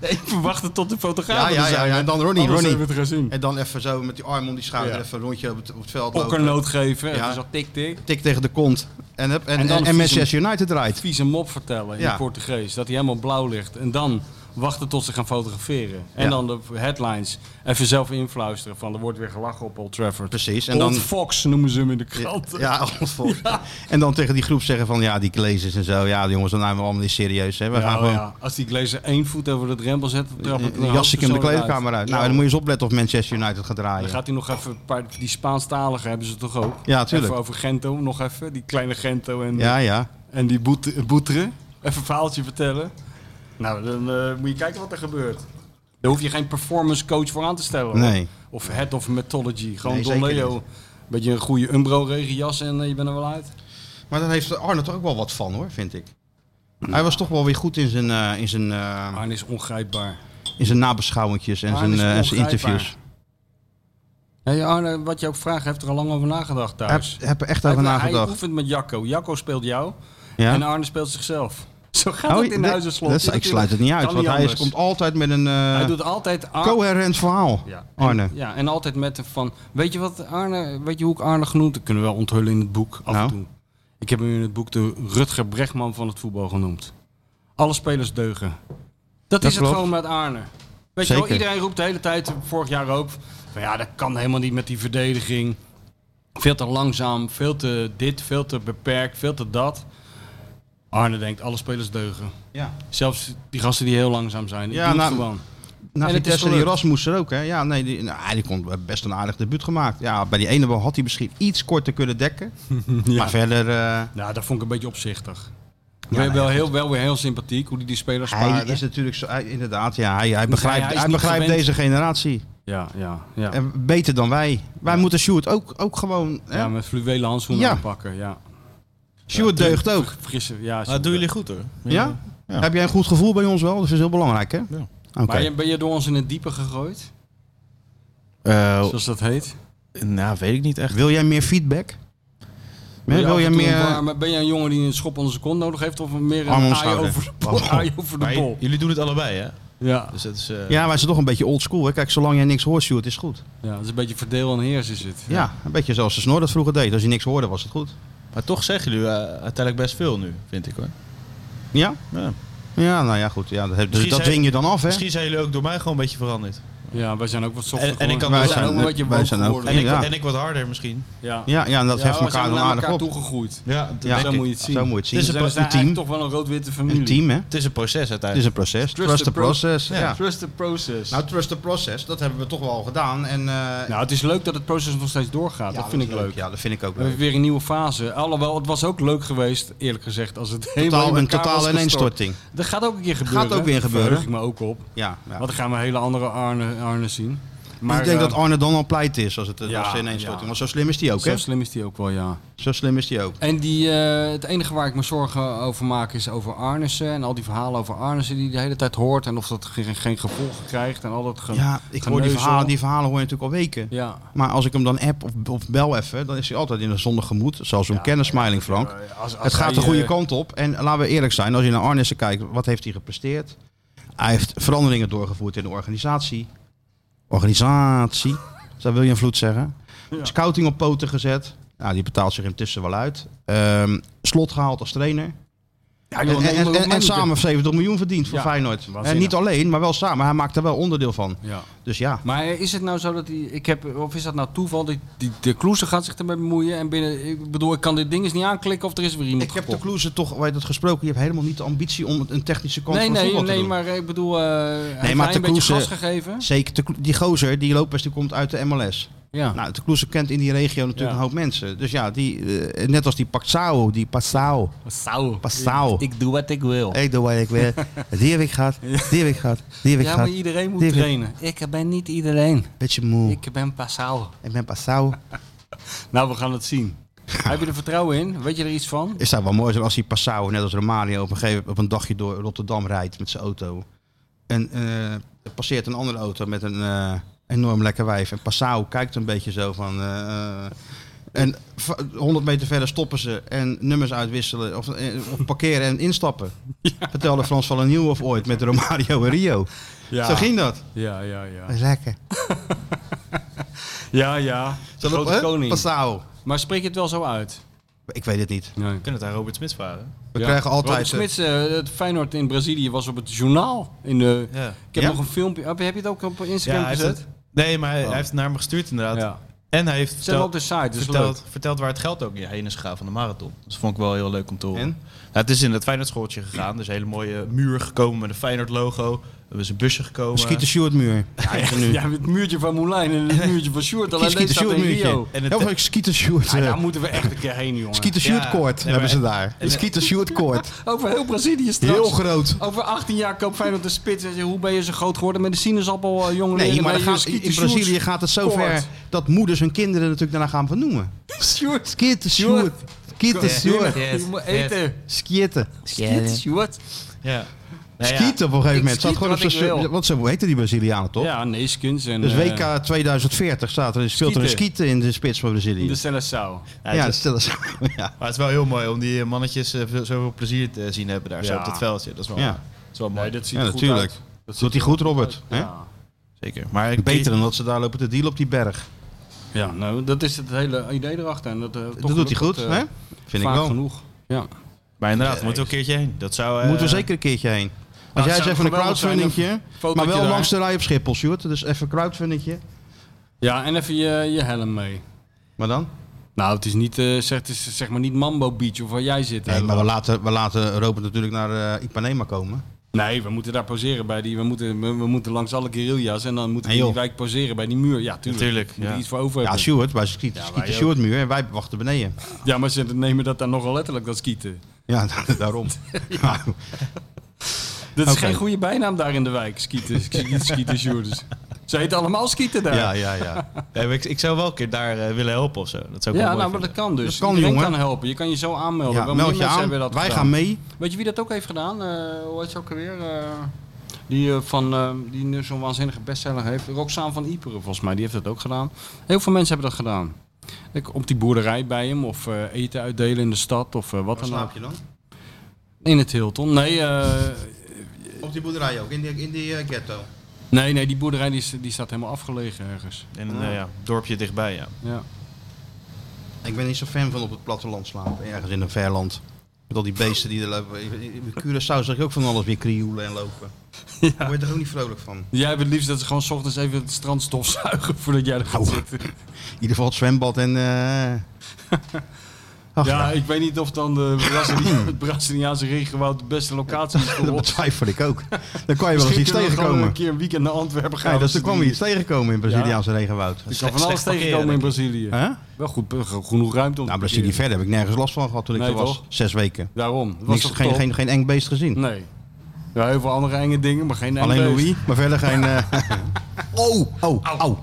Speaker 3: Even wachten tot de fotograaf
Speaker 2: Ja,
Speaker 3: er
Speaker 2: ja, ja,
Speaker 3: zijn.
Speaker 2: ja, en dan Ronnie,
Speaker 3: Anders
Speaker 2: Ronnie.
Speaker 3: hebben we het gezien.
Speaker 2: En dan even zo met die arm om die schouder
Speaker 3: Ja.
Speaker 2: even een rondje op het, op het veld lopen.
Speaker 3: Okkernoot geven.
Speaker 2: Ja.
Speaker 3: Even zo tik-tik.
Speaker 2: Tik tegen de kont. En, hup, en,
Speaker 3: En
Speaker 2: en,
Speaker 3: dan
Speaker 2: en
Speaker 3: vies
Speaker 2: Manchester United draait.
Speaker 3: vieze mop vertellen in
Speaker 2: Ja.
Speaker 3: het Portugees. Dat hij helemaal blauw ligt. En dan wachten tot ze gaan fotograferen. En
Speaker 2: Ja.
Speaker 3: dan de headlines. Even zelf influisteren van er wordt weer gelachen op Old Trafford.
Speaker 2: Precies. En
Speaker 3: En dan,
Speaker 2: dan,
Speaker 3: Old Fox noemen ze hem in de krant.
Speaker 2: Ja, ontvolgd. En dan tegen die groep zeggen van ja, die glazers en zo. Ja, jongens, dan nemen we allemaal niet serieus. Hè. We gaan
Speaker 3: Ja,
Speaker 2: gewoon
Speaker 3: Oh, ja. Als die glazer één voet over de drempel zet, dan trap ik
Speaker 2: een jasje in de kleedkamer uit. Nou, en dan moet
Speaker 3: je...
Speaker 2: je eens opletten of Manchester United gaat
Speaker 3: Dan
Speaker 2: draaien.
Speaker 3: gaat hij nog even, een paar, die Spaanstaligen hebben ze toch ook?
Speaker 2: Ja, tuurlijk.
Speaker 3: Even over Gento, nog even, die kleine Gento en,
Speaker 2: Ja, ja.
Speaker 3: en die boet, Boetre. Even een verhaaltje vertellen. Nou, dan eh, moet je kijken wat er gebeurt. Daar hoef je geen performance coach voor aan te stellen. hoor.
Speaker 2: Nee.
Speaker 3: Of head of methodology. Gewoon
Speaker 2: Nee,
Speaker 3: Don
Speaker 2: zeker
Speaker 3: Leo.
Speaker 2: niet.
Speaker 3: Beetje een goede Umbro-regenjas en eh, je bent er wel uit.
Speaker 2: Maar daar heeft Arne toch ook wel wat van hoor, vind ik. Hij was toch wel weer goed in zijn, eh, in zijn, eh,
Speaker 3: Arne is ongrijpbaar.
Speaker 2: in zijn nabeschouwingjes en
Speaker 3: Arne
Speaker 2: zijn,
Speaker 3: is
Speaker 2: eh, en zijn
Speaker 3: ongrijpbaar.
Speaker 2: interviews.
Speaker 3: Hey Arne, wat je ook vraagt, heeft er al lang over nagedacht
Speaker 2: Hij
Speaker 3: thuis.
Speaker 2: heb er echt over
Speaker 3: hij, Hij
Speaker 2: nagedacht.
Speaker 3: oefent met Jacco. Jacco speelt jou en
Speaker 2: Ja?
Speaker 3: Arne speelt zichzelf. Zo gaat het in
Speaker 2: dat-
Speaker 3: huizen slot.
Speaker 2: dat is- ik sluit het niet uit, want hij is- komt altijd met een eh,
Speaker 3: Hij doet altijd... Ar-
Speaker 2: coherent verhaal,
Speaker 3: Ja.
Speaker 2: Arne.
Speaker 3: Ja, en altijd met de van, weet je wat Arne, weet je hoe ik Arne genoemd? Dat kunnen we wel onthullen in het boek af
Speaker 2: Nou.
Speaker 3: en toe. Ik heb hem in het boek de Rutger Bregman van het voetbal genoemd. Alle spelers deugen. Dat, is het
Speaker 2: klopt.
Speaker 3: gewoon met Arne. Weet je
Speaker 2: Zeker.
Speaker 3: wel, iedereen roept de hele tijd, vorig jaar ook, van ja, dat kan helemaal niet met die verdediging. Veel te langzaam, veel te dit, veel te beperkt, veel te dat. Arne denkt, alle spelers deugen.
Speaker 2: Ja.
Speaker 3: Zelfs die gasten die heel langzaam zijn.
Speaker 2: Ja,
Speaker 3: Ja,
Speaker 2: nou,
Speaker 3: gewoon.
Speaker 2: Na
Speaker 3: En het is
Speaker 2: Vitesse, die
Speaker 3: gelukt.
Speaker 2: Rasmus er ook, hè? Ja, nee, die, nou, die kon best een aardig debuut gemaakt. Ja, bij die ene bal had hij misschien iets korter kunnen dekken. Maar verder, eh,
Speaker 3: Nou, dat vond ik een beetje opzichtig.
Speaker 2: Ja,
Speaker 3: wel,
Speaker 2: nou ja,
Speaker 3: wel,
Speaker 2: goed.
Speaker 3: heel, wel weer heel sympathiek hoe die die spelers
Speaker 2: hij
Speaker 3: spaarde.
Speaker 2: is natuurlijk zo, hij- inderdaad, ja, hij, hij begrijpt,
Speaker 3: hij is
Speaker 2: hij
Speaker 3: niet
Speaker 2: begrijpt
Speaker 3: gewend.
Speaker 2: deze generatie.
Speaker 3: Ja, ja, ja.
Speaker 2: En beter dan wij. Wij moeten Sjoerd ook, ook gewoon, hè?
Speaker 3: ja, met fluwelen handschoenen
Speaker 2: Ja.
Speaker 3: aanpakken. Ja.
Speaker 2: Sjoerd deugt ook.
Speaker 3: Vergissen, ja.
Speaker 4: Ah,
Speaker 5: Maar dat doen jullie goed hoor.
Speaker 2: Ja?
Speaker 5: Ja.
Speaker 2: Heb jij een goed gevoel bij ons wel? Dat is heel belangrijk, hè?
Speaker 5: Ja.
Speaker 2: Oké.
Speaker 3: Maar je- ben je door ons in het diepe gegooid?
Speaker 2: Oh.
Speaker 5: Eh,
Speaker 3: Zoals dat heet.
Speaker 5: nou, weet ik niet echt.
Speaker 2: Wil jij meer feedback? Wil,
Speaker 3: af en
Speaker 2: jij
Speaker 3: toe
Speaker 2: meer...
Speaker 3: een warme- ben jij een jongen die een schop onder zijn kont nodig heeft? Of meer
Speaker 2: Arm om
Speaker 3: een aai
Speaker 2: schouder.
Speaker 3: over, de
Speaker 2: Oh.
Speaker 3: bol, aai over de
Speaker 4: Maar
Speaker 3: bol?
Speaker 4: jullie doen het allebei, hè?
Speaker 3: Ja.
Speaker 4: Dus dat is... eh,
Speaker 2: Ja, wij zijn toch een beetje oldschool, hè? Kijk, zolang jij niks hoort, Sjoerd, is het goed.
Speaker 3: ja, dat is een beetje verdeel en heers is het.
Speaker 2: Ja. een beetje zoals de snor dat vroeger deed. Als je niks hoorde, was het goed.
Speaker 4: Maar toch zeggen jullie eh, uiteindelijk best veel nu, vind ik hoor.
Speaker 2: Ja?
Speaker 4: Ja.
Speaker 2: Ja, nou ja, goed. Ja, dat, heb- dus
Speaker 4: Misschien
Speaker 2: dat
Speaker 4: zijn-
Speaker 2: dwing je dan af, hè?
Speaker 4: Misschien zijn jullie ook door mij gewoon een beetje veranderd.
Speaker 3: Ja, wij zijn ook wat
Speaker 4: En-
Speaker 3: zochtig.
Speaker 4: en ik
Speaker 3: geworden.
Speaker 4: kan-
Speaker 3: wij
Speaker 4: wij
Speaker 3: zijn
Speaker 4: zijn-
Speaker 3: ook een beetje
Speaker 2: wij
Speaker 3: boos
Speaker 2: zijn ook-
Speaker 3: geworden.
Speaker 4: En ik,
Speaker 2: Ja.
Speaker 4: en ik wat harder misschien.
Speaker 3: Ja.
Speaker 2: Ja, ja, en dat
Speaker 3: Ja,
Speaker 2: heft
Speaker 3: we
Speaker 2: elkaar dan
Speaker 3: zijn naar
Speaker 2: aardig op.
Speaker 3: toegegroeid.
Speaker 4: Ja, dat
Speaker 2: Ja,
Speaker 4: is
Speaker 3: zo
Speaker 4: een-
Speaker 3: moet je het zien.
Speaker 2: Zo moet je het zien.
Speaker 4: Het is
Speaker 3: Dus
Speaker 4: een
Speaker 3: we
Speaker 4: pro-
Speaker 3: zijn
Speaker 2: een team.
Speaker 3: eigenlijk toch wel een rood-witte familie.
Speaker 2: Een team, hè?
Speaker 4: het is een proces
Speaker 2: Het is
Speaker 4: uiteindelijk.
Speaker 2: een proces.
Speaker 3: Trust
Speaker 2: Trust,
Speaker 3: the
Speaker 2: the
Speaker 3: pro-
Speaker 2: process. Ja.
Speaker 3: Trust the process. Nou,
Speaker 2: Nou, trust the process, dat hebben we toch wel gedaan. En, eh,
Speaker 3: het is leuk Nou, dat het proces nog steeds doorgaat.
Speaker 2: ja,
Speaker 3: dat vind
Speaker 2: is
Speaker 3: ik leuk.
Speaker 2: Ja, dat vind ik ook
Speaker 3: We hebben
Speaker 2: leuk.
Speaker 3: weer een nieuwe fase. Alhoewel, het was ook leuk geweest, eerlijk gezegd, als het helemaal
Speaker 2: Totaal,
Speaker 3: in
Speaker 2: een
Speaker 3: elkaar was
Speaker 2: totale
Speaker 3: gestort.
Speaker 2: ineenstorting.
Speaker 3: Dat gaat ook een keer gebeuren.
Speaker 2: ook weer gebeuren.
Speaker 3: Verheug ik me ook op.
Speaker 2: Ja, ja. Dus
Speaker 3: Want dan gaan we hele andere Arne, Arne zien.
Speaker 2: ik denk
Speaker 3: eh,
Speaker 2: dat Arne dan al pleit is als het
Speaker 3: ja,
Speaker 2: als de ineenstorting.
Speaker 3: ja.
Speaker 2: Want zo slim is die ook, hè?
Speaker 3: Zo slim is die ook wel, ja.
Speaker 2: Zo slim is die ook.
Speaker 3: En die, eh, het enige waar ik me zorgen over maak is over Arnissen. En al die verhalen over Arnissen die je de hele tijd hoort. En of dat geen, geen gevolgen krijgt. En al dat ge-
Speaker 2: Ja, ik hoor die
Speaker 3: geneuzel.
Speaker 2: verhalen, die verhalen hoor je natuurlijk al weken.
Speaker 3: Ja.
Speaker 2: Maar als ik hem dan app of, of bel even, dan is hij altijd in een zonnig gemoed. Zoals een kennissmiling, Frank.
Speaker 3: Eh, als- als
Speaker 2: het gaat
Speaker 3: hij,
Speaker 2: de goede
Speaker 3: eh,
Speaker 2: kant op. En laten we eerlijk zijn, als je naar Arnissen kijkt, wat heeft hij gepresteerd? Hij heeft veranderingen doorgevoerd in de organisatie. Organisatie, zou William Vloed zeggen.
Speaker 3: Ja.
Speaker 2: Scouting op poten gezet. Nou, die betaalt zich intussen wel uit. Ehm, slot gehaald als trainer.
Speaker 3: Ja,
Speaker 2: En,
Speaker 3: joh, nee,
Speaker 2: en, en,
Speaker 3: maar-
Speaker 2: en
Speaker 3: maar-
Speaker 2: samen 70 miljoen verdiend voor
Speaker 3: Ja,
Speaker 2: Feyenoord. En
Speaker 3: waanzinnig.
Speaker 2: niet alleen, maar wel samen. Hij maakt er wel onderdeel van.
Speaker 3: Ja.
Speaker 2: Dus ja.
Speaker 3: Maar is het nou zo dat die, ik heb, of is dat nou toeval, die, die, de Kloeser gaat zich ermee bemoeien en binnen, ik bedoel, ik kan dit ding eens niet aanklikken of er is weer iemand
Speaker 2: Ik heb de
Speaker 3: gekocht.
Speaker 2: Kloeze toch, wij dat gesproken, je hebt helemaal niet de ambitie om een technische kant
Speaker 3: Nee,
Speaker 2: van
Speaker 3: nee,
Speaker 2: voetbal te
Speaker 3: nee,
Speaker 2: doen.
Speaker 3: maar ik bedoel, eh heeft
Speaker 2: maar
Speaker 3: hij
Speaker 2: de
Speaker 3: een beetje
Speaker 2: Kloeser-
Speaker 3: gas gegeven?
Speaker 2: Zeker, Te Kloe- die gozer, die Lopez, die komt uit de MLS.
Speaker 3: Ja.
Speaker 2: Nou, de Kloeze kent in die regio natuurlijk
Speaker 3: Ja.
Speaker 2: een hoop mensen. Dus ja, die, eh, net als die Paxao, die Paxao,
Speaker 3: Sau.
Speaker 2: Paxao.
Speaker 3: Nou, Ik doe wat ik wil.
Speaker 2: Ik doe wat ik wil. Die heb ik gehad, die heb ik gehad, die heb ik
Speaker 3: Ja, maar
Speaker 2: gehad.
Speaker 3: iedereen moet
Speaker 2: Die-
Speaker 3: trainen. Ik ben niet iedereen.
Speaker 2: Beetje moe, ik,
Speaker 3: Ik ben Passau.
Speaker 2: ben Paxao.
Speaker 3: Nou, we gaan het zien. heb je er vertrouwen in? Weet je er iets van?
Speaker 2: Is dat wel mooi zijn als die Passau, net als Romario, op een, gegeven, op een dagje door Rotterdam rijdt met zijn auto. En eh, er passeert een andere auto met een eh, enorm lekker wijf. En Passau kijkt een beetje zo van... eh, eh, en va- 100 meter verder stoppen ze en nummers uitwisselen. Of, eh, of parkeren en instappen. Vertelde Frans van Nieuw of ooit met Romario en Rio.
Speaker 3: Ja.
Speaker 2: Zo ging dat.
Speaker 3: Ja, ja, ja.
Speaker 2: Dat is lekker.
Speaker 3: Ja, ja.
Speaker 2: Zal dat,
Speaker 3: Grote
Speaker 2: hè?
Speaker 3: koning.
Speaker 2: Passau.
Speaker 3: Maar spreek je het wel zo uit?
Speaker 2: Ik weet het niet.
Speaker 3: Nee.
Speaker 4: We kunnen het aan Robert Smits vragen.
Speaker 2: We krijgen altijd...
Speaker 3: Robert
Speaker 2: eh,
Speaker 3: Smits, eh, het Feyenoord in Brazilië was op het journaal. In de,
Speaker 4: Ja.
Speaker 3: Ik heb
Speaker 2: Ja?
Speaker 3: nog een filmpje. oh, heb je het ook op Instagram
Speaker 4: Ja, hij heeft
Speaker 3: gezet?
Speaker 4: het, nee, maar hij, hij heeft het naar me gestuurd inderdaad.
Speaker 3: Ja.
Speaker 4: En hij heeft
Speaker 3: Zet hem op
Speaker 4: verteld,
Speaker 3: de site. Dus
Speaker 4: verteld, verteld waar het geld ook heen is gegaan van de marathon. Dus dat vond ik wel heel leuk om te horen.
Speaker 2: En?
Speaker 4: Nou, het is in het Feyenoord schooltje gegaan. Dus een hele mooie muur gekomen met een Feyenoord logo. Er is een busje gekomen.
Speaker 2: Schiet
Speaker 3: eh,
Speaker 2: de Sjoerdmuur. Ja, echt
Speaker 3: leuk.
Speaker 2: nu.
Speaker 3: Ja, met het muurtje van Moulijn en het muurtje van Sjoerd. Alleen
Speaker 2: Schiet
Speaker 3: deze
Speaker 2: de
Speaker 3: staat in
Speaker 2: Sjoerdmuurtje.
Speaker 3: Rio.
Speaker 4: En het-
Speaker 2: Heel veel Schiet de Sjoerd.
Speaker 3: Ja,
Speaker 2: eh,
Speaker 3: daar moeten we echt een keer heen, jongen.
Speaker 2: Skeeter Shoot Court
Speaker 4: Ja, nee,
Speaker 2: hebben ze
Speaker 4: maar-
Speaker 2: daar. Een Skeeter Shoot Court.
Speaker 3: Over heel Brazilië straks.
Speaker 2: Heel groot.
Speaker 3: Over 18 jaar koopt Feyenoord de spits. En zeg, hoe ben je zo groot geworden met de sinaasappel, eh, jongen?
Speaker 2: Nee,
Speaker 3: leren
Speaker 2: maar dan
Speaker 3: bij je
Speaker 2: gaat, in
Speaker 3: Skeeter
Speaker 2: in Brazilië
Speaker 3: Sjoerd.
Speaker 2: gaat het zo ver
Speaker 3: Court.
Speaker 2: dat moeders hun kinderen natuurlijk daarna gaan vernoemen.
Speaker 3: Sjoerd.
Speaker 2: Skeeter Shoot. Skeeter Shoot.
Speaker 4: Yes,
Speaker 3: Je moet
Speaker 4: yes.
Speaker 3: eten.
Speaker 2: Skieten.
Speaker 3: Skeeter Sjoerd.
Speaker 4: Ja. Nou ja,
Speaker 2: Skieten op een gegeven moment.
Speaker 3: Ik
Speaker 2: Staat
Speaker 3: skiet
Speaker 2: gewoon op
Speaker 3: wat ik
Speaker 2: zijn-
Speaker 3: wil.
Speaker 2: Want zo heten die Brazilianen toch?
Speaker 3: Ja, Neeskens. En,
Speaker 2: Dus
Speaker 3: eh,
Speaker 2: WK 2040 staat er, speelt er een
Speaker 3: Skieten. dus-
Speaker 2: skieten in de spits van
Speaker 3: in de
Speaker 2: Brazilië.
Speaker 3: Seleção.
Speaker 4: ja,
Speaker 2: Ja,
Speaker 4: het
Speaker 2: dat
Speaker 4: is-
Speaker 2: stellen ze. Ja.
Speaker 4: Maar het is wel heel mooi om die eh, mannetjes eh, veel- zoveel plezier te zien hebben daar zo
Speaker 3: Ja.
Speaker 4: op dat veldje. Dat is wel,
Speaker 2: Ja.
Speaker 4: dat is wel mooi.
Speaker 3: Nee, dat ziet
Speaker 2: Ja,
Speaker 3: er goed
Speaker 2: natuurlijk.
Speaker 3: uit.
Speaker 2: Dat doet hij goed, Robert. hè?
Speaker 3: Ja.
Speaker 4: Zeker. Maar ik-
Speaker 2: Beter dan dat ze daar lopen te dealen op die berg.
Speaker 3: ja, nou, dat is het hele idee erachter. En dat, eh, toch
Speaker 2: Dat doet hij
Speaker 3: lukt
Speaker 2: goed,
Speaker 3: dat, eh,
Speaker 2: hè? Vind ik
Speaker 3: vaak
Speaker 2: wel.
Speaker 3: genoeg. Ja.
Speaker 4: Maar inderdaad, we moeten we een keertje heen. Dat zou... eh,
Speaker 2: Moeten we zeker een keertje heen. Als
Speaker 3: het
Speaker 2: jij eens
Speaker 3: zou
Speaker 2: even een
Speaker 3: geweldig zijn,
Speaker 2: crowdfundingje,
Speaker 3: fotootje
Speaker 2: maar wel
Speaker 3: daar.
Speaker 2: langs de rij op Schiphol, Sjoerd. Dus even een crowdfundingje.
Speaker 3: ja, en even je, je helm mee.
Speaker 2: Maar dan?
Speaker 3: Nou, het is niet, eh, zeg, het is zeg maar niet Mambo Beach of waar jij zit.
Speaker 2: Nee, maar we laten, we laten Robert natuurlijk naar eh, Ipanema komen.
Speaker 3: Nee, we moeten daar poseren bij die. We moeten, we, we moeten langs alle guerrilla's en dan moeten we
Speaker 2: Nee,
Speaker 3: in die
Speaker 2: joh.
Speaker 3: wijk poseren bij die muur. Ja, tuurlijk.
Speaker 5: Natuurlijk,
Speaker 3: Moet je
Speaker 5: ja.
Speaker 3: iets voor over
Speaker 2: Ja,
Speaker 3: hebben.
Speaker 2: Stuart, wij schieten,
Speaker 3: Ja,
Speaker 2: schieten
Speaker 3: wij
Speaker 2: Stuart muur en wij wachten beneden.
Speaker 3: Ja, maar ze nemen dat dan nogal letterlijk, dat skieten.
Speaker 2: Ja, daarom.
Speaker 3: Dat is
Speaker 2: Oké.
Speaker 3: geen goede bijnaam daar in de wijk, skieten. Skieten, skieten, Sjoerders. Ze heten allemaal skieten daar.
Speaker 2: Ja, ja, ja.
Speaker 4: Nee, maar eh, ik, ik zou wel een keer daar eh, willen helpen of zo. Dat zou ik
Speaker 3: Ja,
Speaker 4: wel mooi
Speaker 3: nou, maar dat
Speaker 4: vinden.
Speaker 3: kan dus.
Speaker 2: Dat kan,
Speaker 3: Iedereen
Speaker 2: jongen.
Speaker 3: kan helpen. Je kan je zo aanmelden.
Speaker 2: ja
Speaker 3: Wel,
Speaker 2: meld
Speaker 3: meer
Speaker 2: je
Speaker 3: mensen
Speaker 2: aan,
Speaker 3: hebben dat
Speaker 2: wij
Speaker 3: gedaan.
Speaker 2: gaan mee.
Speaker 3: Weet je wie dat ook heeft gedaan? Eh hoe heet ze ook alweer? Eh, die eh, van, eh, die nu zo'n waanzinnige bestseller heeft. Roxane van Iperen, volgens mij. Die heeft dat ook gedaan. Heel veel mensen hebben dat gedaan. Ik, op die boerderij bij hem. Of eh, eten uitdelen in de stad. Of eh, wat
Speaker 2: Waar
Speaker 3: dan ook.
Speaker 2: slaap je dan?
Speaker 3: In het Hilton. Nee, eh,
Speaker 2: Op die boerderij ook, in die, in die eh, ghetto.
Speaker 3: nee, nee die boerderij die, is- die staat helemaal afgelegen ergens.
Speaker 4: In een eh, ja, dorpje dichtbij, ja.
Speaker 3: Ja.
Speaker 2: Ik ben niet zo fan van op het platteland slapen, ergens in een verland. Met al die beesten die er lopen. In Curaçao zag ik ook van alles weer krioelen en lopen. Daar word je er ook niet vrolijk van.
Speaker 3: Jij hebt het liefst dat ze gewoon 's ochtends even het strand stofzuigen voordat jij er gaat zitten.
Speaker 2: In ieder geval het zwembad en... eh, Ach, nou. Hmm.
Speaker 3: ja,
Speaker 2: ja,
Speaker 3: ik weet niet of dan de Brazili- het Braziliaanse regenwoud de beste locatie is voor
Speaker 2: dat
Speaker 3: ons.
Speaker 2: betwijfel ik ook. Dan kan je wel eens
Speaker 3: Misschien
Speaker 2: iets
Speaker 3: kunnen we gewoon
Speaker 2: tegenkomen.
Speaker 3: een keer een weekend naar Antwerpen gaan.
Speaker 2: Ja, dat
Speaker 3: Als
Speaker 2: is, er kwam
Speaker 3: die-
Speaker 2: iets tegenkomen in Braziliaanse regenwoud.
Speaker 3: Er kan van
Speaker 4: Slecht
Speaker 3: alles tegenkomen in
Speaker 4: parkeren,
Speaker 3: Brazilië.
Speaker 2: Hè?
Speaker 3: Wel goed, goed- genoeg ruimte om
Speaker 2: Nou,
Speaker 3: te
Speaker 2: Brazilië
Speaker 3: parkeren.
Speaker 2: verder heb ik nergens last van gehad toen ik
Speaker 3: Nee,
Speaker 2: er was.
Speaker 3: toch?
Speaker 2: Zes weken.
Speaker 3: Daarom. Dat was
Speaker 2: Niks,
Speaker 3: toch
Speaker 2: geen,
Speaker 3: top?
Speaker 2: geen, geen eng beest gezien.
Speaker 3: Nee. Ja, heel veel andere enge dingen, maar geen eng
Speaker 2: Alleen
Speaker 4: dus-
Speaker 3: beest.
Speaker 2: Louis, maar verder geen... eh, oh, oh, oh.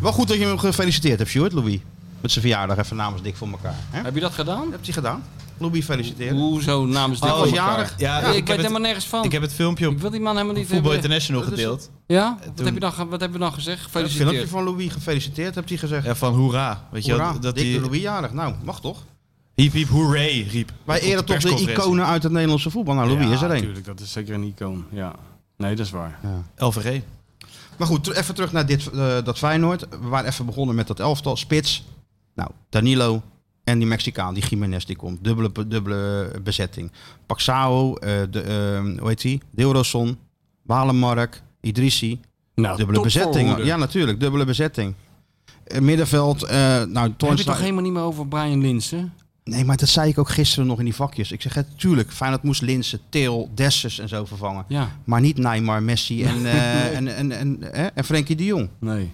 Speaker 2: Wel goed dat je hem gefeliciteerd hebt, Stuart, Louis. Met zijn verjaardag even namens Dick voor elkaar. Hè?
Speaker 3: Heb je dat gedaan?
Speaker 2: Heb je gedaan? Louis, gefeliciteerd.
Speaker 3: Hoezo namens dit
Speaker 2: Oh,
Speaker 3: was
Speaker 2: was jarig?
Speaker 4: Ja,
Speaker 3: ik,
Speaker 4: ik,
Speaker 3: weet
Speaker 4: heb
Speaker 3: helemaal
Speaker 4: het,
Speaker 3: nergens van.
Speaker 4: ik
Speaker 3: Ik,
Speaker 4: heb het filmpje op
Speaker 3: wil die man helemaal niet...
Speaker 4: Voetbal
Speaker 3: hebben.
Speaker 4: International
Speaker 2: dat is-
Speaker 4: gedeeld.
Speaker 3: Ja? Wat,
Speaker 4: toen-
Speaker 3: heb je dan, ge- wat hebben we dan gezegd?
Speaker 2: Het filmpje
Speaker 3: Gefeliciteerd.
Speaker 2: van Louis, gefeliciteerd, hebt hij gezegd.
Speaker 4: Ja, van hoera. Weet je wel,
Speaker 2: Hoera,
Speaker 4: dat
Speaker 2: Dick
Speaker 4: die
Speaker 2: de Louis jarig. Nou, mag toch?
Speaker 4: hiep hiep hoeré riep.
Speaker 2: Wij
Speaker 4: Op
Speaker 2: eren toch de
Speaker 4: persconferentie.
Speaker 2: iconen uit het Nederlandse voetbal. Nou, Louis
Speaker 3: ja,
Speaker 2: is er één.
Speaker 3: natuurlijk. Dat is zeker een icoon. Ja. Nee, dat is waar.
Speaker 4: LVG.
Speaker 2: Maar goed, ter- even terug naar dit, eh, dat Feyenoord. We waren even begonnen met dat elftal. Spits. Nou, Danilo en die Mexicaan, die Jiménez, die komt. Dubbele, dubbele bezetting. Paxao, eh, de, eh, hoe heet die? Deelroson, Walemark, Idrissi.
Speaker 3: Nou,
Speaker 2: Dubbele bezetting. Ja,
Speaker 3: Ja,
Speaker 2: natuurlijk. Dubbele bezetting. Eh, middenveld, eh nou,
Speaker 3: heb je het
Speaker 2: Toornstra...
Speaker 3: toch helemaal niet meer over Brian Linsen?
Speaker 2: Nee, maar dat zei ik ook gisteren nog in die vakjes. Ik zeg, hè, tuurlijk, Feyenoord moest Linsen, Til, Dessers en zo vervangen.
Speaker 3: Ja.
Speaker 2: Maar niet Neymar, Messi en, eh en, en, en, hè, en Frenkie de Jong.
Speaker 3: Nee.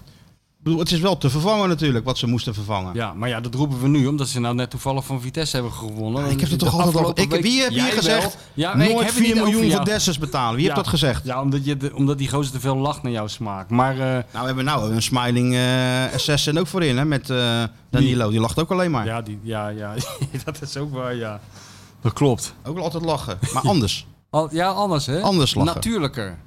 Speaker 2: Ik bedoel, het is wel te vervangen natuurlijk, wat ze moesten vervangen.
Speaker 3: Ja, maar ja, dat roepen we nu, omdat ze nou net toevallig van Vitesse hebben gewonnen.
Speaker 2: Maar ik heb het
Speaker 3: De
Speaker 2: toch altijd al...
Speaker 3: afgelopen
Speaker 2: Ik,
Speaker 3: week-
Speaker 2: wie heb
Speaker 3: Jij
Speaker 2: hier gezegd,
Speaker 3: wel. Ja, nee, ik
Speaker 2: nooit
Speaker 3: heb het niet
Speaker 2: 4
Speaker 3: over
Speaker 2: miljoen
Speaker 3: jou.
Speaker 2: voor Dessers betalen? Wie
Speaker 3: Ja.
Speaker 2: heeft dat gezegd?
Speaker 3: Ja, omdat, je de- omdat die gozer te veel lacht naar jouw smaak. Maar eh,
Speaker 2: Nou, we hebben nou een smiling eh, assassin ook voorin, hè, met eh, Danilo. Die lacht ook alleen maar.
Speaker 3: ja, die, ja, ja, dat is ook waar, ja. Dat klopt.
Speaker 2: Ook wel altijd lachen, maar anders.
Speaker 3: Al, ja, anders hè?
Speaker 2: Anders lachen.
Speaker 3: Natuurlijker.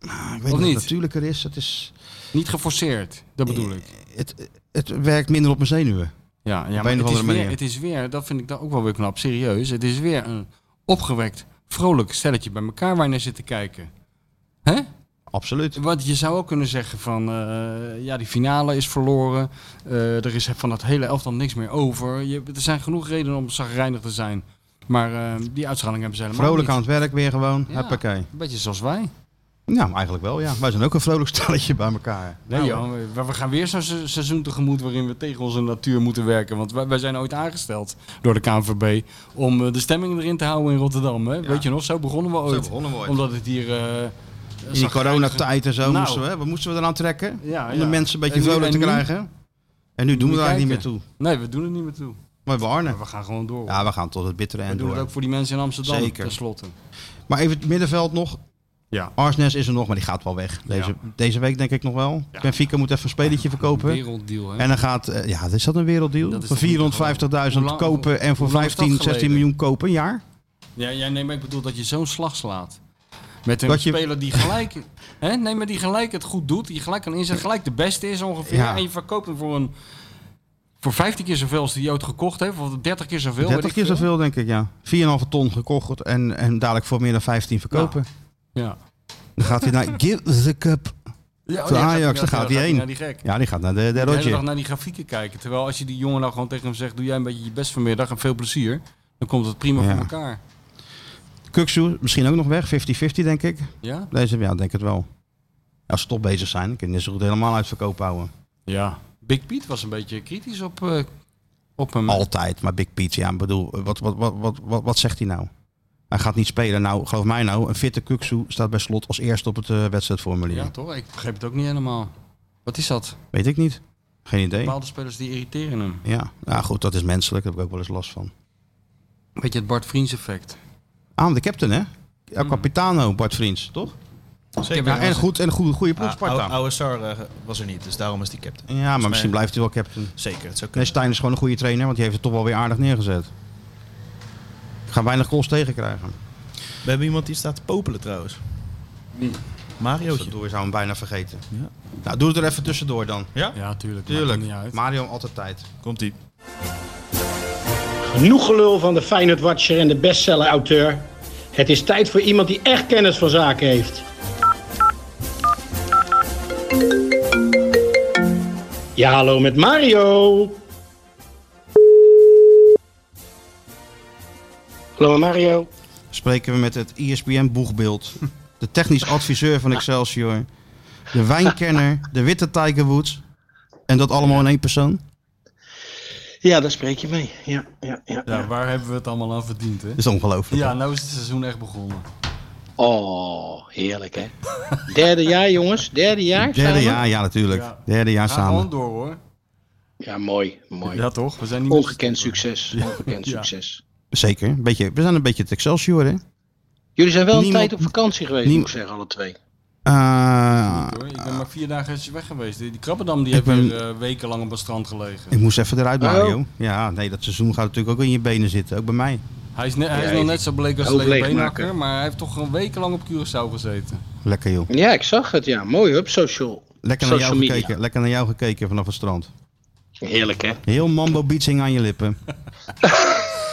Speaker 2: Nou, ik weet
Speaker 3: Of
Speaker 2: niet of
Speaker 3: niet?
Speaker 2: het natuurlijker is. Het, is
Speaker 3: Niet geforceerd, dat bedoel ik.
Speaker 2: het, het werkt minder op mijn zenuwen.
Speaker 3: Ja, ja
Speaker 2: een
Speaker 3: maar
Speaker 2: of
Speaker 3: het is,
Speaker 2: andere
Speaker 3: weer,
Speaker 2: manier.
Speaker 3: het is weer, dat vind ik dan ook wel weer knap, serieus. Het is weer een opgewekt, vrolijk stelletje bij elkaar waar je naar zit te kijken. Hè?
Speaker 2: Absoluut.
Speaker 3: Want je zou ook kunnen zeggen van, eh, ja, die finale is verloren. Eh, er is van dat hele elftal niks meer over. Je, er zijn genoeg redenen om zagrijnig te zijn. Maar eh, die uitschaling hebben ze helemaal
Speaker 2: Vrolijk aan
Speaker 3: niet.
Speaker 2: het werk weer gewoon.
Speaker 3: Ja.
Speaker 2: Hoppakee.
Speaker 3: Een beetje zoals wij.
Speaker 2: Nou, eigenlijk wel, ja. Wij zijn ook een vrolijk stelletje bij elkaar. Nou,
Speaker 3: Nee, joh, Nou, we- we gaan weer zo'n se- seizoen tegemoet waarin we tegen onze natuur moeten werken. Want wij, wij zijn ooit aangesteld door de KNVB om eh, de stemming erin te houden in Rotterdam. Hè? Weet je nog, zo begonnen we ooit.
Speaker 2: begonnen we ooit.
Speaker 3: Omdat het hier... eh,
Speaker 2: In die coronatijd en zo
Speaker 3: Nou.
Speaker 2: moesten we, hè, wat moesten we eraan trekken?
Speaker 3: Ja,
Speaker 2: Om de
Speaker 3: ja.
Speaker 2: mensen een beetje
Speaker 3: En nu-
Speaker 2: vrolijk te
Speaker 3: en nu?
Speaker 2: krijgen. En nu doen we
Speaker 3: Moet
Speaker 2: daar
Speaker 3: je
Speaker 2: eigenlijk niet meer
Speaker 3: kijken.
Speaker 2: toe.
Speaker 3: Nee, we doen het niet meer toe.
Speaker 2: Maar we Arne.
Speaker 3: Maar we gaan gewoon door.
Speaker 2: Ja, we gaan tot het bittere
Speaker 3: we
Speaker 2: eind
Speaker 3: doen het
Speaker 2: door.
Speaker 3: ook voor die mensen in Amsterdam,
Speaker 2: Zeker.
Speaker 3: tenslotte.
Speaker 2: Maar even het middenveld nog.
Speaker 3: Ja.
Speaker 2: Arsnes is er nog, maar die gaat wel weg. Deze, deze week denk ik nog wel.
Speaker 3: Ja.
Speaker 2: Benfica moet even een spelletje verkopen.
Speaker 3: Werelddeal, hè?
Speaker 2: En dan gaat, eh, ja, is dat een werelddeal?
Speaker 3: Dat is
Speaker 2: Voor
Speaker 3: toch niet te
Speaker 2: 450.000
Speaker 3: geloven. Hoe lang-
Speaker 2: kopen en voor
Speaker 3: hoe lang is dat
Speaker 2: 15, 16
Speaker 3: geleden?
Speaker 2: miljoen kopen een jaar.
Speaker 3: Ja, ja, nee, maar ik bedoel dat je zo'n slag slaat. Met een
Speaker 2: Dat je-
Speaker 3: speler die gelijk, hè, nee, maar die gelijk het goed doet, die gelijk kan inzetten, gelijk de beste is ongeveer.
Speaker 2: Ja.
Speaker 3: En je verkoopt hem voor, een, voor 15 keer zoveel als die je ooit gekocht heeft, of 30 keer zoveel. weet
Speaker 2: 30
Speaker 3: ik
Speaker 2: keer
Speaker 3: veel.
Speaker 2: zoveel, denk ik, ja. 4,5 ton gekocht en, en dadelijk voor meer dan 15 verkopen.
Speaker 3: Ja.
Speaker 2: Dan gaat hij naar Give the Cup.
Speaker 3: Ja,
Speaker 2: Voor Ajax, daar gaat hij heen.
Speaker 3: Naar die gek.
Speaker 2: Ja, die gaat naar de, de
Speaker 3: De hele dag
Speaker 2: Roger.
Speaker 3: naar die grafieken kijken. Terwijl als je die jongen nou gewoon tegen hem zegt, doe jij een beetje je best vanmiddag en veel plezier, dan komt het prima
Speaker 2: Ja.
Speaker 3: voor elkaar.
Speaker 2: Kuksu misschien ook nog weg. 50-50, denk ik.
Speaker 3: Ja?
Speaker 2: Deze, ja, denk het wel. Als ze toch bezig zijn, dan kunnen ze goed helemaal uit verkoop houden.
Speaker 3: Ja. Big Piet was een beetje kritisch op eh Op hem.
Speaker 2: Altijd. Maar Big Piet, ja, ik bedoel, wat, wat, wat, wat, wat, wat zegt hij nou? Hij gaat niet spelen. Nou, geloof mij nou, een fitte Kuksu staat bij slot als eerste op het eh, wedstrijdformulier.
Speaker 3: Ja, toch? Ik begreep het ook niet helemaal. Wat is dat?
Speaker 2: Weet ik niet. Geen idee.
Speaker 3: Bepaalde spelers die irriteren hem.
Speaker 2: Ja, nou goed, dat is menselijk. Daar heb ik ook wel eens last van.
Speaker 3: Weet je, het Bart Vriends effect.
Speaker 2: Ah, de captain, hè?
Speaker 3: Hm.
Speaker 2: Ja, capitano, Bart Vriends, toch?
Speaker 4: Zeker.
Speaker 2: Ja, en goed, en een goede, goede
Speaker 3: oh,
Speaker 2: ploeg,
Speaker 4: Ah,
Speaker 2: Sparta.
Speaker 4: Ou- Oude Sar eh, was er niet, dus daarom is die captain.
Speaker 2: ja, maar misschien blijft hij wel captain.
Speaker 4: Zeker, het zou
Speaker 2: Nee,
Speaker 4: kunnen.
Speaker 2: Stijn is gewoon een goede trainer, want die heeft het toch wel weer aardig neergezet. Ik ga weinig goals tegenkrijgen.
Speaker 4: We hebben iemand die staat te popelen trouwens. Mariootje.
Speaker 2: Door zou hem bijna vergeten. Nou, doe het er even tussendoor dan.
Speaker 3: Ja, tuurlijk.
Speaker 2: Tuurlijk. Oh.
Speaker 3: Maakt het niet uit.
Speaker 2: Mario altijd tijd.
Speaker 4: Komt-ie.
Speaker 6: Genoeg gelul van de Feyenoord Watcher en de bestseller-auteur. Het is tijd voor iemand die echt kennis van zaken heeft. Ja, hallo met Mario. Hallo met Mario.
Speaker 2: Spreken we met het E ESPN-boegbeeld. De technisch adviseur van Excelsior. De wijnkenner. De witte Tiger Woods. En dat allemaal in één persoon.
Speaker 6: Ja, daar spreek je mee. Ja, ja, ja.
Speaker 3: Ja, waar hebben we het allemaal aan verdiend, hè?
Speaker 2: Dat is ongelooflijk.
Speaker 3: Ja, nou is het seizoen echt begonnen.
Speaker 6: Oh, heerlijk hè. Derde jaar jongens, derde jaar.
Speaker 2: Derde
Speaker 6: samen?
Speaker 2: jaar, ja natuurlijk.
Speaker 3: Ja.
Speaker 2: Derde jaar
Speaker 3: Ga gewoon
Speaker 2: samen.
Speaker 3: door, hoor.
Speaker 6: Ja, mooi, mooi.
Speaker 3: Ja, toch? We zijn niet
Speaker 6: Ongekend succes, ongekend
Speaker 3: Ja.
Speaker 6: succes.
Speaker 2: Zeker. Een beetje, we zijn een beetje het Excelsior, hè?
Speaker 6: Jullie zijn wel een
Speaker 2: Niemand-
Speaker 6: tijd op vakantie geweest,
Speaker 2: niem-
Speaker 6: moet ik zeggen, alle twee.
Speaker 2: Eh,
Speaker 3: Hoor. Ik ben maar vier dagen eventjes weg geweest. Die die krabbendam die
Speaker 2: Ik
Speaker 3: heeft
Speaker 2: ben-
Speaker 3: weer eh, wekenlang op het strand gelegen.
Speaker 2: ik moest even eruit,
Speaker 6: Oh.
Speaker 2: Mario. Ja, nee, dat seizoen gaat natuurlijk ook in je benen zitten. Ook bij mij.
Speaker 3: Hij is, ne- hij is
Speaker 6: Ja,
Speaker 3: nog
Speaker 6: je-
Speaker 3: net zo bleek als
Speaker 6: Ook
Speaker 3: een lege
Speaker 6: leegmaken.
Speaker 3: beenhakker, maar hij heeft toch een wekenlang op Curaçao gezeten.
Speaker 2: Lekker, joh.
Speaker 6: Ja, ik zag het, ja. Mooi op social.
Speaker 2: Lekker naar,
Speaker 6: social
Speaker 2: jou
Speaker 6: media.
Speaker 2: gekeken. Lekker naar jou gekeken vanaf het strand.
Speaker 6: Heerlijk, hè?
Speaker 2: Heel mambo beaching aan je lippen.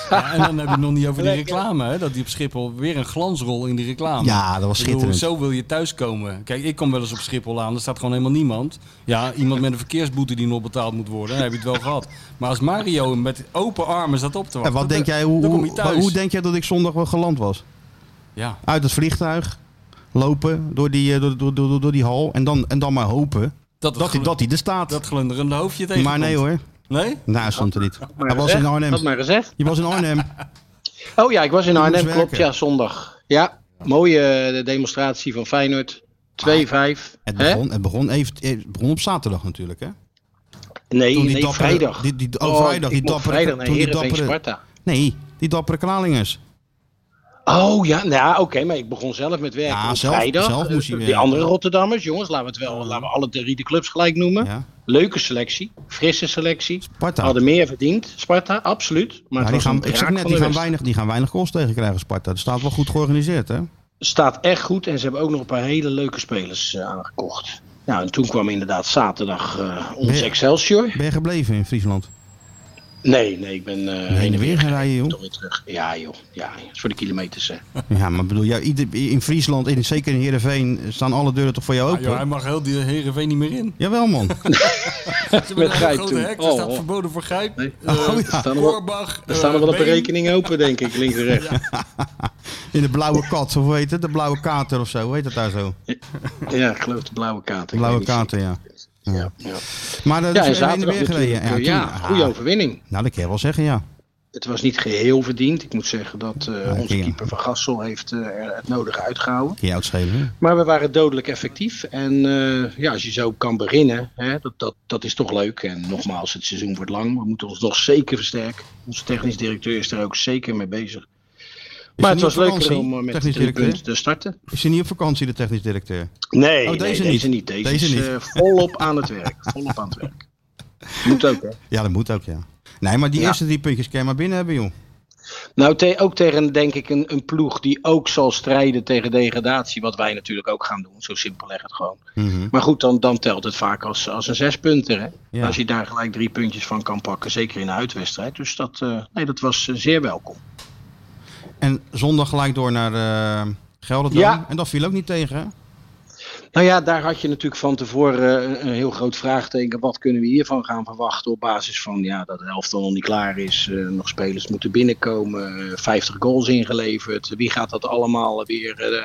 Speaker 3: Ja, en dan heb je het nog niet over die reclame, hè? dat die op Schiphol weer een glansrol in die reclame.
Speaker 2: Ja, dat was
Speaker 3: Ik bedoel,
Speaker 2: schitterend.
Speaker 3: zo wil je thuiskomen. Kijk, ik kom wel eens op Schiphol aan, er staat gewoon helemaal niemand. Ja, iemand met een verkeersboete die nog betaald moet worden, dan heb je het wel gehad. Maar als Mario met open armen staat op
Speaker 2: En
Speaker 3: te wachten,
Speaker 2: wat denk
Speaker 3: dan-
Speaker 2: jij, hoe,
Speaker 3: dan kom je
Speaker 2: hoe-
Speaker 3: thuis.
Speaker 2: hoe denk jij dat ik zondag wel geland was?
Speaker 3: Ja,
Speaker 2: Uit het vliegtuig, lopen door die, eh, door, door, door, door- door die hal en dan, en dan maar hopen
Speaker 3: dat,
Speaker 2: dat hij
Speaker 3: dat,
Speaker 2: dat hij er staat.
Speaker 3: dat glunderende hoofdje tegen.
Speaker 2: maar nee hoor,
Speaker 3: Nee?
Speaker 2: nou stond er niet. Hij was
Speaker 6: Zeg,
Speaker 2: in
Speaker 6: Had
Speaker 2: Arnhem.
Speaker 6: maar gezegd.
Speaker 2: Je was in Arnhem.
Speaker 6: Oh ja, ik was in
Speaker 2: moest
Speaker 6: Arnhem, klopt.
Speaker 2: werken.
Speaker 6: Ja, zondag. Ja, mooie eh, demonstratie van Feyenoord. 2-5.
Speaker 2: Ah, Het
Speaker 6: hè?
Speaker 2: begon, het begon, even, eh, het begon op zaterdag natuurlijk hè.
Speaker 6: Nee,
Speaker 2: Toen die
Speaker 6: nee
Speaker 2: dappere-
Speaker 6: vrijdag.
Speaker 2: die- die- oh, vrijdag, die
Speaker 6: ik mocht
Speaker 2: dappere-
Speaker 6: vrijdag naar
Speaker 2: toen die
Speaker 6: Heerenveen
Speaker 2: dappere-
Speaker 6: Sparta.
Speaker 2: Nee, die dappere Kralingers.
Speaker 6: Oh ja, nou ja, oké, maar ik begon zelf met werken
Speaker 2: Ja,
Speaker 6: op
Speaker 2: zelf-
Speaker 6: vrijdag.
Speaker 2: zelf moest je
Speaker 6: die
Speaker 2: werken.
Speaker 6: andere Rotterdammers, jongens, laten we het wel, laten we alle drie de clubs gelijk noemen.
Speaker 2: Ja.
Speaker 6: Leuke selectie, frisse selectie.
Speaker 2: Sparta.
Speaker 3: Oh,
Speaker 6: Hadden meer verdiend, Sparta, absoluut. Maar
Speaker 2: Ja,
Speaker 6: het
Speaker 2: die
Speaker 6: was
Speaker 2: gaan,
Speaker 6: een
Speaker 2: ik zeg
Speaker 6: kraak
Speaker 2: net,
Speaker 6: van
Speaker 2: die
Speaker 6: de
Speaker 2: gaan,
Speaker 6: wedstrijd.
Speaker 2: weinig, die gaan weinig goals tegenkrijgen Sparta. Dat staat wel goed georganiseerd hè.
Speaker 6: staat echt goed en ze hebben ook nog een paar hele leuke spelers eh, aangekocht. Nou, en toen kwam inderdaad zaterdag eh ons
Speaker 2: Ja.
Speaker 6: Excelsior.
Speaker 2: Ben je gebleven in Friesland?
Speaker 6: Nee, nee, ik ben eh
Speaker 2: Heen en weer gaan
Speaker 6: gereden.
Speaker 2: rijden joh.
Speaker 6: Toch weer terug. Ja, joh. Ja, dat is voor de kilometers, eh. hè.
Speaker 2: Ja, maar bedoel, ja, ieder- in Friesland, in, zeker in Heerenveen, staan alle deuren toch voor jou
Speaker 3: Ah,
Speaker 2: open?
Speaker 3: joh, hij mag heel die Heerenveen niet meer in.
Speaker 2: Jawel man.
Speaker 3: Ze
Speaker 6: Met
Speaker 3: hebben een hele
Speaker 6: grijp
Speaker 3: grote
Speaker 6: toen.
Speaker 3: hek, dus er
Speaker 6: Oh,
Speaker 3: staat
Speaker 6: oh.
Speaker 3: verboden voor grijp.
Speaker 6: Nee.
Speaker 3: Eh,
Speaker 2: Oh,
Speaker 6: Er
Speaker 2: ja.
Speaker 6: staan er wel,
Speaker 3: Korbach,
Speaker 6: er staan er
Speaker 3: eh,
Speaker 6: wel een paar
Speaker 3: Been.
Speaker 6: rekeningen open, denk ik, links en rechts.
Speaker 2: In de blauwe kat, of hoe heet het? De blauwe kater of zo, hoe heet het daar zo?
Speaker 6: Ja, ik geloof de blauwe kaart. ik
Speaker 2: Blauwe
Speaker 6: weet niet
Speaker 2: kater, ja.
Speaker 6: zeker. Ja, ja.
Speaker 2: Maar dat
Speaker 6: ja en
Speaker 2: is heen en
Speaker 6: zaterdag
Speaker 2: weer
Speaker 6: natuurlijk.
Speaker 2: gereden.
Speaker 6: eh, Ja,
Speaker 2: toen-
Speaker 6: goede
Speaker 2: ah,
Speaker 6: overwinning.
Speaker 2: Nou, dat kan je wel zeggen, ja.
Speaker 6: Het was niet geheel verdiend. Ik moet zeggen dat eh, onze
Speaker 2: ja.
Speaker 6: keeper Van Gassel heeft eh, er het nodige uitgehouden.
Speaker 2: Kun je uitschelen. hè?
Speaker 6: Maar we waren dodelijk effectief. En eh, ja, als je zo kan beginnen, hè, dat, dat, dat is toch leuk. En nogmaals, het seizoen wordt lang. We moeten ons nog zeker versterken. Onze technisch directeur is er ook zeker mee bezig. Maar
Speaker 2: hij
Speaker 6: het
Speaker 2: niet
Speaker 6: was
Speaker 2: op
Speaker 6: leuker
Speaker 2: vakantie,
Speaker 6: om eh, met
Speaker 2: technisch
Speaker 6: drie
Speaker 2: directeur?
Speaker 6: punten te starten.
Speaker 2: Is hij niet op vakantie, de technisch directeur?
Speaker 6: Nee,
Speaker 2: Oh,
Speaker 6: nee,
Speaker 2: deze
Speaker 6: deze,
Speaker 2: niet.
Speaker 6: niet. Deze,
Speaker 2: Deze
Speaker 6: is
Speaker 2: niet.
Speaker 6: eh, volop aan het werk. Volop aan het werk. Moet ook, hè?
Speaker 2: Ja, dat moet ook, ja. Nee, maar die
Speaker 6: Ja.
Speaker 2: eerste drie puntjes kan je maar binnen hebben, joh.
Speaker 6: Nou, te- ook tegen, denk ik, een, een ploeg die ook zal strijden tegen degradatie. Wat wij natuurlijk ook gaan doen. Zo simpel leg het gewoon.
Speaker 2: Mhm.
Speaker 6: Maar goed, dan, dan telt het vaak als, als een zespunter. Hè?
Speaker 2: Ja.
Speaker 6: Als je daar gelijk drie puntjes van kan pakken, zeker in een uitwedstrijd. Dus dat, eh, nee, dat was eh, zeer welkom.
Speaker 2: En zondag gelijk door naar eh Gelderdam.
Speaker 6: Ja.
Speaker 2: En dat viel ook niet tegen, hè?
Speaker 6: Nou ja, daar had je natuurlijk van tevoren eh, een heel groot vraagteken. Wat kunnen we hiervan gaan verwachten op basis van ja, dat de helft nog niet klaar is. eh, nog spelers moeten binnenkomen. eh, 50 goals ingeleverd. Wie gaat dat allemaal weer eh,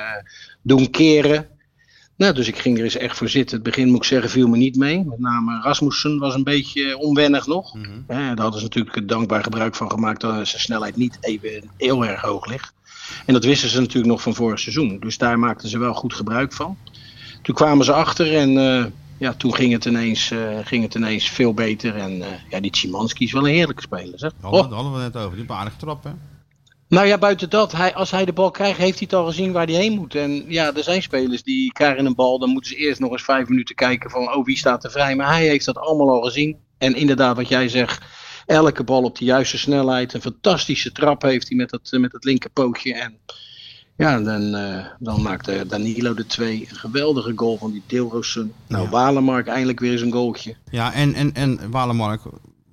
Speaker 6: doen keren? Nou, dus ik ging er eens echt voor zitten. Het begin, moet ik zeggen, viel me niet mee. Met name Rasmussen was een beetje eh, onwennig nog. Hè, daar hadden ze natuurlijk het dankbaar gebruik van gemaakt dat zijn snelheid niet even heel erg hoog ligt. En dat wisten ze natuurlijk nog van vorig seizoen. Dus daar maakten ze wel goed gebruik van. Toen kwamen ze achter en eh, ja, toen ging het, ineens, eh, ging het ineens veel beter. En eh, ja, die Szymanski is wel een heerlijke speler. Zeg.
Speaker 2: Daar hadden,
Speaker 6: Oh.
Speaker 2: daar hadden we het net over. Die hebben aardig getrapt, hè?
Speaker 6: Nou ja, buiten dat, hij, als hij de bal krijgt, heeft hij het al gezien waar hij heen moet. En ja, er zijn spelers die krijgen een bal, dan moeten ze eerst nog eens vijf minuten kijken van, oh, wie staat er vrij. Maar hij heeft dat allemaal al gezien. En inderdaad, wat jij zegt, elke bal op de juiste snelheid. Een fantastische trap heeft hij met dat, eh, met dat linkerpootje. En ja, dan, eh dan maakte Danilo de twee. Een geweldige goal van die Deelrosen. Nou,
Speaker 2: Ja.
Speaker 6: Walemark eindelijk weer eens een goaltje.
Speaker 2: Ja, en, en, en Walemark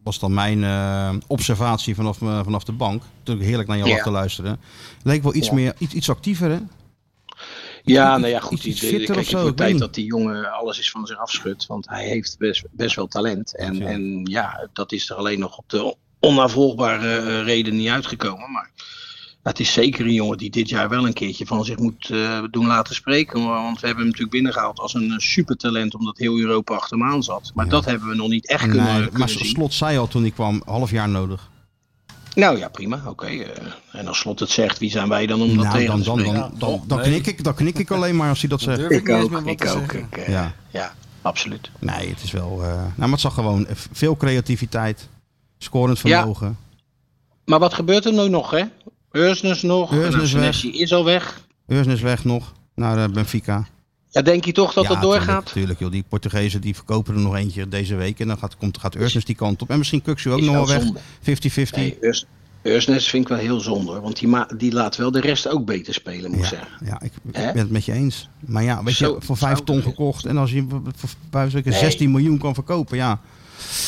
Speaker 2: was dan mijn eh, observatie vanaf, me- vanaf de bank. Natuurlijk heerlijk naar jou
Speaker 6: Ja.
Speaker 2: af te luisteren. Leek wel iets
Speaker 6: Ja.
Speaker 2: meer, iets, iets actiever, hè?
Speaker 6: Ja,
Speaker 2: iets-
Speaker 6: nou ja,
Speaker 2: iets-
Speaker 6: goed.
Speaker 2: iets
Speaker 6: Die,
Speaker 2: fitter
Speaker 6: kijk,
Speaker 2: of zo,
Speaker 6: het
Speaker 2: ik
Speaker 6: wordt
Speaker 2: weet
Speaker 6: tijd
Speaker 2: niet.
Speaker 6: dat die jongen alles is van zich afschudt. Want hij heeft best, best wel talent. En ja.
Speaker 2: Ja.
Speaker 6: en ja, dat is er alleen nog op de onnavolgbare eh, reden niet uitgekomen. Maar het is zeker een jongen die dit jaar wel een keertje van zich moet eh, doen laten spreken. Want we hebben hem natuurlijk binnengehaald als een eh, supertalent. Omdat heel Europa achter hem aan zat. Maar
Speaker 2: Ja.
Speaker 6: dat hebben we nog niet echt kunnen, eh,
Speaker 2: Nee,
Speaker 6: kunnen
Speaker 2: eh, maar
Speaker 6: zien.
Speaker 2: Slot zei al toen ik kwam, half jaar nodig.
Speaker 6: Nou ja, prima. Oké. eh, en als Slot het zegt, wie zijn wij dan om dat dus
Speaker 2: nou,
Speaker 6: tegen
Speaker 2: dan,
Speaker 6: te
Speaker 2: dan, dan,
Speaker 6: spreken?
Speaker 2: dan, dan,
Speaker 3: nee.
Speaker 2: knik ik, dan knik ik alleen maar als hij dat zegt.
Speaker 3: durf ik,
Speaker 6: Ik
Speaker 3: niet eens
Speaker 6: ook,
Speaker 3: meer wat
Speaker 6: ik
Speaker 3: te
Speaker 6: ook.
Speaker 3: zeggen.
Speaker 6: Ik, eh,
Speaker 2: Ja.
Speaker 6: ja, absoluut.
Speaker 2: Nee, het is wel... eh, nou, maar het zag gewoon eh, veel creativiteit. Scorend
Speaker 6: Ja.
Speaker 2: vermogen.
Speaker 6: Maar wat gebeurt er nu nog, hè? Ursnes nog.
Speaker 2: Ursnes
Speaker 6: Nou,
Speaker 2: weg.
Speaker 6: Senesi is al weg.
Speaker 2: Eursen is weg nog naar eh, Benfica.
Speaker 6: Ja, denk je toch dat
Speaker 2: Ja,
Speaker 6: dat doorgaat?
Speaker 2: Tuurlijk, tuurlijk, joh. Die Portugezen die verkopen er nog eentje deze week. En dan gaat, komt, gaat Ursnes die kant op. En misschien Kuxu ook
Speaker 6: Is
Speaker 2: nog wel
Speaker 6: wel
Speaker 2: weg. 50-50.
Speaker 6: zonde. Nee, Urs- Ursnes vind ik wel heel zonde, hoor. Want die, ma- die laat wel de rest ook beter spelen, moet ik
Speaker 2: Ja,
Speaker 6: zeggen.
Speaker 2: ja, ik ik
Speaker 6: Hè?
Speaker 2: ben het met je eens. Maar ja, weet
Speaker 6: Zo-
Speaker 2: je, voor 5
Speaker 6: zo
Speaker 2: ton
Speaker 6: is het.
Speaker 2: gekocht. En als je voor- voor bij wijze van spreken
Speaker 6: Nee.
Speaker 2: 16 miljoen kan verkopen, ja.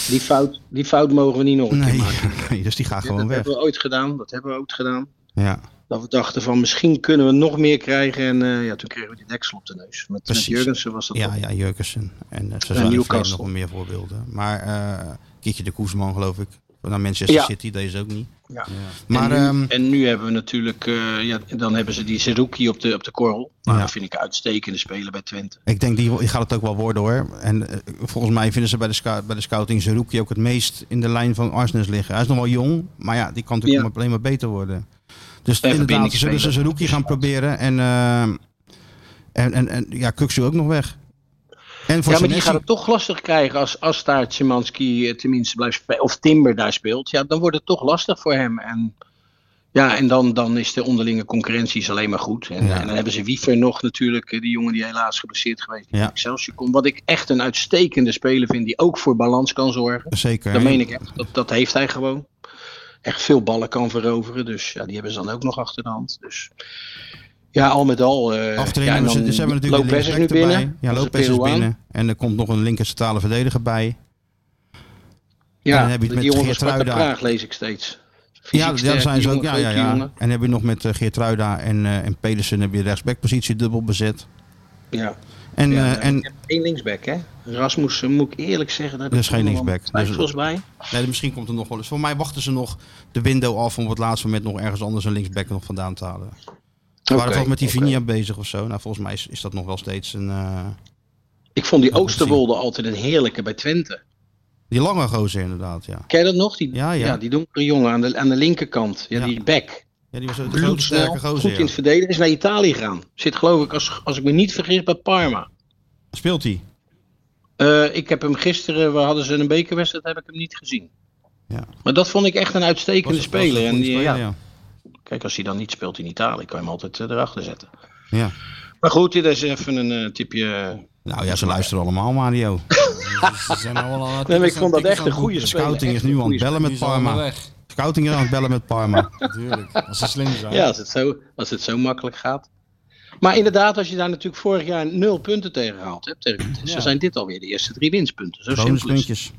Speaker 6: Die fout, die fout mogen we niet nog een keer
Speaker 2: Nee,
Speaker 6: maken.
Speaker 2: nee, dus die gaat
Speaker 6: dat
Speaker 2: gewoon weg.
Speaker 6: hebben we ooit gedaan. Dat hebben we ooit gedaan.
Speaker 2: Ja,
Speaker 6: Dat we dachten van misschien kunnen we nog meer krijgen. En eh, ja, toen kregen we die deksel op de neus. Met, met
Speaker 2: Precies.
Speaker 6: Jurgensen was dat
Speaker 2: ja,
Speaker 6: toch?
Speaker 2: ja Jurkensen. En eh, zo zijn er verder
Speaker 6: Newcastle.
Speaker 2: nog wel meer voorbeelden. Maar eh Kietje de Koesman, geloof ik. Naar Manchester
Speaker 6: Ja.
Speaker 2: City, deze ook niet.
Speaker 6: Ja.
Speaker 2: Maar
Speaker 6: en, nu,
Speaker 2: ehm,
Speaker 6: en nu hebben we natuurlijk, eh, ja, dan hebben ze die Zerouki op de, op de korrel. Nou, dat vind ik een uitstekende speler bij Twente.
Speaker 2: ik denk, die, die gaat het ook wel worden hoor. En eh, volgens mij vinden ze bij de, scout, bij de scouting Zerouki ook het meest in de lijn van Arsenis liggen. Hij is nog wel jong, maar ja, die kan natuurlijk
Speaker 6: Ja.
Speaker 2: maar- alleen maar beter worden. Dus
Speaker 6: En
Speaker 2: inderdaad, zullen ze
Speaker 6: verbindingsspeler.
Speaker 2: Zerouki gaan proberen. En, eh, en, en, en ja, Kuksu ook nog weg. En voor
Speaker 6: ja, maar die
Speaker 2: Senesi-
Speaker 6: gaat het toch lastig krijgen als, als daar Szymanski eh, tenminste blijft spelen. Of Timber daar speelt. Ja, dan wordt het toch lastig voor hem. En, ja, en dan, dan is de onderlinge concurrentie is alleen maar goed. En,
Speaker 2: Ja.
Speaker 6: en dan hebben ze Wiefer nog natuurlijk. eh, Die jongen die helaas geblesseerd geweest is.
Speaker 2: Ja.
Speaker 6: Ja. Excelsior komt. Wat ik echt een uitstekende speler vind. Die ook voor balans kan zorgen.
Speaker 2: Zeker.
Speaker 6: Dat meen ik echt. Dat, dat heeft hij gewoon. Echt veel ballen kan veroveren. Dus ja, die hebben ze dan ook nog achter de hand. Dus ja, al met al. eh,
Speaker 2: Achterin
Speaker 6: ja, en
Speaker 2: hebben ze,
Speaker 6: dan
Speaker 2: dus hebben we natuurlijk
Speaker 6: Lopez
Speaker 2: de
Speaker 6: is nu
Speaker 2: linksback erbij.
Speaker 6: binnen.
Speaker 2: Ja,
Speaker 6: Dat is
Speaker 2: Lopez
Speaker 6: de
Speaker 2: is
Speaker 6: Peruaan.
Speaker 2: binnen. En er komt nog een linker centrale verdediger bij.
Speaker 6: Ja,
Speaker 2: dan heb je het met
Speaker 6: die jongen van
Speaker 2: Geertruida.
Speaker 6: Sparta Praag lees ik steeds. Fysiek
Speaker 2: Ja, daar
Speaker 6: sterk,
Speaker 2: zijn ze
Speaker 6: die
Speaker 2: ook.
Speaker 6: jongen,
Speaker 2: Ja, ja,
Speaker 6: leuke
Speaker 2: ja.
Speaker 6: jongen.
Speaker 2: En heb je nog met eh, Geertruida en, eh en Pedersen heb je de rechtsbackpositie dubbel bezet.
Speaker 6: ja.
Speaker 2: En,
Speaker 6: Ja,
Speaker 2: eh,
Speaker 6: ja,
Speaker 2: en
Speaker 6: ik heb één linksback, hè? Rasmussen, moet ik eerlijk zeggen. Daar heb
Speaker 2: Dat
Speaker 6: ik
Speaker 2: is geen
Speaker 6: toch nog wel
Speaker 2: linksback. Dus- Dat is-
Speaker 6: Twijfels bij.
Speaker 2: nee, misschien komt er nog wel eens. Voor mij wachten ze nog de window af om op het laatste moment nog ergens anders een linksback nog vandaan te halen. We waren
Speaker 6: Oké,
Speaker 2: toch met die
Speaker 6: oké.
Speaker 2: Vinia bezig of zo. Nou, volgens mij is, is dat nog wel steeds een... eh,
Speaker 6: Ik vond die
Speaker 2: Dat moet
Speaker 6: Oosterwolde altijd een heerlijke bij Twente.
Speaker 2: die lange gozer inderdaad, ja.
Speaker 6: Ken je dat nog? Die,
Speaker 2: Ja, ja.
Speaker 6: die donkere jongen aan de, aan de linkerkant. Ja,
Speaker 2: Ja.
Speaker 6: die back.
Speaker 2: Ja, die was een grote
Speaker 6: Bloedsnel,
Speaker 2: sterke
Speaker 6: goed
Speaker 2: gozer.
Speaker 6: in
Speaker 2: ja.
Speaker 6: het verdedigen. Is naar Italië gegaan. Zit geloof ik, als, als ik me niet vergis, bij Parma.
Speaker 2: Speelt hij?
Speaker 6: Eh, ik heb hem gisteren, we hadden ze een bekerwedstrijd, heb ik hem niet gezien.
Speaker 2: Ja.
Speaker 6: Maar dat vond ik echt een uitstekende
Speaker 2: Was- was een
Speaker 6: speler. En
Speaker 2: goede
Speaker 6: die-
Speaker 2: speler,
Speaker 6: ja,
Speaker 2: ja.
Speaker 6: Kijk, als hij dan niet speelt in Italië, kan je hem altijd eh, erachter zetten.
Speaker 2: ja.
Speaker 6: Maar goed, dit is even een eh, tipje.
Speaker 2: Nou ja, ze luisteren allemaal, Mario.
Speaker 3: Ze zijn allemaal aan het-
Speaker 6: Nee, maar ik vond dat
Speaker 3: tikken
Speaker 6: echt
Speaker 3: aan
Speaker 6: een
Speaker 3: het
Speaker 6: goede
Speaker 2: De
Speaker 6: speler.
Speaker 2: scouting is
Speaker 6: Echt een
Speaker 2: nu aan
Speaker 6: goede
Speaker 2: het bellen
Speaker 3: boeken.
Speaker 2: met
Speaker 3: Die is Dus allemaal
Speaker 2: Parma.
Speaker 3: weg,
Speaker 2: Scouting is aan het bellen met Parma.
Speaker 3: natuurlijk. Als ze slim zijn.
Speaker 6: speler. Ja, als het, zo, als het zo makkelijk gaat. Maar inderdaad, als je daar natuurlijk vorig jaar nul punten tegen gehaald hebt, tegen Vitesse,
Speaker 3: Ja.
Speaker 6: zijn dit alweer de eerste drie winstpunten. Zo simpel is het.
Speaker 2: Bonuspuntjes.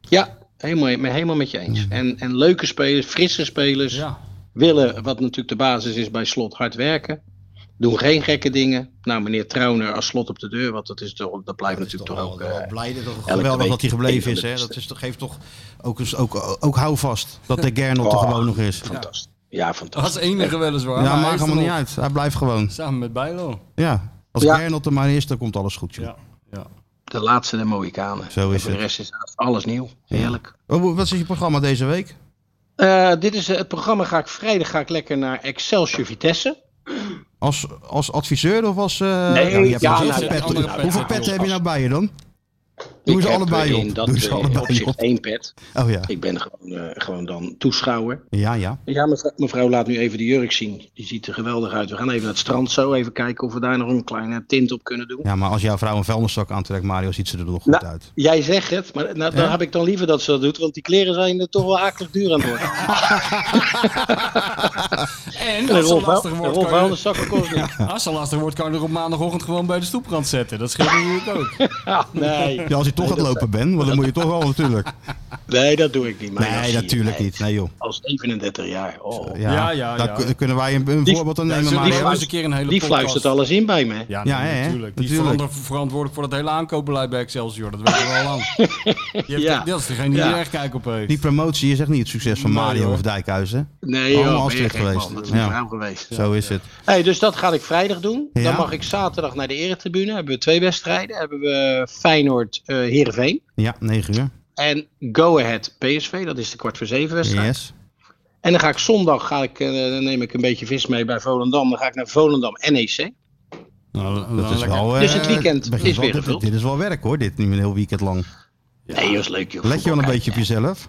Speaker 6: Ja, helemaal, helemaal met je eens. En, en leuke spelers, frisse spelers.
Speaker 3: Ja.
Speaker 6: willen, wat natuurlijk de basis is bij slot, hard werken. Doen geen gekke dingen. Nou, meneer Trouwner als slot op de deur, want dat, is toch, dat blijft natuurlijk toch, ook. eh,
Speaker 2: blij dat
Speaker 6: elke
Speaker 2: geweldig
Speaker 6: week
Speaker 2: dat hij gebleven
Speaker 6: één
Speaker 2: is.
Speaker 6: van
Speaker 2: Hè?
Speaker 6: de
Speaker 2: Dat
Speaker 6: beste.
Speaker 2: is, toch- geeft toch ook, eens- ook, ook houvast dat de Gernot er
Speaker 6: Oh.
Speaker 2: gewoon nog is.
Speaker 6: fantastisch. Ja, fantastisch.
Speaker 3: Als enige weliswaar.
Speaker 2: Ja,
Speaker 3: maar hij
Speaker 2: maakt
Speaker 3: is
Speaker 2: helemaal
Speaker 3: er
Speaker 2: niet
Speaker 3: nog.
Speaker 2: uit. Hij blijft gewoon.
Speaker 3: Samen met Bijlo.
Speaker 2: Ja. Als
Speaker 6: Ja.
Speaker 2: Bernot er maar is, dan komt alles goed. joh.
Speaker 3: Ja.
Speaker 6: De laatste de Mohikanen.
Speaker 2: Zo
Speaker 6: En
Speaker 2: is
Speaker 6: voor de
Speaker 2: het.
Speaker 6: rest is alles nieuw. Heerlijk.
Speaker 2: Oh, wat is je programma deze week?
Speaker 6: Eh, dit is eh, het programma. Ga ik vrijdag ga ik lekker naar Excelsior Vitesse.
Speaker 2: Als, als adviseur of als... eh,
Speaker 6: Nee,
Speaker 2: je hebt
Speaker 6: ja,
Speaker 2: natuurlijk
Speaker 6: nou,
Speaker 2: pet.
Speaker 6: ik heb andere petten.
Speaker 2: Hoeveel petten heb je nou bij je dan? Doe
Speaker 6: Ik
Speaker 2: ze
Speaker 6: heb,
Speaker 2: allebei
Speaker 6: eh,
Speaker 2: op.
Speaker 6: in Dat
Speaker 2: Doe ze
Speaker 6: eh,
Speaker 2: allebei
Speaker 6: opzicht
Speaker 2: op.
Speaker 6: één pet.
Speaker 2: Oh ja,
Speaker 6: Ik ben gewoon, eh, gewoon dan toeschouwer.
Speaker 2: ja, ja.
Speaker 6: Ja, mevrouw, mevrouw laat nu even de jurk zien. Die ziet er geweldig uit. We gaan even naar het strand zo. Even kijken of we daar nog een kleine tint op kunnen doen.
Speaker 2: Ja, maar als jouw vrouw een vuilniszak aantrekt, Mario, ziet ze er nog goed
Speaker 6: Nou,
Speaker 2: uit.
Speaker 6: Jij zegt het, maar nou, dan heb ik dan liever dat ze dat doet. Want die kleren zijn er toch wel akelig duur aan het worden.
Speaker 3: En
Speaker 6: Een
Speaker 3: als
Speaker 6: rol
Speaker 3: het lastig wordt,
Speaker 6: vuil-
Speaker 3: kan
Speaker 6: een
Speaker 3: je,
Speaker 6: zak kost niet.
Speaker 3: als het lastig wordt, kan je er op maandagochtend gewoon bij de stoeprand zetten. Dat scheelt natuurlijk ook.
Speaker 6: Ja, nee.
Speaker 2: Ja, als je toch aan het lopen bent, want dan moet je toch wel natuurlijk.
Speaker 6: nee, dat doe ik niet. Maar ja, zie
Speaker 2: Nee,
Speaker 6: je,
Speaker 2: natuurlijk
Speaker 6: nee.
Speaker 2: niet. Nee, joh.
Speaker 6: Als 37 jaar. Oh.
Speaker 2: Ja,
Speaker 3: Ja, ja,
Speaker 2: Daar
Speaker 3: ja.
Speaker 2: kun- kunnen wij een, een
Speaker 6: Die-
Speaker 2: voorbeeld aan
Speaker 3: Ja,
Speaker 2: nemen,
Speaker 3: zullen we
Speaker 2: Mario.
Speaker 3: eens een keer een hele
Speaker 6: Die
Speaker 3: podcast-
Speaker 6: fluistert alles in bij me.
Speaker 3: Ja,
Speaker 2: Ja,
Speaker 3: nee,
Speaker 2: hè, hè?
Speaker 3: natuurlijk. Die is
Speaker 2: Natuurlijk.
Speaker 3: verander- verantwoordelijk voor dat hele aankoopbeleid bij Excelsior. Dat weten we al lang. Je hebt-
Speaker 6: Ja.
Speaker 3: Dat is degene die
Speaker 6: Ja.
Speaker 3: er echt kijk op heeft.
Speaker 2: Die promotie is echt niet het succes van
Speaker 3: Nee,
Speaker 2: Mario
Speaker 3: hoor.
Speaker 2: of Dijkhuizen.
Speaker 6: Nee,
Speaker 2: Allemaal
Speaker 6: joh, ben je
Speaker 2: Astrid
Speaker 6: gek,
Speaker 2: geweest.
Speaker 6: man. Dat is
Speaker 2: Ja.
Speaker 6: een vrouw geweest.
Speaker 2: Zo is het.
Speaker 6: Hey, dus dat ga ik vrijdag doen.
Speaker 2: Ja.
Speaker 6: Dan mag ik zaterdag naar de eretribune. Hebben we twee wedstrijden. Hebben we Feyenoord eh Heerenveen.
Speaker 2: Ja, 9 uur.
Speaker 6: En Go Ahead PSV. Dat is de kwart voor zeven wedstrijd.
Speaker 2: Yes.
Speaker 6: En dan ga ik zondag ga ik, eh, dan neem ik een beetje vis mee bij Volendam. Dan ga ik naar Volendam E NEC.
Speaker 3: Nou, dan- dan
Speaker 2: Dat is
Speaker 3: lekker.
Speaker 2: wel, eh,
Speaker 6: Dus het weekend
Speaker 2: begint
Speaker 6: is
Speaker 2: wel-
Speaker 6: weer
Speaker 2: dit-
Speaker 6: gevuld.
Speaker 2: Dit is wel werk hoor, dit nu een heel weekend lang.
Speaker 6: Nee, dat is leuk
Speaker 2: Let
Speaker 6: joh.
Speaker 2: je wel een
Speaker 6: Voetbal
Speaker 2: beetje op
Speaker 6: kijken.
Speaker 2: jezelf.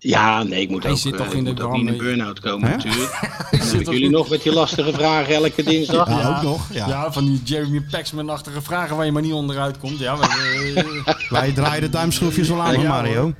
Speaker 6: Ja, nee, ik moet
Speaker 3: Hij
Speaker 6: ook,
Speaker 3: zit
Speaker 6: eh,
Speaker 3: toch
Speaker 6: ik
Speaker 3: in de
Speaker 6: moet ook niet in een
Speaker 3: warme-
Speaker 6: burn-out komen
Speaker 2: Hè?
Speaker 6: natuurlijk. Dan heb ik jullie nog met die lastige vragen elke dinsdag.
Speaker 2: Ja, ook nog. Ja.
Speaker 3: Ja, van die Jeremy Paxman-achtige vragen waar je maar niet onderuit komt. Ja, maar, eh,
Speaker 2: Wij draaien de duimschroefjes wel aan, hoor,
Speaker 3: Ja,
Speaker 2: Mario.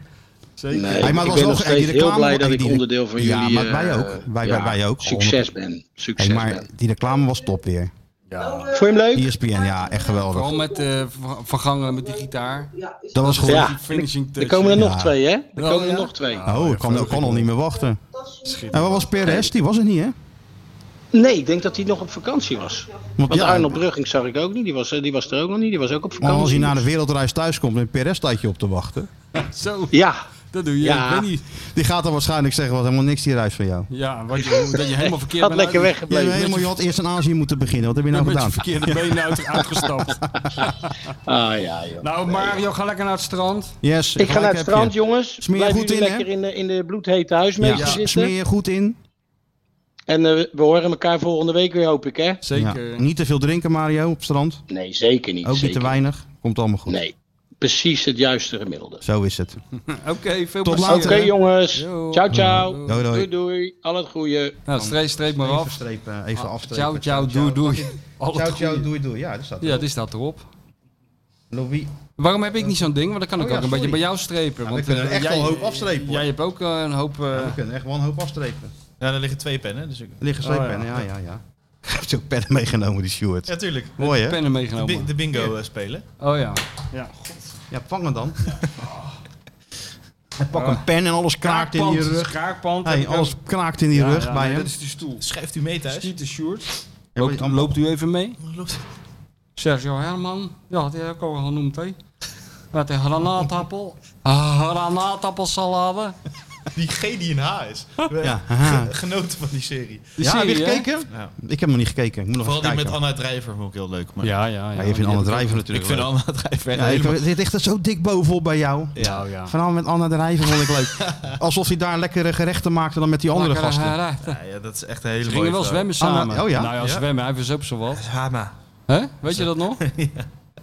Speaker 3: zeker.
Speaker 6: Nee,
Speaker 2: Hey, maar
Speaker 6: ik
Speaker 2: was
Speaker 6: ben
Speaker 2: wel
Speaker 6: nog
Speaker 2: ge- hey, die
Speaker 6: steeds heel
Speaker 2: reclame-
Speaker 6: blij dat
Speaker 2: hey,
Speaker 6: ik
Speaker 2: die-
Speaker 6: onderdeel van
Speaker 2: Ja,
Speaker 6: jullie...
Speaker 2: maar wij
Speaker 6: eh,
Speaker 2: ook. Wij- wij- wij ook.
Speaker 6: Succes ben. Succes
Speaker 2: Hey, maar
Speaker 6: ben.
Speaker 2: die reclame was top weer. E
Speaker 6: Vond je hem leuk?
Speaker 2: ESPN, ja, echt geweldig.
Speaker 3: Vooral met eh, Van- Van Gangelen met die gitaar.
Speaker 2: Dat was gewoon...
Speaker 6: Ja.
Speaker 3: Die finishing
Speaker 6: Er
Speaker 3: touch.
Speaker 6: komen er
Speaker 2: Ja.
Speaker 6: nog twee, hè? Er
Speaker 3: Wel,
Speaker 6: komen er
Speaker 3: ja.
Speaker 6: nog twee.
Speaker 2: Oh, ik kan, ik kan al niet meer wachten. En wat was PRS? Die was het niet, hè?
Speaker 6: Nee, ik denk dat hij nog op vakantie was.
Speaker 2: Want
Speaker 6: Want
Speaker 2: ja,
Speaker 6: Arnold Brugging zag ik ook niet. Die was, eh, die was er ook nog niet. Die was ook op
Speaker 2: maar
Speaker 6: vakantie.
Speaker 2: als hij na de wereldreis thuis komt, een PRS staat je op te wachten.
Speaker 3: Zo,
Speaker 6: Ja,
Speaker 3: dat doe je.
Speaker 6: Ja.
Speaker 3: Ik weet niet.
Speaker 2: Die gaat dan waarschijnlijk zeggen, was helemaal niks die reis van jou.
Speaker 3: Ja, wat je, dat je helemaal verkeerd
Speaker 6: had lekker
Speaker 3: uit-
Speaker 2: Je,
Speaker 6: weggebleven.
Speaker 2: helemaal, je had eerst in Azië moeten beginnen. Wat heb je nou
Speaker 3: Met je
Speaker 2: gedaan?
Speaker 3: verkeerde benen uit, uitgestapt.
Speaker 6: Ah ja, joh.
Speaker 3: Nou, Mario, ga lekker naar het strand.
Speaker 2: Yes,
Speaker 6: Ik ga
Speaker 2: gelijk
Speaker 6: naar het
Speaker 2: heb
Speaker 6: strand,
Speaker 2: je.
Speaker 6: jongens.
Speaker 2: Smeer je
Speaker 6: Blijf
Speaker 2: goed
Speaker 6: jullie
Speaker 2: in, hè?
Speaker 6: lekker in de, in de bloedhete huismeester
Speaker 2: Ja, smeer
Speaker 6: zitten.
Speaker 2: je goed in.
Speaker 6: En eh, we horen elkaar volgende week weer, hoop ik, hè?
Speaker 3: Zeker.
Speaker 2: Ja, Niet te veel drinken, Mario, op het strand.
Speaker 6: Nee, zeker niet.
Speaker 2: Ook niet te
Speaker 6: zeker.
Speaker 2: weinig. Komt allemaal goed.
Speaker 6: Nee, precies het juiste gemiddelde.
Speaker 2: Zo is het.
Speaker 3: Nou, Oké, veel
Speaker 2: Tot
Speaker 3: plezier.
Speaker 6: Oké,
Speaker 2: later. hè?
Speaker 6: jongens.
Speaker 3: Yo.
Speaker 6: Ciao, ciao.
Speaker 2: Doei, doei.
Speaker 6: Doei, doei. Al het goede.
Speaker 3: Nou, streep, streep maar
Speaker 2: Even,
Speaker 3: af.
Speaker 2: strepen, even afstrepen.
Speaker 3: Ah, Ciao, ciao, doei, doei. Al het
Speaker 2: Ciao, ciao,
Speaker 3: goede.
Speaker 2: doei, doei. Ja, dat staat
Speaker 3: Ja, dit staat erop.
Speaker 2: Louis.
Speaker 3: Waarom heb ik niet zo'n ding? Want dan kan ik
Speaker 2: Oh
Speaker 3: ook
Speaker 2: ja,
Speaker 3: een beetje
Speaker 2: sorry.
Speaker 3: bij jou strepen.
Speaker 2: Ja, we
Speaker 3: want
Speaker 2: kunnen
Speaker 3: eh,
Speaker 2: echt
Speaker 3: jij-
Speaker 2: wel een hoop afstrepen, hoor.
Speaker 3: Jij hebt ook eh, een hoop... eh,
Speaker 2: We kunnen echt wel een hoop afstrepen.
Speaker 4: Ja, er liggen twee pennen. Dus ik...
Speaker 2: Er liggen
Speaker 3: Oh,
Speaker 2: twee
Speaker 3: ja.
Speaker 2: pennen, ja, ja, ja. Hij heeft ook pennen meegenomen, die Stuart.
Speaker 4: Ja, tuurlijk.
Speaker 2: Mooi, hè?
Speaker 3: Pennen
Speaker 4: De, bi-
Speaker 3: meegenomen.
Speaker 4: de bingo eh, spelen.
Speaker 3: Oh ja.
Speaker 2: Ja, vang hem dan. Hij pak een pen en alles kraakt in die rug.
Speaker 3: Kraakpand.
Speaker 2: Hey, alles kraakt in die rug bij
Speaker 3: nee,
Speaker 2: hem.
Speaker 3: Dat is de stoel.
Speaker 4: Schuift u mee thuis.
Speaker 3: Niet de shirt.
Speaker 2: Ja,
Speaker 3: Loopt,
Speaker 2: maar-
Speaker 3: loopt u even mee?
Speaker 4: Loopt-
Speaker 3: Sergio Herman. Ja, die heb ik al genoemd, hè. Met een granaatappel. Ah, Granaatappelsalade.
Speaker 4: Die G die een H is.
Speaker 2: Ja,
Speaker 4: Ge- Genoten van die serie.
Speaker 3: Die
Speaker 2: ja, heb je
Speaker 3: serie, hè?
Speaker 2: gekeken?
Speaker 4: Ja.
Speaker 2: Ik heb hem nog niet gekeken. Ik moet nog
Speaker 4: Vooral
Speaker 2: eens
Speaker 4: die
Speaker 2: kijken.
Speaker 4: met Anna Drijver vond ik heel leuk. Maar
Speaker 3: Ja, ja, ja.
Speaker 2: Ja, je vindt Anne Drijver
Speaker 4: Ik
Speaker 2: natuurlijk
Speaker 4: vind
Speaker 2: leuk.
Speaker 4: Anna Drijver echt
Speaker 2: Ja, ik-
Speaker 4: helemaal...
Speaker 2: het ligt er zo dik bovenop bij jou.
Speaker 3: Ja, oh, ja.
Speaker 2: Vooral met Anna Drijver vond ik leuk. Alsof hij daar lekkere gerechten maakte dan met die andere
Speaker 3: Lekkere
Speaker 2: gasten.
Speaker 3: gerechten.
Speaker 4: Ja, ja, dat is echt een hele
Speaker 3: Ze
Speaker 4: mooie
Speaker 3: eh, gingen wel
Speaker 4: vrouw.
Speaker 3: zwemmen
Speaker 2: Anna-
Speaker 3: samen.
Speaker 2: oh ja?
Speaker 3: Nou ja,
Speaker 4: Ja.
Speaker 3: zwemmen. Hij verzoop zo wat.
Speaker 4: Hama.
Speaker 3: Hè? Weet je dat nog?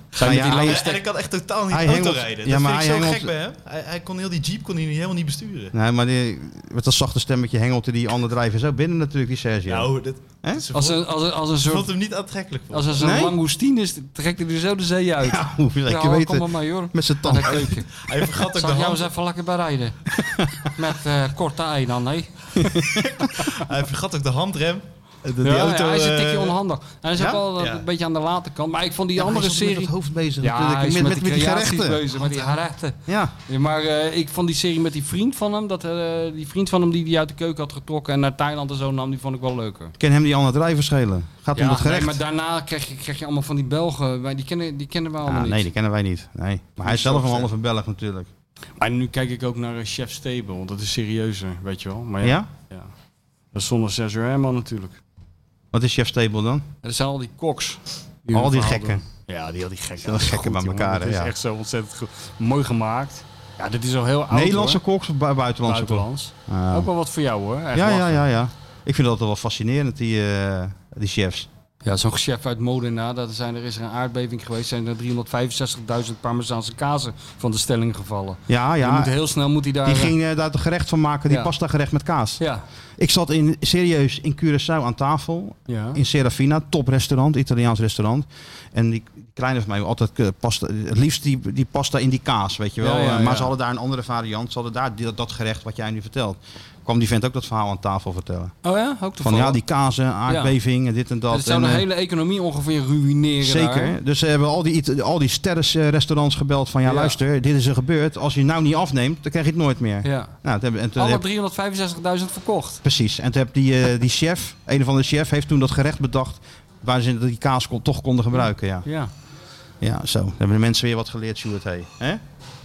Speaker 3: Zijn
Speaker 2: Nou
Speaker 3: met
Speaker 2: ja,
Speaker 3: die
Speaker 2: hij-
Speaker 3: lange
Speaker 4: En ik kan echt totaal niet
Speaker 2: Hij
Speaker 4: auto
Speaker 2: hengelt-
Speaker 4: rijden.
Speaker 2: Ja,
Speaker 4: dat
Speaker 2: maar
Speaker 4: vind ik
Speaker 2: hij
Speaker 4: zo
Speaker 2: hengelt-
Speaker 4: gek bij hem. Hij, hij kon heel die jeep kon hij helemaal niet besturen.
Speaker 2: Nee, maar die, met dat zachte stemmetje hengelde die Anne Drijver zo binnen natuurlijk, die Sergio.
Speaker 4: Nou, dat,
Speaker 2: Hè?
Speaker 4: ze,
Speaker 3: Als
Speaker 4: vond,
Speaker 3: een, als, een, als een
Speaker 4: ze
Speaker 3: soort
Speaker 4: vond hem niet aantrekkelijk. Voor.
Speaker 3: Als er zo'n
Speaker 2: Nee?
Speaker 3: langoustine is, trekt hij er zo de zee uit. Ja,
Speaker 2: Hoe wil ik je
Speaker 3: kom maar
Speaker 2: weten?
Speaker 3: mee hoor.
Speaker 2: Met zijn
Speaker 3: Aan de
Speaker 2: tanden.
Speaker 3: keuken.
Speaker 4: Hij vergat ook de
Speaker 3: Zal ik jou
Speaker 4: hand.
Speaker 3: eens even lekker bereiden? Met eh, korte ei dan, nee.
Speaker 4: Hij vergat ook de handrem. De, die
Speaker 3: Ja,
Speaker 4: auto,
Speaker 3: ja, hij is een
Speaker 4: eh,
Speaker 3: tikje onhandig. Hij is
Speaker 2: ja?
Speaker 3: ook wel eh,
Speaker 4: Ja.
Speaker 3: een beetje aan de late kant. Maar ik vond die
Speaker 2: Ja, maar hij
Speaker 3: andere
Speaker 2: is ook
Speaker 3: serie...
Speaker 2: Met het hoofd bezig
Speaker 3: ja,
Speaker 2: natuurlijk.
Speaker 3: hij is
Speaker 2: Met,
Speaker 3: met,
Speaker 2: met,
Speaker 3: de
Speaker 2: die
Speaker 3: creaties
Speaker 2: gerechten.
Speaker 3: bezig, met die gerechten.
Speaker 2: Ja.
Speaker 3: Ja, maar eh, ik vond die serie met die vriend van hem, dat, eh, die vriend van hem die die uit de keuken had getrokken en naar Thailand en zo nam, die vond ik wel leuker.
Speaker 2: Ik ken hem die Anne Drijver schelen. Gaat om dat
Speaker 3: nee,
Speaker 2: gerecht?
Speaker 3: maar daarna kreeg je, kreeg je allemaal van die Belgen, maar die kennen, die kennen we allemaal
Speaker 2: Ah,
Speaker 3: niet.
Speaker 2: nee, die kennen wij niet. Nee. Maar hij is zelf een halve van Belg natuurlijk.
Speaker 3: Maar nu kijk ik ook naar eh, Chef Stable, want dat is serieuzer, weet je wel. Maar
Speaker 2: Ja?
Speaker 3: ja, Dat is zonder Cesar Herman natuurlijk.
Speaker 2: Wat is Chef Stable dan?
Speaker 3: En dat zijn al die koks. Die
Speaker 2: Al die
Speaker 3: verhaal
Speaker 2: gekken.
Speaker 3: doen. Ja, die al die gekken.
Speaker 2: Die
Speaker 3: Dat is
Speaker 2: gekken
Speaker 3: goed,
Speaker 2: bij
Speaker 3: jongen.
Speaker 2: elkaar,
Speaker 3: Dat is
Speaker 2: ja.
Speaker 3: echt zo ontzettend goed. Mooi gemaakt. Ja, dit is al heel oud
Speaker 2: Nederlandse
Speaker 3: hoor.
Speaker 2: koks of bu- buitenlandse koks?
Speaker 3: Buitenlands.
Speaker 2: Ah.
Speaker 3: Ook wel wat voor jou hoor. Echt
Speaker 2: Ja, ja,
Speaker 3: lachen.
Speaker 2: ja, ja. Ik vind dat altijd wel fascinerend, die, eh, die chefs.
Speaker 3: Ja, zo'n chef uit Modena, daar zijn, er is er een aardbeving geweest. Zijn er 365.000 Parmezaanse kazen van de stelling gevallen.
Speaker 2: Ja,
Speaker 3: Je moet
Speaker 2: ja.
Speaker 3: heel snel moet hij daar...
Speaker 2: Die
Speaker 3: eh,
Speaker 2: ging eh, daar het gerecht van maken, die
Speaker 3: Ja.
Speaker 2: pasta gerecht met kaas.
Speaker 3: Ja,
Speaker 2: Ik zat in, serieus in Curaçao aan tafel
Speaker 3: ja.
Speaker 2: in Serafina, toprestaurant, Italiaans restaurant. En die kleine van mij wil altijd eh, pasta, het liefst die, die pasta in die kaas, weet je wel.
Speaker 3: Ja, ja,
Speaker 2: Eh, maar
Speaker 3: ja.
Speaker 2: ze hadden daar een andere variant, ze hadden daar die- dat gerecht wat jij nu vertelt. Kwam die vent ook dat verhaal aan tafel vertellen.
Speaker 3: Oh ja, ook
Speaker 2: Van ja, die kazen, aardbeving en dit en dat.
Speaker 3: Dat zou de
Speaker 2: En, eh,
Speaker 3: hele economie ongeveer ruïneren
Speaker 2: Zeker.
Speaker 3: daar.
Speaker 2: Dus ze hebben al die, Ita- al die sterrenrestaurants gebeld van ja,
Speaker 3: Ja.
Speaker 2: luister, dit is er gebeurd. Als je het nou niet afneemt, dan krijg je het nooit meer.
Speaker 3: Ja.
Speaker 2: Nou, dat hebben- en toen
Speaker 3: Alle
Speaker 2: heb-
Speaker 3: 365.000 verkocht.
Speaker 2: Precies. En toen heb die, eh, die chef, een of andere chef, heeft toen dat gerecht bedacht waar ze die kaas kon, toch konden gebruiken. Ja.
Speaker 3: Ja.
Speaker 2: ja, zo. Dan hebben de mensen weer wat geleerd, Sjoerd. Hey. Hè?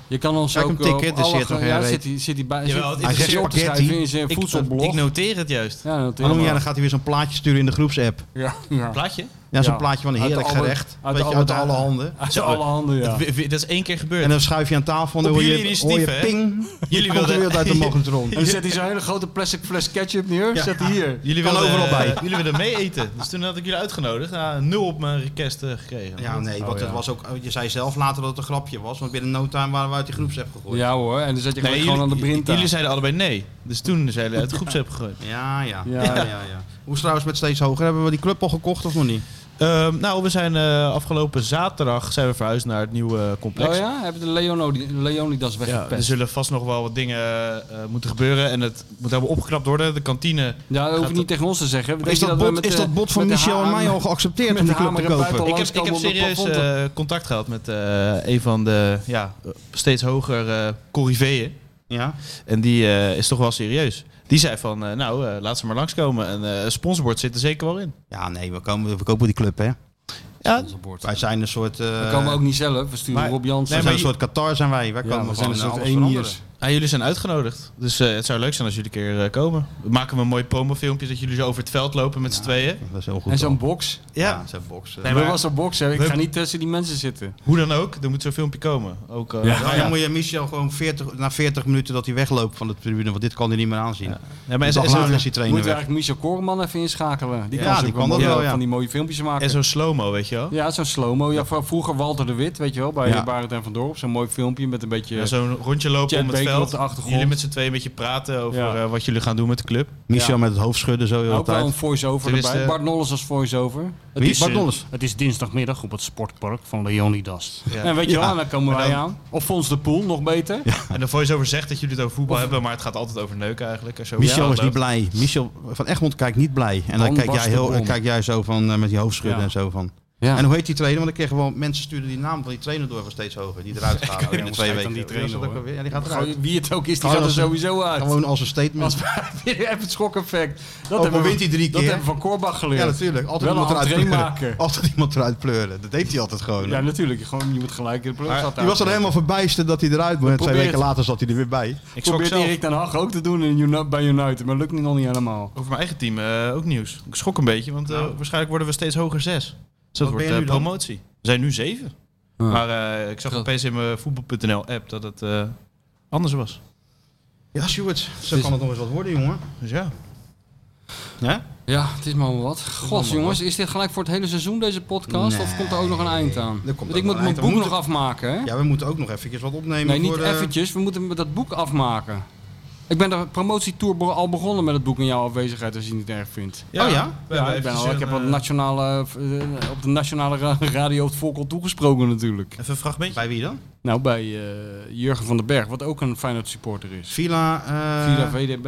Speaker 3: Je kan ons
Speaker 2: Kijk
Speaker 3: ook...
Speaker 2: hem tikken,
Speaker 3: op
Speaker 2: er
Speaker 3: alle
Speaker 2: zit
Speaker 3: ge-
Speaker 2: nog
Speaker 3: ja,
Speaker 2: geen reet.
Speaker 3: zit hij zit hij bij...
Speaker 4: Jawel, het
Speaker 3: zit hij
Speaker 2: interesseert
Speaker 3: op te
Speaker 2: me.
Speaker 3: schrijven in zijn voedselblog.
Speaker 4: Ik noteer het juist.
Speaker 3: ja, natuurlijk.
Speaker 2: Oh ja, dan gaat hij weer zo'n plaatje sturen in de groepsapp.
Speaker 3: Ja, ja.
Speaker 4: Plaatje?
Speaker 2: Ja, zo'n
Speaker 3: Ja.
Speaker 2: plaatje van een
Speaker 3: Uit de
Speaker 2: heerlijk
Speaker 3: Albert-
Speaker 2: gerecht.
Speaker 3: uit
Speaker 2: Uit,
Speaker 3: de
Speaker 2: je, uit
Speaker 3: Albert-
Speaker 2: alle handen.
Speaker 3: Uit alle handen, ja.
Speaker 4: We- we- Dat is één keer gebeurd.
Speaker 2: En eh, dan schuif je aan tafel en dan
Speaker 4: Op
Speaker 2: hoor
Speaker 4: jullie
Speaker 2: je, hoor
Speaker 4: initiatief,
Speaker 2: je
Speaker 4: hè?
Speaker 2: ping.
Speaker 4: Jullie
Speaker 2: Komt er
Speaker 4: wilden-
Speaker 2: weer uit de magnetron.
Speaker 3: En dan zet hij zo'n hele grote plastic fles ketchup neer. Zet hij hier.
Speaker 4: Jullie
Speaker 2: Kan
Speaker 4: wilden,
Speaker 2: overal bij.
Speaker 4: eh, jullie wilden mee eten. Dus toen had ik jullie uitgenodigd. Ja, nul op mijn request eh, gekregen.
Speaker 2: Ja, nee,
Speaker 3: Oh,
Speaker 2: want het
Speaker 3: ja.
Speaker 2: was ook, je zei zelf later dat het een grapje was, want binnen no time waren we uit die groepsapp gegooid.
Speaker 3: Ja hoor, en dan zet je gewoon aan de
Speaker 4: jullie,
Speaker 3: brinta.
Speaker 4: jullie zeiden allebei nee. Dus toen zijn jullie uit de groepsapp gegooid.
Speaker 2: Ja, ja.
Speaker 3: Ja.
Speaker 2: ja, ja, ja. Hoe is het trouwens met steeds hoger? Hebben we die club al gekocht of nog niet?
Speaker 4: Ehm, nou, we zijn eh, afgelopen zaterdag zijn we verhuisd naar het nieuwe eh, complex.
Speaker 3: Oh ja, hebben de Leonodi- Leonidas
Speaker 4: Ja, er
Speaker 3: weggepest.
Speaker 2: dus-
Speaker 3: Ja,
Speaker 4: zullen vast nog wel wat dingen eh, moeten gebeuren. En het moet helemaal opgeknapt worden. De kantine.
Speaker 3: dat hoef
Speaker 4: Gaat
Speaker 3: je
Speaker 4: dat-
Speaker 3: niet tegen ons te zeggen. Denk
Speaker 2: Is
Speaker 3: je
Speaker 2: dat,
Speaker 3: we
Speaker 2: bod,
Speaker 3: eh, met
Speaker 2: is
Speaker 3: de-
Speaker 2: dat bod van
Speaker 3: met de
Speaker 2: Michel en
Speaker 3: haar-
Speaker 2: mij al geaccepteerd
Speaker 3: met
Speaker 2: om die
Speaker 3: de
Speaker 2: club te
Speaker 3: hamer en
Speaker 2: kopen?
Speaker 3: bijtel-
Speaker 4: Ik heb,
Speaker 3: Langs
Speaker 4: ik heb
Speaker 3: komen op de
Speaker 4: serieus
Speaker 3: plafond.
Speaker 4: eh, contact gehad met eh, een van de ja, steeds hoger eh corriveeën.
Speaker 2: Ja.
Speaker 4: En die eh, is toch wel serieus. Die zei van, eh, nou, eh, laat ze maar langskomen. En eh sponsorbord zit er zeker wel in.
Speaker 2: ja, nee, we, komen, we kopen die club, hè.
Speaker 4: Ja,
Speaker 2: Wij zijn een soort... eh,
Speaker 3: We komen ook niet zelf, we sturen
Speaker 4: maar-
Speaker 3: Rob
Speaker 2: wij
Speaker 3: Jansen.
Speaker 2: zijn
Speaker 4: maar
Speaker 2: een
Speaker 4: je-
Speaker 2: soort Qatar, zijn wij. Wij
Speaker 3: Ja,
Speaker 2: komen
Speaker 3: we zijn
Speaker 2: gewoon
Speaker 3: een
Speaker 2: eh,
Speaker 3: soort
Speaker 2: alles veranderen.
Speaker 3: eniers.
Speaker 4: Ah, jullie zijn uitgenodigd. Dus eh, het zou leuk zijn als jullie een keer eh, komen. We maken we een mooi promofilmpje dat jullie zo over het veld lopen met z'n tweeën.
Speaker 2: Dat is heel goed.
Speaker 3: En zo'n
Speaker 2: al.
Speaker 3: box.
Speaker 2: Ja, zo'n box. eh.
Speaker 4: Nee,
Speaker 3: we
Speaker 4: maar-
Speaker 3: was zo'n box, hè. ik
Speaker 4: we-
Speaker 3: ga niet tussen die mensen zitten.
Speaker 4: Hoe dan ook, er moet zo'n filmpje komen. Ook, eh,
Speaker 3: Ja.
Speaker 2: Ja, dan moet je Michel gewoon 40, na 40 minuten dat hij wegloopt van de tribune, want dit kan hij niet meer aanzien. Ja,
Speaker 4: Nee, maar
Speaker 2: maar
Speaker 4: en, zo-
Speaker 2: dag
Speaker 4: en
Speaker 2: later
Speaker 4: zo'n
Speaker 2: is die trainer
Speaker 3: Moeten we
Speaker 2: weg.
Speaker 3: eigenlijk Michel Koreman even inschakelen. Die
Speaker 2: Ja,
Speaker 3: kan,
Speaker 2: die
Speaker 3: die
Speaker 2: kan dat wel, ja.
Speaker 3: van die mooie filmpjes maken.
Speaker 4: en zo'n slow-mo, weet je wel.
Speaker 3: ja, zo'n slow-mo. Ja, v- vroeger Walter de Wit, weet je wel, bij
Speaker 2: Ja.
Speaker 3: Barend en Van Dorp. Zo'n mooi filmpje met een beetje...
Speaker 4: Ja, zo'n rondje lopen
Speaker 3: Chad
Speaker 4: om het
Speaker 3: Baker
Speaker 4: veld.
Speaker 3: op de achtergrond.
Speaker 4: Jullie met z'n tweeën een beetje praten over
Speaker 3: Ja.
Speaker 4: eh, wat jullie gaan doen met de club.
Speaker 2: Michel
Speaker 3: Ja.
Speaker 2: met het hoofd schudden zo heel
Speaker 3: ook wel een
Speaker 2: tijd.
Speaker 3: voice-over
Speaker 4: Er is,
Speaker 3: erbij.
Speaker 4: eh,
Speaker 3: Bart Nolles als voice-over. Het
Speaker 2: Wie? Bart
Speaker 3: eh,
Speaker 2: Nolles?
Speaker 3: Het is dinsdagmiddag op het sportpark van Leonidas.
Speaker 4: Ja.
Speaker 3: En weet je
Speaker 2: Ja.
Speaker 3: wel, en daar komen
Speaker 4: Maar
Speaker 3: wij
Speaker 4: dan-
Speaker 3: aan. Of Fons de Poel, nog beter.
Speaker 4: En de voice-over zegt dat jullie het over voetbal hebben, maar het gaat altijd over neuken eigenlijk. Als je over
Speaker 2: Michel
Speaker 4: het
Speaker 2: is niet
Speaker 4: veld loopt.
Speaker 2: blij. Michel van Egmond kijkt niet blij. En dan
Speaker 3: Dan
Speaker 2: kijk
Speaker 3: was
Speaker 2: jij,
Speaker 3: de
Speaker 2: heel,
Speaker 3: bom.
Speaker 2: kijk jij zo van eh, met die hoofdschudden
Speaker 3: Ja.
Speaker 2: en zo van.
Speaker 3: Ja.
Speaker 2: En hoe heet die trainer? Want ik kreeg gewoon mensen sturen die naam van die trainer door van steeds hoger. Die eruit gaat.
Speaker 3: weet
Speaker 2: binnen
Speaker 3: niet,
Speaker 2: twee
Speaker 3: schijt
Speaker 2: weken.
Speaker 3: aan die
Speaker 2: Wie was dat
Speaker 3: trainer,
Speaker 2: ook alweer? Ja, die gaat eruit.
Speaker 3: Gewoon, Nou, Wie het ook is, die
Speaker 2: Oh,
Speaker 3: gaat er
Speaker 2: dat is een-
Speaker 3: sowieso uit.
Speaker 2: Gewoon als een statement.
Speaker 3: Als we- even het schok-effect. Dat
Speaker 2: Ook al
Speaker 3: hebben we,
Speaker 2: Oh, wint hij drie
Speaker 3: dat
Speaker 2: keer.
Speaker 3: hebben we van Korbach geleerd.
Speaker 2: Ja, natuurlijk. Altijd
Speaker 3: Wel een
Speaker 2: iemand eruit
Speaker 3: entree
Speaker 2: pleuren.
Speaker 3: maken.
Speaker 2: Altijd iemand eruit pleuren. Dat deed hij altijd gewoon.
Speaker 3: Ja, natuurlijk. Gewoon, je moet gelijk in de plug
Speaker 2: Die was dan helemaal verbijsterd dat hij eruit was. En Twee
Speaker 3: probeert-
Speaker 2: weken later zat hij er weer bij.
Speaker 4: Ik schrok
Speaker 3: Probeert
Speaker 4: zelf
Speaker 3: Erik ten Hag ook te doen in Uni- bij United, maar lukt niet nog niet helemaal.
Speaker 4: over mijn eigen team eh, ook nieuws. Ik schrok een beetje, want eh, waarschijnlijk worden we steeds hoger zes. Dus dat
Speaker 2: ben
Speaker 4: wordt
Speaker 2: je
Speaker 4: eh,
Speaker 2: nu dan?
Speaker 4: promotie. We zijn nu zeven.
Speaker 3: Ah.
Speaker 4: Maar eh, ik zag opeens in mijn voetbal.nl app dat het eh, anders was.
Speaker 2: Ja, Stuart. Zo kan het nog eens wat worden, jongen.
Speaker 4: Dus ja.
Speaker 2: Ja?
Speaker 3: Ja, het is maar allemaal wat. God, jongens, is dit gelijk voor het hele seizoen deze podcast? Of komt er ook nog een eind aan?
Speaker 2: er komt
Speaker 3: Want
Speaker 2: ook nog
Speaker 3: ik moet
Speaker 2: een
Speaker 3: mijn
Speaker 2: eind aan.
Speaker 3: boek
Speaker 2: We
Speaker 3: nog afmaken, hè?
Speaker 2: Ja, we moeten ook nog eventjes wat opnemen.
Speaker 3: nee, niet
Speaker 2: voor, eh,
Speaker 3: eventjes. We moeten dat boek afmaken. Ik ben de promotietour be- al begonnen met het boek in jouw afwezigheid, als je het niet erg vindt.
Speaker 2: ja?
Speaker 4: we
Speaker 2: Ja,
Speaker 4: hebben
Speaker 3: Ja, ik, ben
Speaker 4: eventjes
Speaker 3: al, ik
Speaker 4: een,
Speaker 3: heb op,
Speaker 4: eh,
Speaker 3: nationale, eh, op de nationale ra- radio het volk al toegesproken natuurlijk.
Speaker 4: Even een fragmentje.
Speaker 2: Bij wie dan?
Speaker 3: Nou, bij eh, Jurgen van den Berg, wat ook een Feyenoord supporter is.
Speaker 2: Villa. eh,
Speaker 3: Via VDB.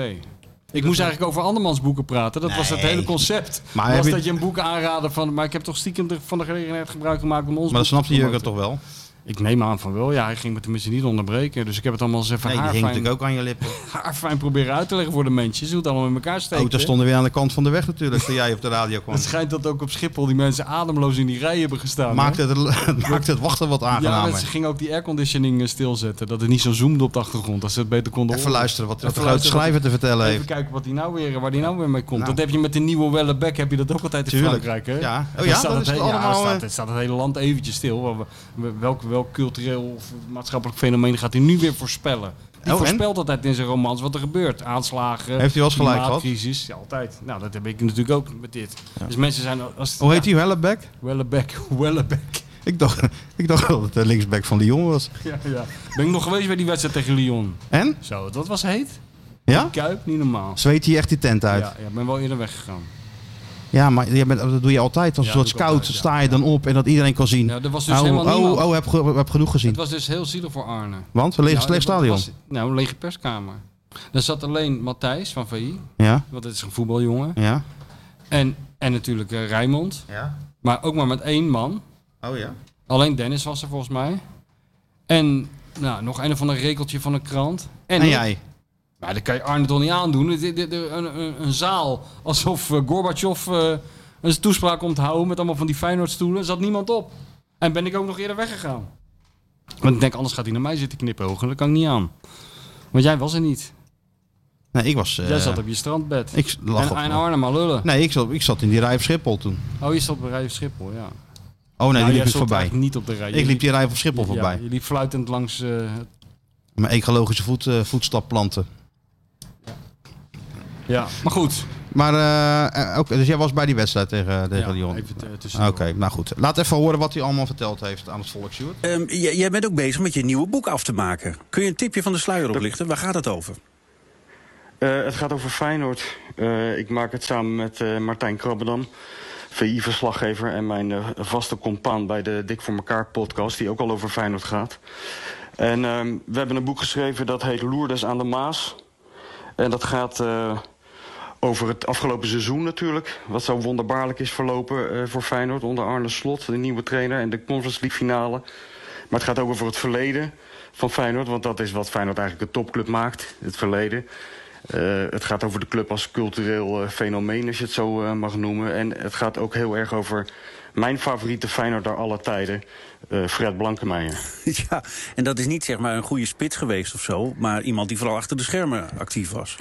Speaker 3: Ik moest eigenlijk over andermans boeken praten. Dat was het
Speaker 2: Nee.
Speaker 3: hele concept.
Speaker 2: Maar
Speaker 3: was
Speaker 2: heb je-
Speaker 3: dat je een boek aanraden van... Maar ik heb toch stiekem de- van de gelegenheid gebruik gemaakt om ons
Speaker 2: Maar dat
Speaker 3: boek te
Speaker 2: snapte Jurgen
Speaker 3: promoten.
Speaker 2: toch wel?
Speaker 3: Ik neem aan van wel. Ja, hij ging me tenminste niet onderbreken. Dus ik heb het allemaal eens even
Speaker 2: Nee, die hing
Speaker 3: haarfijn,
Speaker 2: natuurlijk ook Oh, aan je lippen.
Speaker 3: haarfijn proberen uit te leggen voor de mensen. Ze hoe het allemaal in elkaar steken.
Speaker 2: Auto's stonden weer aan de kant van de weg natuurlijk, toen jij op de radio kwam.
Speaker 3: Het schijnt dat ook op Schiphol die mensen ademloos in die rij hebben gestaan. hè?
Speaker 2: Maakte het, maakte het nou, wachten wat
Speaker 3: ja,
Speaker 2: aangenamer.
Speaker 3: mensen gingen ook die airconditioning eh, stilzetten. Dat het niet zo zoomde op de achtergrond. Dat ze het beter konden
Speaker 2: Even luisteren wat, wat de
Speaker 3: Even
Speaker 2: grote
Speaker 3: luisteren wat-
Speaker 2: schrijver te vertellen
Speaker 3: Even
Speaker 2: heeft.
Speaker 3: kijken wat die nou weer, waar die nou weer mee komt.
Speaker 2: Nou.
Speaker 3: Dat heb je met de nieuwe Wellebec, heb je dat ook altijd in
Speaker 2: Tuurlijk.
Speaker 3: Frankrijk, hè?
Speaker 2: Ja. Oh
Speaker 3: Dan
Speaker 2: ja,
Speaker 3: staat
Speaker 2: dat
Speaker 3: het
Speaker 2: is het
Speaker 3: he- ja,
Speaker 2: allemaal,
Speaker 3: dan
Speaker 2: eh.
Speaker 3: staat, dan staat het hele land eventjes stil. Waar we- we- Welk, welk cultureel of maatschappelijk fenomeen gaat hij nu weer voorspellen? Die
Speaker 2: Oh, en?
Speaker 3: voorspelt altijd in zijn romans wat er gebeurt. Aanslagen,
Speaker 2: Heeft hij wel eens gelijk gehad?
Speaker 3: klimaatcrisis. Ja, altijd. Nou, dat heb ik natuurlijk ook met dit. Dus mensen zijn... Als,
Speaker 2: Hoe heet die, Hellebeck?
Speaker 3: Wellebec, Wellebec.
Speaker 2: Ik dacht, ik dacht wel dat de linksback van Lyon was.
Speaker 3: Ja, ja. Ben ik nog geweest bij die wedstrijd tegen Lyon.
Speaker 2: En?
Speaker 3: Zo, dat was heet.
Speaker 2: Ja?
Speaker 3: Kuip, niet normaal.
Speaker 2: Zweet hij echt die tent uit?
Speaker 3: Ja,
Speaker 2: Ja,
Speaker 3: ja, ik ben wel eerder weggegaan.
Speaker 2: maar je bent- dat doe je altijd. Als
Speaker 3: Ja,
Speaker 2: het wordt
Speaker 3: doe ik
Speaker 2: koud,
Speaker 3: altijd, ja.
Speaker 2: sta je dan op en dat iedereen kan zien.
Speaker 3: Nou, er was dus
Speaker 2: oh,
Speaker 3: helemaal niemand.
Speaker 2: oh, oh, heb, ge- heb genoeg gezien.
Speaker 3: Het was dus heel zielig voor Arne.
Speaker 2: Want we legen het leeg
Speaker 3: Nou, dat
Speaker 2: stadion.
Speaker 3: was- nou, een lege perskamer. Daar zat alleen Matthijs van VI,
Speaker 2: Ja,
Speaker 3: want dat is een voetbaljongen.
Speaker 2: ja.
Speaker 3: En, en natuurlijk eh, Rijnmond.
Speaker 2: Ja.
Speaker 3: Maar ook maar met één man.
Speaker 2: Oh ja.
Speaker 3: Alleen Dennis was er volgens mij. En nou, nog een of ander rekeltje van een krant. En,
Speaker 2: Nou En
Speaker 3: ik.
Speaker 2: jij?
Speaker 3: Maar dat kan je Arne toch niet aandoen. Het- het- het- een, een, een zaal alsof eh, Gorbachev eh, een toespraak komt houden met allemaal van die Feyenoordstoelen. Er zat niemand op. En ben ik ook nog eerder weggegaan. Want ik denk, anders gaat hij naar mij zitten knipogen. Dat kan ik niet aan. Want jij was er niet.
Speaker 2: Nee, ik was... eh,
Speaker 3: jij zat op je strandbed.
Speaker 2: Ik lag
Speaker 3: en,
Speaker 2: op...
Speaker 3: en Arne maar lullen.
Speaker 2: Nee, ik zat, ik zat in die rij op Schiphol toen.
Speaker 3: Oh, je zat bij Rij op Schiphol, ja. Nee,
Speaker 2: Oh nee, die liep ik
Speaker 3: zat
Speaker 2: voorbij.
Speaker 3: eigenlijk niet op de rij. Je
Speaker 2: Ik liep die rij op Schiphol
Speaker 3: ja,
Speaker 2: voorbij.
Speaker 3: je liep fluitend langs... eh, het-
Speaker 2: Mijn ecologische voet, eh, voetstap planten.
Speaker 3: ja, maar goed.
Speaker 2: Maar, eh, eh, oké, dus jij was bij die wedstrijd tegen, tegen
Speaker 3: Ja,
Speaker 2: Lyon?
Speaker 3: Even eh,
Speaker 2: Oké,
Speaker 3: tussendoor.
Speaker 2: nou goed. Laat even horen wat hij allemaal verteld heeft aan het volk, Sjoerd.
Speaker 7: Ehm, j- jij bent ook bezig met je nieuwe boek af te maken. Kun je een tipje van de sluier oplichten? Waar gaat het over?
Speaker 8: Eh, het gaat over Feyenoord. Eh, ik maak het samen met eh, Martijn Krabbedam, VI-verslaggever... en mijn eh, vaste compaan bij de Dik voor elkaar podcast... die ook al over Feyenoord gaat. En ehm, we hebben een boek geschreven dat heet Loerdes aan de Maas. En dat gaat eh, over het afgelopen seizoen natuurlijk. Wat zo wonderbaarlijk is verlopen eh, voor Feyenoord... onder Arne Slot, de nieuwe trainer, en de Conference League finale. Maar het gaat ook over het verleden van Feyenoord... want dat is wat Feyenoord eigenlijk een topclub maakt, het verleden. Eh, het gaat over de club als cultureel eh, fenomeen, als je het zo eh, mag noemen. En het gaat ook heel erg over mijn favoriete Feyenoord daar alle tijden, eh, Fred Blankemeijer.
Speaker 7: ja, en dat is niet zeg maar een goede spits geweest of zo, maar iemand die vooral achter de schermen actief was.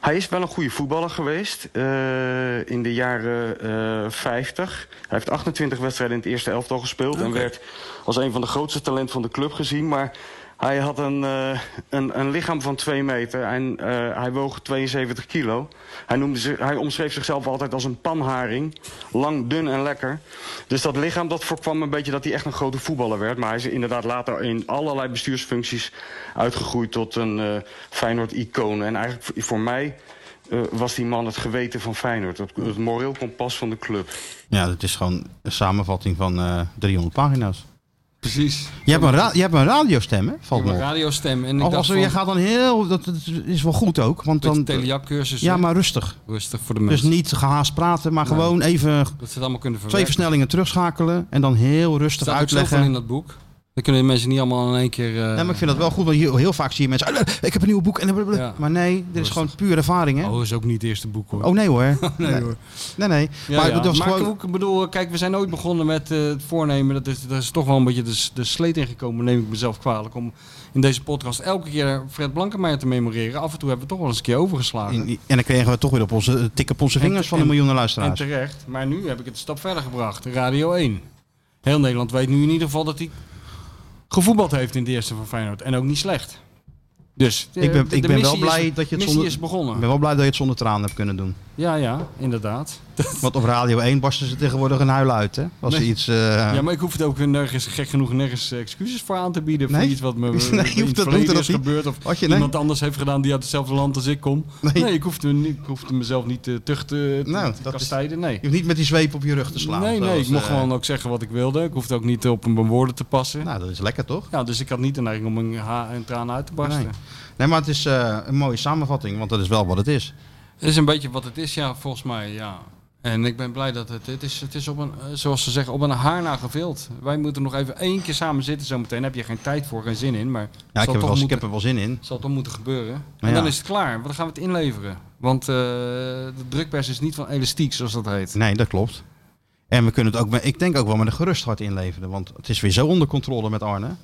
Speaker 8: Hij is wel een goede voetballer geweest eh, in de jaren eh 50. Hij heeft 28 wedstrijden in het eerste elftal gespeeld en werd als een van de grootste talenten van de club gezien. Maar hij had een, eh, een, een lichaam van 2 meter en eh, hij woog 72 kilo. Hij, noemde zich, hij omschreef zichzelf altijd als een panharing. Lang, dun en lekker. Dus dat lichaam dat voorkwam een beetje dat hij echt een grote voetballer werd. Maar hij is inderdaad later in allerlei bestuursfuncties uitgegroeid tot een eh, Feyenoord-icoon. En eigenlijk voor- voor mij eh, was die man het geweten van Feyenoord. Het, het moreel kompas van de club.
Speaker 2: Ja, dat is gewoon een samenvatting van eh, 300 pagina's.
Speaker 3: Precies.
Speaker 2: Je hebt een, ra- je hebt een radiostem, hè?
Speaker 3: Ik
Speaker 2: Valt
Speaker 3: heb
Speaker 2: me
Speaker 3: een
Speaker 2: op.
Speaker 3: radiostem. En ik
Speaker 2: Als,
Speaker 3: dacht
Speaker 2: als,
Speaker 3: van,
Speaker 2: je gaat dan heel... Dat, dat is wel goed ook, want dan...
Speaker 3: cursus
Speaker 2: Ja, maar rustig.
Speaker 3: rustig voor de
Speaker 2: Dus
Speaker 3: mensen.
Speaker 2: niet gehaast praten, maar
Speaker 3: Nee.
Speaker 2: gewoon even
Speaker 3: dat ze het allemaal kunnen
Speaker 2: twee
Speaker 3: verwerken.
Speaker 2: versnellingen terugschakelen... en dan heel
Speaker 3: Er
Speaker 2: rustig
Speaker 3: staat ook zoveel
Speaker 2: uitleggen.
Speaker 3: in dat boek. Dan kunnen de mensen niet allemaal in één keer... eh,
Speaker 2: Ja, maar ik vind dat wel goed, want heel, heel vaak zie je mensen... "Ah, Ik heb een nieuw boek en... blablabla."
Speaker 3: Ja.
Speaker 2: Maar nee, dit is
Speaker 3: Rustig.
Speaker 2: gewoon puur ervaring, hè?
Speaker 3: Oh, is ook niet het eerste boek hoor.
Speaker 2: Oh nee hoor. nee
Speaker 3: hoor.
Speaker 2: Nee, nee.
Speaker 3: Ja,
Speaker 2: maar
Speaker 3: ja.
Speaker 2: dat was
Speaker 3: Maar
Speaker 2: gewoon...
Speaker 3: ik ook- ik bedoel, eh, kijk, we zijn ooit begonnen met eh, het voornemen. Dat is, dat is toch wel een beetje de, s- de sleet ingekomen, neem ik mezelf kwalijk. Om in deze podcast elke keer Fred Blankenmeijer te memoreren. Af en toe hebben we toch wel eens een keer overgeslagen.
Speaker 2: In- en dan kregen we toch weer op onze eh, tikken op onze
Speaker 3: En-
Speaker 2: vingers van de
Speaker 3: en-
Speaker 2: miljoenen
Speaker 3: En
Speaker 2: luisteraars.
Speaker 3: terecht. Maar nu heb ik het een stap verder gebracht. Radio 1. Heel Nederland weet nu in ieder geval dat hij gevoetbald heeft in de eerste van Feyenoord. En ook niet slecht. Dus eh,
Speaker 2: Ik ben-
Speaker 3: de-
Speaker 2: ik
Speaker 3: de
Speaker 2: ben wel
Speaker 3: missie is-
Speaker 2: blij dat je het
Speaker 3: missie
Speaker 2: zonder-
Speaker 3: is
Speaker 2: Ik
Speaker 3: begonnen.
Speaker 2: ben wel blij dat je het zonder tranen hebt kunnen doen.
Speaker 3: Ja, ja, inderdaad.
Speaker 2: Want op Radio 1 barsten ze tegenwoordig een huil uit, hè? Als ze
Speaker 3: Nee.
Speaker 2: iets... eh,
Speaker 3: Ja, maar ik hoef het ook nergens, gek genoeg, nergens eh, excuses voor aan te bieden. Voor
Speaker 2: Nee?
Speaker 3: iets wat me
Speaker 2: Nee,
Speaker 3: nee,
Speaker 2: je hoeft
Speaker 3: in
Speaker 2: dat-
Speaker 3: het
Speaker 2: hoeft dat
Speaker 3: verleden is
Speaker 2: niet.
Speaker 3: gebeurd. Of
Speaker 2: Had je- nee.
Speaker 3: iemand anders heeft gedaan die uit hetzelfde land als ik kom.
Speaker 2: Nee.
Speaker 3: Nee, ik, hoef me niet, ik hoefde mezelf niet te tuchten, te,
Speaker 2: Nou,
Speaker 3: te
Speaker 2: dat is-
Speaker 3: kastijden. Nee.
Speaker 2: Je hoeft niet met die zweep op je rug te slaan.
Speaker 3: nee, nee,
Speaker 2: zoals,
Speaker 3: ik mocht
Speaker 2: eh,
Speaker 3: gewoon ook zeggen wat ik wilde. Ik hoefde ook niet op mijn woorden te passen.
Speaker 2: Nou, dat is lekker, toch?
Speaker 3: Ja, dus ik had niet de neiging om een, ha- een traan uit te barsten.
Speaker 2: Nee. Nee, maar het is eh, een mooie samenvatting, want dat is wel wat het is.
Speaker 3: Dat is een beetje wat het is, ja, volgens mij. Ja. En ik ben blij dat het, het is, het is op een, eh, zoals ze zeggen, op een haar na gevild. Wij moeten nog even één keer samen zitten zometeen. Daar heb je geen tijd voor, geen zin in, maar het
Speaker 2: Ja, ik
Speaker 3: zal,
Speaker 2: heb, er
Speaker 3: toch
Speaker 2: wel, ik
Speaker 3: moeten,
Speaker 2: heb er wel zin in.
Speaker 3: zal toch moeten gebeuren.
Speaker 2: Maar
Speaker 3: en dan
Speaker 2: ja.
Speaker 3: is het klaar, want dan gaan we het inleveren. Want eh, de drukpers is niet van elastiek, zoals dat heet.
Speaker 2: Nee, dat klopt. En we kunnen het ook, met- ik denk ook wel met een gerust hart inleveren. Want het is weer zo onder controle met Arne.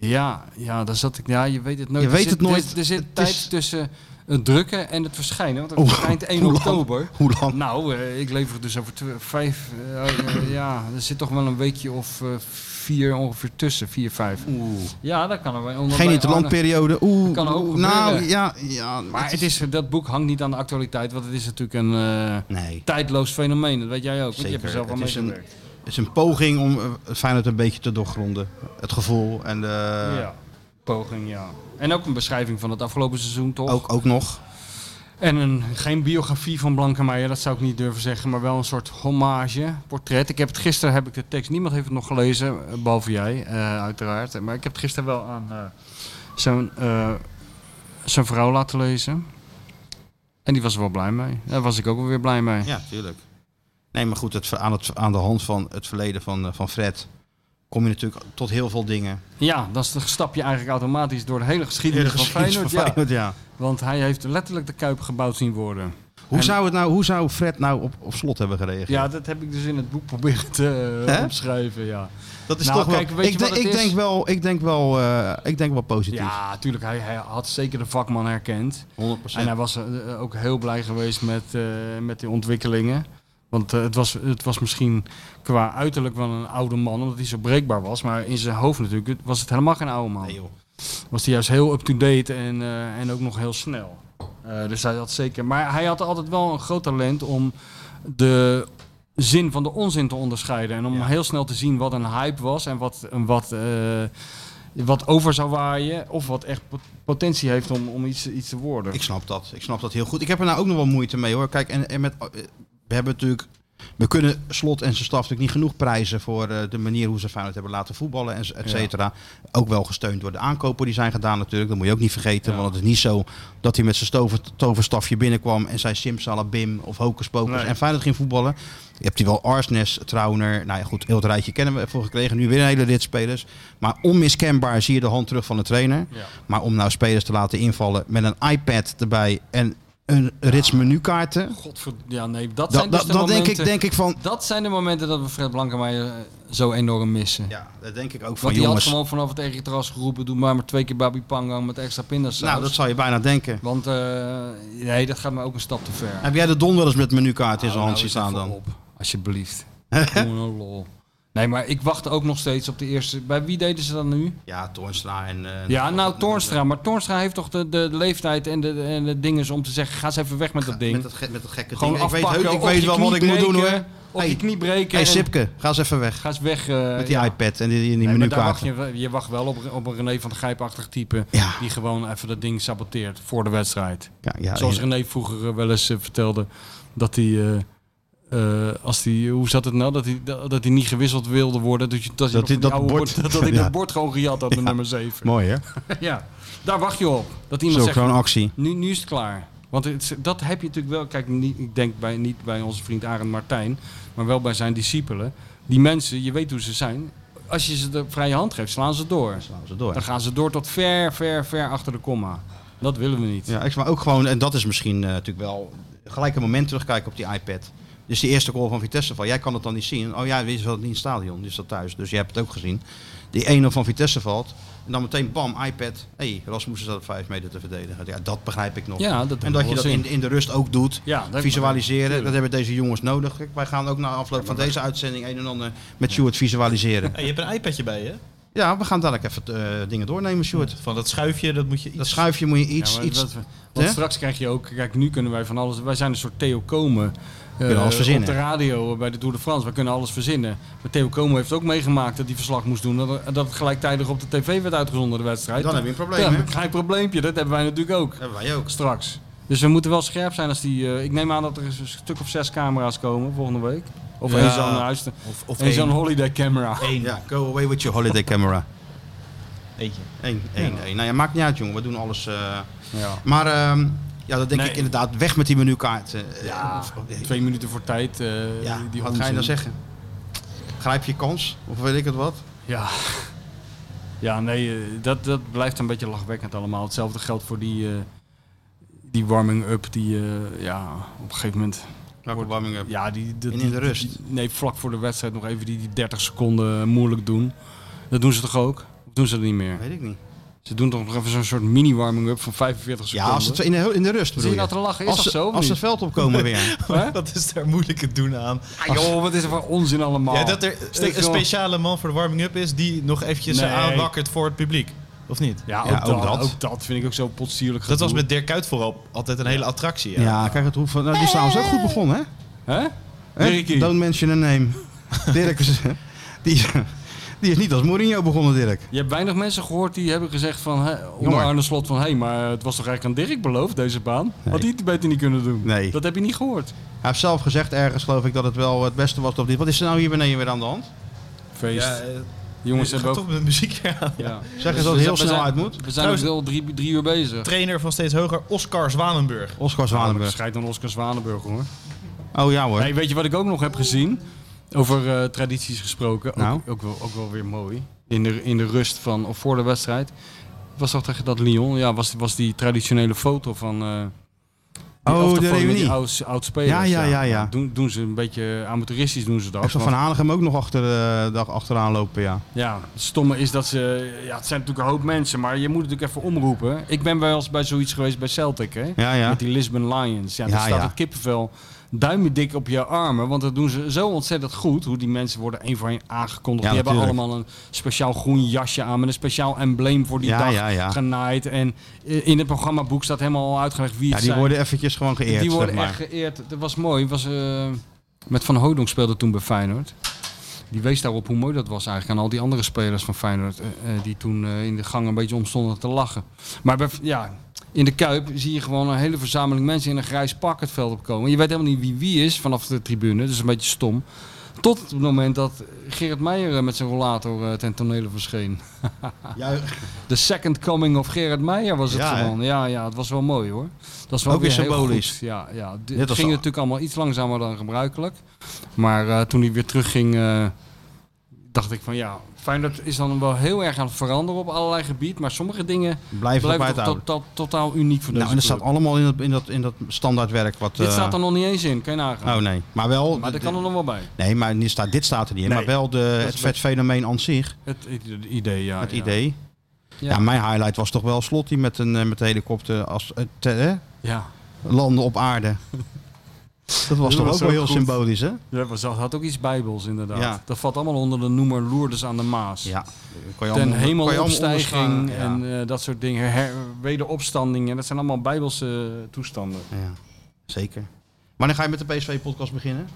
Speaker 3: Ja, ja, daar zat ik. Ja, je weet het nooit.
Speaker 2: Je
Speaker 3: Er
Speaker 2: weet
Speaker 3: zit-
Speaker 2: het nooit.
Speaker 3: Er, er zit
Speaker 2: Het
Speaker 3: tijd
Speaker 2: is-
Speaker 3: tussen het drukken en het verschijnen. Want het
Speaker 2: Oeh,
Speaker 3: verschijnt 1
Speaker 2: hoe lang?
Speaker 3: oktober.
Speaker 2: Hoe lang?
Speaker 3: Nou, eh, ik lever het dus over tw- vijf. eh, eh, ja, er zit toch wel een weekje of eh, vier ongeveer tussen. Vier, vijf.
Speaker 2: Oeh.
Speaker 3: Ja, dat kan er wel. omdat
Speaker 2: Geen
Speaker 3: bij
Speaker 2: interlandperiode. Oeh.
Speaker 3: Kan ook
Speaker 2: nou,
Speaker 3: gebeuren.
Speaker 2: ja, ja.
Speaker 3: Arne- Maar het is, dat boek hangt niet aan de actualiteit, want het is natuurlijk een eh,
Speaker 2: Nee.
Speaker 3: tijdloos fenomeen. Dat weet jij ook. want Je hebt er
Speaker 2: Zeker.
Speaker 3: zelf al
Speaker 2: Het
Speaker 3: mee
Speaker 2: is een-
Speaker 3: gewerkt.
Speaker 2: Het is een poging om eh, Feyenoord een beetje te doorgronden. Het gevoel en eh, de,
Speaker 3: ja, poging, ja. En ook een beschrijving van het afgelopen seizoen, toch?
Speaker 2: ook, ook nog.
Speaker 3: En een, geen biografie van Blankenmeijer, dat zou ik niet durven zeggen, maar wel een soort hommage, portret. Ik heb het gisteren, heb ik de tekst, niemand heeft het nog gelezen, eh, behalve jij eh, uiteraard. Maar ik heb het gisteren wel aan eh, zo'n, eh, zijn vrouw laten lezen. En die was er wel blij mee. Daar was ik ook wel weer blij mee.
Speaker 2: Ja, tuurlijk. Nee, maar goed, het, ver- aan, het, aan de hand van het verleden van, eh, van Fred kom je natuurlijk tot heel veel dingen.
Speaker 3: Ja, dan stap je eigenlijk automatisch door de hele geschiedenis, van Feyenoord. ja.
Speaker 2: Feyenoord, ja.
Speaker 3: Want hij heeft letterlijk de Kuip gebouwd zien worden.
Speaker 2: Hoe,
Speaker 3: En-
Speaker 2: zou het nou, hoe zou Fred nou op, op slot hebben gereageerd?
Speaker 3: Ja, dat heb ik dus in het boek proberen te eh,
Speaker 2: Hè?
Speaker 3: opschrijven, ja.
Speaker 2: dat is
Speaker 3: nou,
Speaker 2: toch
Speaker 3: kijk,
Speaker 2: wel...
Speaker 3: weet je
Speaker 2: ik,
Speaker 3: wat
Speaker 2: denk-
Speaker 3: het
Speaker 2: ik
Speaker 3: is?
Speaker 2: denk wel, ik denk wel, eh, ik denk wel positief.
Speaker 3: Ja, tuurlijk. Hij, hij had zeker de vakman herkend.
Speaker 2: 100%.
Speaker 3: En hij was eh, ook heel blij geweest met, eh, met die ontwikkelingen. Want eh, het, was, het was misschien qua uiterlijk wel een oude man, omdat hij zo breekbaar was. Maar in zijn hoofd natuurlijk het- was het helemaal geen oude man.
Speaker 2: Nee, joh.
Speaker 3: was hij juist heel up-to-date en, eh, en ook nog heel snel. Eh, dus hij had zeker. Maar hij had altijd wel een groot talent om de zin van de onzin te onderscheiden. En om heel snel te zien wat een hype was en wat, en wat, eh, wat over zou waaien. Of wat echt pot- potentie heeft om, om iets, iets te worden.
Speaker 2: Ik snap dat. Ik snap dat heel goed. Ik heb er nou ook nog wel moeite mee hoor. Kijk, en, en met, eh, we hebben natuurlijk. We kunnen slot en zijn staf natuurlijk niet genoeg prijzen voor eh, de manier hoe ze Feyenoord hebben laten voetballen en z- et cetera. Ook wel gesteund door de aankopen die zijn gedaan natuurlijk. Dat moet je ook niet vergeten. Want het is niet zo dat hij met zijn stover, toverstafje binnenkwam en zei Simsalabim of Hocus Pocus en Feyenoord ging voetballen. Je hebt hier wel Arsnes, Trauner. Nou ja, goed, heel het rijtje kennen we ervoor gekregen. Nu weer een hele rit spelers. Maar onmiskenbaar zie je de hand terug van de trainer. Maar om nou spelers te laten invallen met een iPad erbij en een rits menukaarten.
Speaker 3: Godverd... Ja, nee, dat
Speaker 2: Dan,
Speaker 3: zijn dus
Speaker 2: dan,
Speaker 3: de
Speaker 2: dan denk,
Speaker 3: momenten...
Speaker 2: ik, denk ik van.
Speaker 3: Dat zijn de momenten dat we Fred Blankenmeijer eh, zo enorm missen.
Speaker 2: Ja, dat denk ik ook van
Speaker 3: Want die had
Speaker 2: jongens.
Speaker 3: gewoon vanaf het eigen terras geroepen... doe maar maar twee keer Babi Pangang met extra pindasaus.
Speaker 2: Nou, dat zou je bijna denken.
Speaker 3: Want eh, nee, dat gaat me ook een stap te ver.
Speaker 2: Heb jij de don wel eens met menukaart in zijn
Speaker 3: Hou
Speaker 2: hand
Speaker 3: nou
Speaker 2: zien
Speaker 3: eens
Speaker 2: staan
Speaker 3: even
Speaker 2: dan?
Speaker 3: Op, alsjeblieft. Doe nou lol. Nee, maar ik wacht ook nog steeds op de eerste. Bij wie deden ze dat nu?
Speaker 2: Ja, Toornstra en. eh,
Speaker 3: Ja, nou Toornstra. Maar Toornstra heeft toch de, de leeftijd en de, en de dingen om te zeggen: ga eens even weg met dat ding.
Speaker 2: Met dat, ge- met dat gekke
Speaker 3: Gewoon
Speaker 2: ding. Ik weet,
Speaker 3: afpakken.
Speaker 2: heus- ik
Speaker 3: op
Speaker 2: weet
Speaker 3: je
Speaker 2: wel
Speaker 3: knie
Speaker 2: wat ik moet doen hoor.
Speaker 3: breken, Op je
Speaker 2: Hey.
Speaker 3: knie breken.
Speaker 2: hey,
Speaker 3: en
Speaker 2: Sipke, ga eens even weg.
Speaker 3: Ga eens weg. eh,
Speaker 2: Met die
Speaker 3: ja.
Speaker 2: iPad en die, die
Speaker 3: Nee, maar daar
Speaker 2: menukaart.
Speaker 3: wacht je, wel- je wacht wel op, op een René van de Grijpachtig type.
Speaker 2: Ja.
Speaker 3: Die gewoon even dat ding saboteert voor de wedstrijd.
Speaker 2: Ja, ja,
Speaker 3: Zoals
Speaker 2: ja.
Speaker 3: René vroeger eh, wel eens eh, vertelde dat hij. eh, eh, als die, hoe zat het nou? Dat hij, dat, dat hij niet gewisseld wilde worden. Dat, je, dat, je
Speaker 2: Dat hij
Speaker 3: nog van die
Speaker 2: dat
Speaker 3: oude
Speaker 2: bord-
Speaker 3: dat, dat hij
Speaker 2: Ja.
Speaker 3: dat bord gewoon gejat had, de nummer 7.
Speaker 2: Mooi hè?
Speaker 3: ja, daar wacht je op. Dat
Speaker 2: Zo
Speaker 3: iemand zegt,
Speaker 2: gewoon actie.
Speaker 3: nu, nu is het klaar. Want het is- dat heb je natuurlijk wel. Kijk, niet, ik denk bij, niet bij onze vriend Arend Martijn, maar wel bij zijn discipelen. Die mensen, je weet hoe ze zijn. Als je ze de vrije hand geeft, slaan ze door.
Speaker 2: Slaan ze door.
Speaker 3: Dan gaan ze door tot ver, ver, ver achter de komma. Dat willen we niet.
Speaker 2: Ja, ik maar ook gewoon, en dat is misschien eh, natuurlijk wel gelijk een moment terugkijken op die iPad. Dus die eerste goal van Vitesse van, jij kan het dan niet zien. Oh ja, je zat niet in het stadion, die dat thuis. Dus je hebt het ook gezien. Die 1-0 van Vitesse valt. En dan meteen bam, iPad. Hé, hey, Rasmussen staat op 5 meter te verdedigen. Ja, dat begrijp ik nog.
Speaker 3: Ja, dat
Speaker 2: en dat je
Speaker 3: wel
Speaker 2: dat
Speaker 3: zin.
Speaker 2: in, in de rust ook doet.
Speaker 3: Ja, dat-
Speaker 2: visualiseren.
Speaker 3: tuurlijk.
Speaker 2: Dat hebben deze jongens nodig. Kijk, wij gaan ook na afloop van deze uitzending een en ander met Stuart visualiseren.
Speaker 4: Hey, je hebt een iPadje bij je. hè?
Speaker 2: Ja, we gaan dadelijk even eh, dingen doornemen, Stuart.
Speaker 4: Van dat schuifje, dat moet je
Speaker 2: Dat
Speaker 4: iets...
Speaker 2: schuifje moet je
Speaker 3: Ja,
Speaker 2: iets...
Speaker 3: maar
Speaker 2: iets
Speaker 3: dat- want
Speaker 2: hè?
Speaker 3: straks krijg je ook, kijk, nu kunnen wij van alles. Wij zijn een soort Theo Komen. eh,
Speaker 2: kunnen alles
Speaker 3: op
Speaker 2: verzinnen.
Speaker 3: de radio eh, bij de Tour de France. We kunnen alles verzinnen. Maar Theo Komen heeft ook meegemaakt dat hij verslag moest doen. Dat, er- dat het gelijktijdig op de tv werd uitgezonden, de wedstrijd.
Speaker 2: Dan heb je een probleem,
Speaker 3: Dan heb
Speaker 2: hè?
Speaker 3: je een klein probleempje. Dat hebben wij natuurlijk ook.
Speaker 2: hebben wij ook.
Speaker 3: Straks. Dus we moeten wel scherp zijn als die. eh, ik neem aan dat er een stuk of zes camera's komen volgende week. Of
Speaker 4: Ja.
Speaker 3: één zo'n huis.
Speaker 4: Of, of
Speaker 3: Eén
Speaker 4: één.
Speaker 3: zo'n holiday camera.
Speaker 4: Eén.
Speaker 2: Ja, go away with your holiday camera.
Speaker 4: Eentje.
Speaker 2: Eén, één, één. Nou ja, maakt niet uit, jongen. We doen alles. eh.
Speaker 3: Ja.
Speaker 2: Maar ehm, Ja, dat denk
Speaker 3: Nee.
Speaker 2: ik inderdaad. Weg met die menukaart. eh,
Speaker 3: Ja,
Speaker 2: eh,
Speaker 3: twee minuten voor tijd. eh,
Speaker 2: ja,
Speaker 3: die
Speaker 2: wat ga je
Speaker 3: onzin.
Speaker 2: nou zeggen? Grijp je kans? Of weet ik het wat?
Speaker 3: Ja. Ja, nee, eh, dat, dat blijft een beetje lachwekkend allemaal. Hetzelfde geldt voor die, eh, die warming-up die, eh, ja, op een gegeven moment...
Speaker 2: Welke warming up?
Speaker 3: Ja, die, die-
Speaker 2: In- in de
Speaker 3: die-
Speaker 2: rust.
Speaker 3: die- nee, vlak voor de wedstrijd nog even die, die 30 seconden eh, moeilijk doen. Dat doen ze toch ook? Of doen ze dat niet meer?
Speaker 2: Weet ik niet.
Speaker 3: Ze doen toch nog even zo'n soort mini-warming-up van 45
Speaker 2: Ja,
Speaker 3: seconden?
Speaker 2: als het in de, in de rust
Speaker 3: Zie
Speaker 2: bedoel je?
Speaker 3: je nou te lachen? Is
Speaker 2: als,
Speaker 3: dat
Speaker 2: ze-
Speaker 3: zo? of
Speaker 2: als ze
Speaker 3: niet?
Speaker 2: het veld opkomen weer.
Speaker 3: Hè?
Speaker 4: Wat is daar moeilijk het doen aan?
Speaker 3: Ah, joh, wat is er voor onzin allemaal?
Speaker 4: Ja, dat er
Speaker 3: Oh. Stik,
Speaker 4: een- een
Speaker 3: joh.
Speaker 4: speciale man voor de warming-up is die nog eventjes eh,
Speaker 3: Nee.
Speaker 4: aanwakkert voor het publiek. Of niet?
Speaker 3: Ja, ook,
Speaker 2: Ja, ook
Speaker 3: dat,
Speaker 2: dat.
Speaker 3: ook dat vind ik ook zo potsierlijk
Speaker 4: Dat was
Speaker 3: gedoe.
Speaker 4: met Dirk Kuyt vooral altijd een hele attractie.
Speaker 2: Ja,
Speaker 4: Ja.
Speaker 2: kijk, het hoeft van. Nou, die is trouwens ook goed begonnen, hè?
Speaker 3: Hè?
Speaker 2: Hè?
Speaker 3: Dirkie.
Speaker 2: Don't mention a name. Dirk is, die, is- die is niet als Mourinho begonnen, Dirk.
Speaker 3: Je hebt weinig mensen gehoord die hebben gezegd van, hè, onder
Speaker 2: Jammer.
Speaker 3: Arne Slot van... hé, hey, maar het was toch eigenlijk aan Dirk beloofd, deze baan? Had hij het beter niet kunnen doen?
Speaker 2: Nee.
Speaker 3: Dat heb je niet gehoord.
Speaker 2: Hij heeft zelf gezegd ergens, geloof ik, dat het wel het beste was op dit. Wat is er nou hier beneden weer aan de hand?
Speaker 3: Feest.
Speaker 4: Ja, eh,
Speaker 3: Die jongens
Speaker 4: het
Speaker 3: hebben
Speaker 4: gaat
Speaker 3: ook...
Speaker 4: toch met de muziek weer aan.
Speaker 3: Ja.
Speaker 2: Zeg eens dat het heel
Speaker 3: Dus we
Speaker 2: snel
Speaker 3: zijn-
Speaker 2: uit moet.
Speaker 3: We zijn ook wel drie, drie uur bezig.
Speaker 4: Trainer van steeds hoger, Oscar Zwanenburg.
Speaker 2: Oscar
Speaker 3: Ja,
Speaker 2: Zwanenburg.
Speaker 3: Schijt aan Oscar Zwanenburg hoor.
Speaker 2: Oh ja hoor.
Speaker 3: Hey, weet je wat ik ook nog heb gezien? Over eh, tradities gesproken. Ook,
Speaker 2: Nou?
Speaker 3: ook, wel, ook wel weer mooi. In de, in de rust van, of voor de wedstrijd. Was toch tegen dat Lyon? Ja, was, was die traditionele foto van... eh, die
Speaker 2: Oh, de
Speaker 3: elftal met
Speaker 2: reunie.
Speaker 3: Die oud, oud spelers. Nou,
Speaker 2: Ja, ja, ja, ja.
Speaker 3: Doen, doen ze een beetje amateuristisch doen ze dat.
Speaker 2: Ik zag Van
Speaker 3: want-
Speaker 2: Hanegem ook nog achter, eh, dag achteraan lopen, ja.
Speaker 3: ja, het stomme is dat ze... Ja, het zijn natuurlijk een hoop mensen, maar je moet het natuurlijk even omroepen. Ik ben wel eens bij zoiets geweest bij Celtic, hè?
Speaker 2: Ja, ja.
Speaker 3: Met die Lisbon Lions. Ja, daar
Speaker 2: Ja,
Speaker 3: staat
Speaker 2: ja.
Speaker 3: het kippenvel duimendik op je armen. Want dat doen ze zo ontzettend goed. Hoe die mensen worden één voor één aangekondigd.
Speaker 2: Ja,
Speaker 3: die hebben
Speaker 2: natuurlijk.
Speaker 3: allemaal een speciaal groen jasje aan. Met een speciaal embleem voor die
Speaker 2: Ja,
Speaker 3: dag
Speaker 2: ja, ja.
Speaker 3: genaaid. En eh, in het programmaboek staat helemaal uitgelegd wie
Speaker 2: Ja,
Speaker 3: het
Speaker 2: die
Speaker 3: zijn.
Speaker 2: worden eventjes gewoon geëerd,
Speaker 3: die worden
Speaker 2: zeg maar.
Speaker 3: echt geëerd. Dat was mooi. Was, eh, met Van Hoydonk speelde toen bij Feyenoord. Die wees daarop hoe mooi dat was eigenlijk aan al die andere spelers van Feyenoord. eh, eh, die toen eh, in de gang een beetje omstonden te lachen. Maar bij, ja, in de Kuip zie je gewoon een hele verzameling mensen in een grijs pak het veld opkomen. Je weet helemaal niet wie wie is vanaf de tribune. Dus een beetje stom. Tot het moment dat Gerrit Meijer eh, met zijn rollator eh, ten tonele verscheen. The second coming of Gerrit Meijer was het
Speaker 2: Ja, hè?
Speaker 3: gewoon. Ja, ja, het was wel mooi hoor. Dat is wel
Speaker 2: Ook weer
Speaker 3: heel
Speaker 2: symbolisch.
Speaker 3: goed. Ja, ja. D-
Speaker 2: Net
Speaker 3: het
Speaker 2: als
Speaker 3: ging
Speaker 2: al-
Speaker 3: natuurlijk allemaal iets langzamer dan gebruikelijk. Maar eh, toen hij weer terugging, eh, dacht ik van ja, Feyenoord is dan wel heel erg aan het veranderen op allerlei gebied. Maar sommige dingen
Speaker 2: Blijf op
Speaker 3: blijven toch
Speaker 2: uithouden.
Speaker 3: tot- tot- totaal uniek voor
Speaker 2: Nou,
Speaker 3: deze
Speaker 2: en dat
Speaker 3: club.
Speaker 2: staat allemaal in dat, in dat, in dat standaardwerk wat...
Speaker 3: Dit
Speaker 2: eh,
Speaker 3: staat er nog niet eens in, kan je nagaan.
Speaker 2: Oh nee, maar wel...
Speaker 3: maar
Speaker 2: de-
Speaker 3: dat kan er nog wel bij.
Speaker 2: Nee, maar niet staat, dit staat er niet in. Maar wel de, het vet fenomeen aan zich,
Speaker 3: Het, het idee, ja.
Speaker 2: het
Speaker 3: ja.
Speaker 2: idee.
Speaker 3: Ja.
Speaker 2: Ja. mijn highlight was toch wel Slot die met een eh, met de helikopter als, eh, te- hè,
Speaker 3: Ja.
Speaker 2: landde op aarde. Dat was toch
Speaker 3: was
Speaker 2: ook wel
Speaker 3: ook
Speaker 2: heel
Speaker 3: goed.
Speaker 2: symbolisch, hè?
Speaker 3: Ja, maar dat had ook iets bijbels inderdaad.
Speaker 2: Ja.
Speaker 3: Dat valt allemaal onder de noemer Lourdes aan de Maas.
Speaker 2: Ja. Kon je
Speaker 3: Ten
Speaker 2: allemaal- kon je allemaal
Speaker 3: hemelopstijging
Speaker 2: onderslaan, ja.
Speaker 3: en eh, dat soort dingen. Her, wederopstanding. En dat zijn allemaal bijbelse toestanden.
Speaker 2: Ja, zeker. Wanneer ga je met de PSV-podcast beginnen?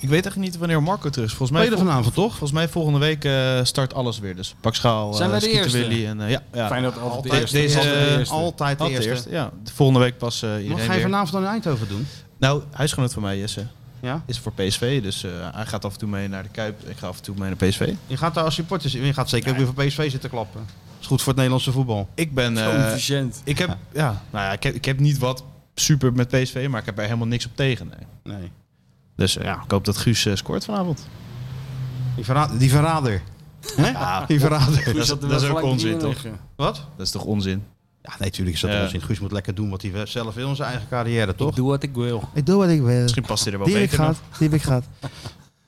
Speaker 4: Ik weet echt niet wanneer Marco terug is. Volgens mij,
Speaker 2: Tweede vanavond, toch?
Speaker 4: volgens mij volgende week eh, start alles weer. Dus pak schaal,
Speaker 3: Zijn wij de
Speaker 4: Schieten
Speaker 3: eerste?
Speaker 4: Willy en eh, ja, ja.
Speaker 3: Fijn dat altijd de
Speaker 4: Altijd
Speaker 3: eerste.
Speaker 4: deze-
Speaker 3: altijd de eerste.
Speaker 2: Altijd de
Speaker 4: Altijd
Speaker 2: eerste.
Speaker 4: eerst, ja. De volgende week pas eh iedereen
Speaker 2: Wat ga je
Speaker 4: weer.
Speaker 2: vanavond dan in Eindhoven doen?
Speaker 4: Nou, huisgenoot van mij, Jesse,
Speaker 2: Ja?
Speaker 4: is voor PSV. Dus eh, hij gaat af en toe mee naar de Kuip. Ik ga af en toe mee naar PSV.
Speaker 2: Je gaat daar als supporters Je gaat zeker ook weer voor PSV zitten klappen. Is goed voor het Nederlandse voetbal.
Speaker 4: Ik ben...
Speaker 3: Zo
Speaker 4: eh,
Speaker 3: efficiënt.
Speaker 4: ik, heb, ja, nou ja, ik, heb, ik heb niet wat super met PSV, maar ik heb er helemaal niks op tegen. nee.
Speaker 2: Nee.
Speaker 4: Dus eh, ja, ik hoop dat Guus eh, scoort vanavond.
Speaker 2: Die, verra- die verrader. Hè? die verrader.
Speaker 3: Guus
Speaker 4: is-
Speaker 3: had er
Speaker 4: dat
Speaker 3: wel
Speaker 4: is ook
Speaker 3: gelijk
Speaker 4: onzin,
Speaker 3: in
Speaker 4: toch?
Speaker 3: liggen.
Speaker 2: Wat?
Speaker 4: Dat is toch onzin?
Speaker 2: Ja, nee, natuurlijk is dat
Speaker 4: Ja.
Speaker 2: onzin. Guus moet lekker doen wat hij zelf wil in zijn eigen carrière, toch?
Speaker 3: Doe wat ik wil.
Speaker 2: Ik doe wat ik wil.
Speaker 4: Misschien past hij er wel
Speaker 2: Die ik
Speaker 4: beter
Speaker 2: gaat,
Speaker 4: nog.
Speaker 2: die ik gaat.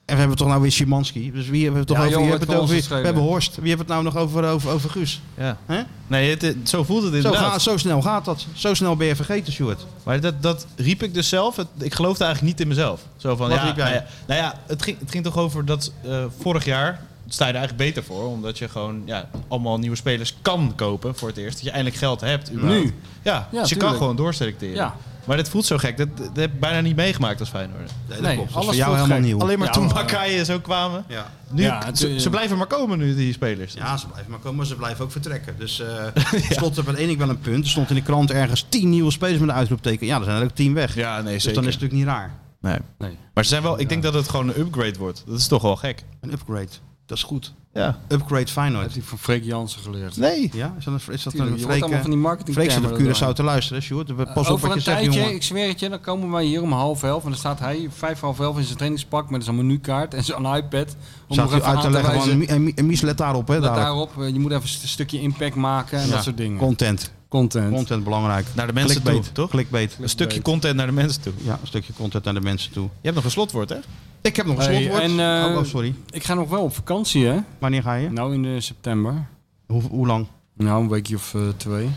Speaker 2: En we hebben toch nou weer Szymanski. Dus wie hebben we het toch
Speaker 3: Ja,
Speaker 2: over?
Speaker 3: joh,
Speaker 2: Wie
Speaker 3: het
Speaker 2: hebben het
Speaker 3: kan ons
Speaker 2: over?
Speaker 3: schelen.
Speaker 2: We hebben Horst. Wie hebben het nou nog over, over, over Guus?
Speaker 4: Ja.
Speaker 2: Hè?
Speaker 4: Nee, het, het- zo voelt het
Speaker 2: Zo,
Speaker 4: inderdaad.
Speaker 2: ga- zo snel gaat dat. Zo snel ben je vergeten, Stuart.
Speaker 4: Maar dat, dat riep ik dus zelf. Het- ik geloofde eigenlijk niet in mezelf. Zo van,
Speaker 2: Wat
Speaker 4: ja,
Speaker 2: riep jij?
Speaker 4: Nou ja, nou ja, het, ging, het ging toch over dat eh, vorig jaar sta je er eigenlijk beter voor. Omdat je gewoon ja, allemaal nieuwe spelers kan kopen voor het eerst. Dat je eindelijk geld hebt. überhaupt.
Speaker 3: Nu?
Speaker 4: Ja,
Speaker 3: Ja,
Speaker 4: dus je kan
Speaker 3: tuurlijk.
Speaker 4: gewoon doorselecteren.
Speaker 3: Ja.
Speaker 4: Maar dat voelt zo gek. Dat, dat heb ik bijna niet meegemaakt als Feyenoord.
Speaker 2: Nee,
Speaker 3: Nee,
Speaker 2: Dat is
Speaker 3: alles
Speaker 2: voor jou
Speaker 3: voelt
Speaker 2: helemaal
Speaker 3: gek.
Speaker 2: nieuw.
Speaker 4: Alleen maar eh,
Speaker 3: Ja,
Speaker 4: toen
Speaker 3: maar-
Speaker 4: Bakaya zo kwamen.
Speaker 2: Ja.
Speaker 4: Nu,
Speaker 3: Ja, het-
Speaker 4: ze, ze blijven maar komen nu, die spelers.
Speaker 2: Ja, ze blijven maar komen, maar ze blijven ook vertrekken. Dus eh stond er wel één ik wel een punt. Er stond in de krant ergens tien nieuwe spelers met een uitroepteken. Ja, er zijn er ook tien weg.
Speaker 4: Ja, nee,
Speaker 2: dus dan is het natuurlijk niet raar.
Speaker 4: nee.
Speaker 3: Nee.
Speaker 4: Maar ze zijn wel, ik denk dat het gewoon een upgrade wordt. Dat is toch wel gek.
Speaker 2: Een upgrade. Dat is goed.
Speaker 4: Ja.
Speaker 2: Upgrade
Speaker 3: Heeft
Speaker 2: Feyenoord.
Speaker 3: hij van Freek Jansen geleerd.
Speaker 4: Nee.
Speaker 2: Ja, is dat een, is dat
Speaker 3: Tuurlijk,
Speaker 2: een
Speaker 3: je wordt allemaal
Speaker 2: Freek...
Speaker 3: van die marketing
Speaker 2: Freek zit op Curaçao te luisteren, hè, Sjoerd. We- Pas op
Speaker 3: Over
Speaker 2: wat je
Speaker 3: een
Speaker 2: zegt,
Speaker 3: tijdje,
Speaker 2: jongen.
Speaker 3: ik zweer het je, dan komen wij hier om half elf. En dan staat hij vijf half elf in zijn trainingspak met zijn menukaart en zijn iPad. Om
Speaker 2: Zat
Speaker 3: nog
Speaker 2: u
Speaker 3: even
Speaker 2: uit te
Speaker 3: aan
Speaker 2: leggen,
Speaker 3: wijzen.
Speaker 2: want- en Mi- en Mies let daarop, hè,
Speaker 3: Let
Speaker 2: dadelijk.
Speaker 3: daarop, eh, je moet even een stukje impact maken en
Speaker 2: Ja.
Speaker 3: dat soort dingen.
Speaker 2: Content.
Speaker 3: Content.
Speaker 2: Content belangrijk.
Speaker 4: Naar de mensen
Speaker 2: Clickbait.
Speaker 4: toe, toch?
Speaker 2: Clickbait.
Speaker 4: Een stukje content naar de mensen toe.
Speaker 2: Ja, een stukje content naar de mensen toe.
Speaker 4: Je hebt nog een slotwoord, hè?
Speaker 2: Ik heb nog een
Speaker 3: Hey,
Speaker 2: slotwoord.
Speaker 3: en, eh,
Speaker 2: oh, oh, sorry.
Speaker 3: Ik ga nog wel op vakantie, hè?
Speaker 2: Wanneer ga je?
Speaker 3: Nou, in eh, september.
Speaker 2: Hoe, hoe lang?
Speaker 3: Nou, een weekje of eh, twee.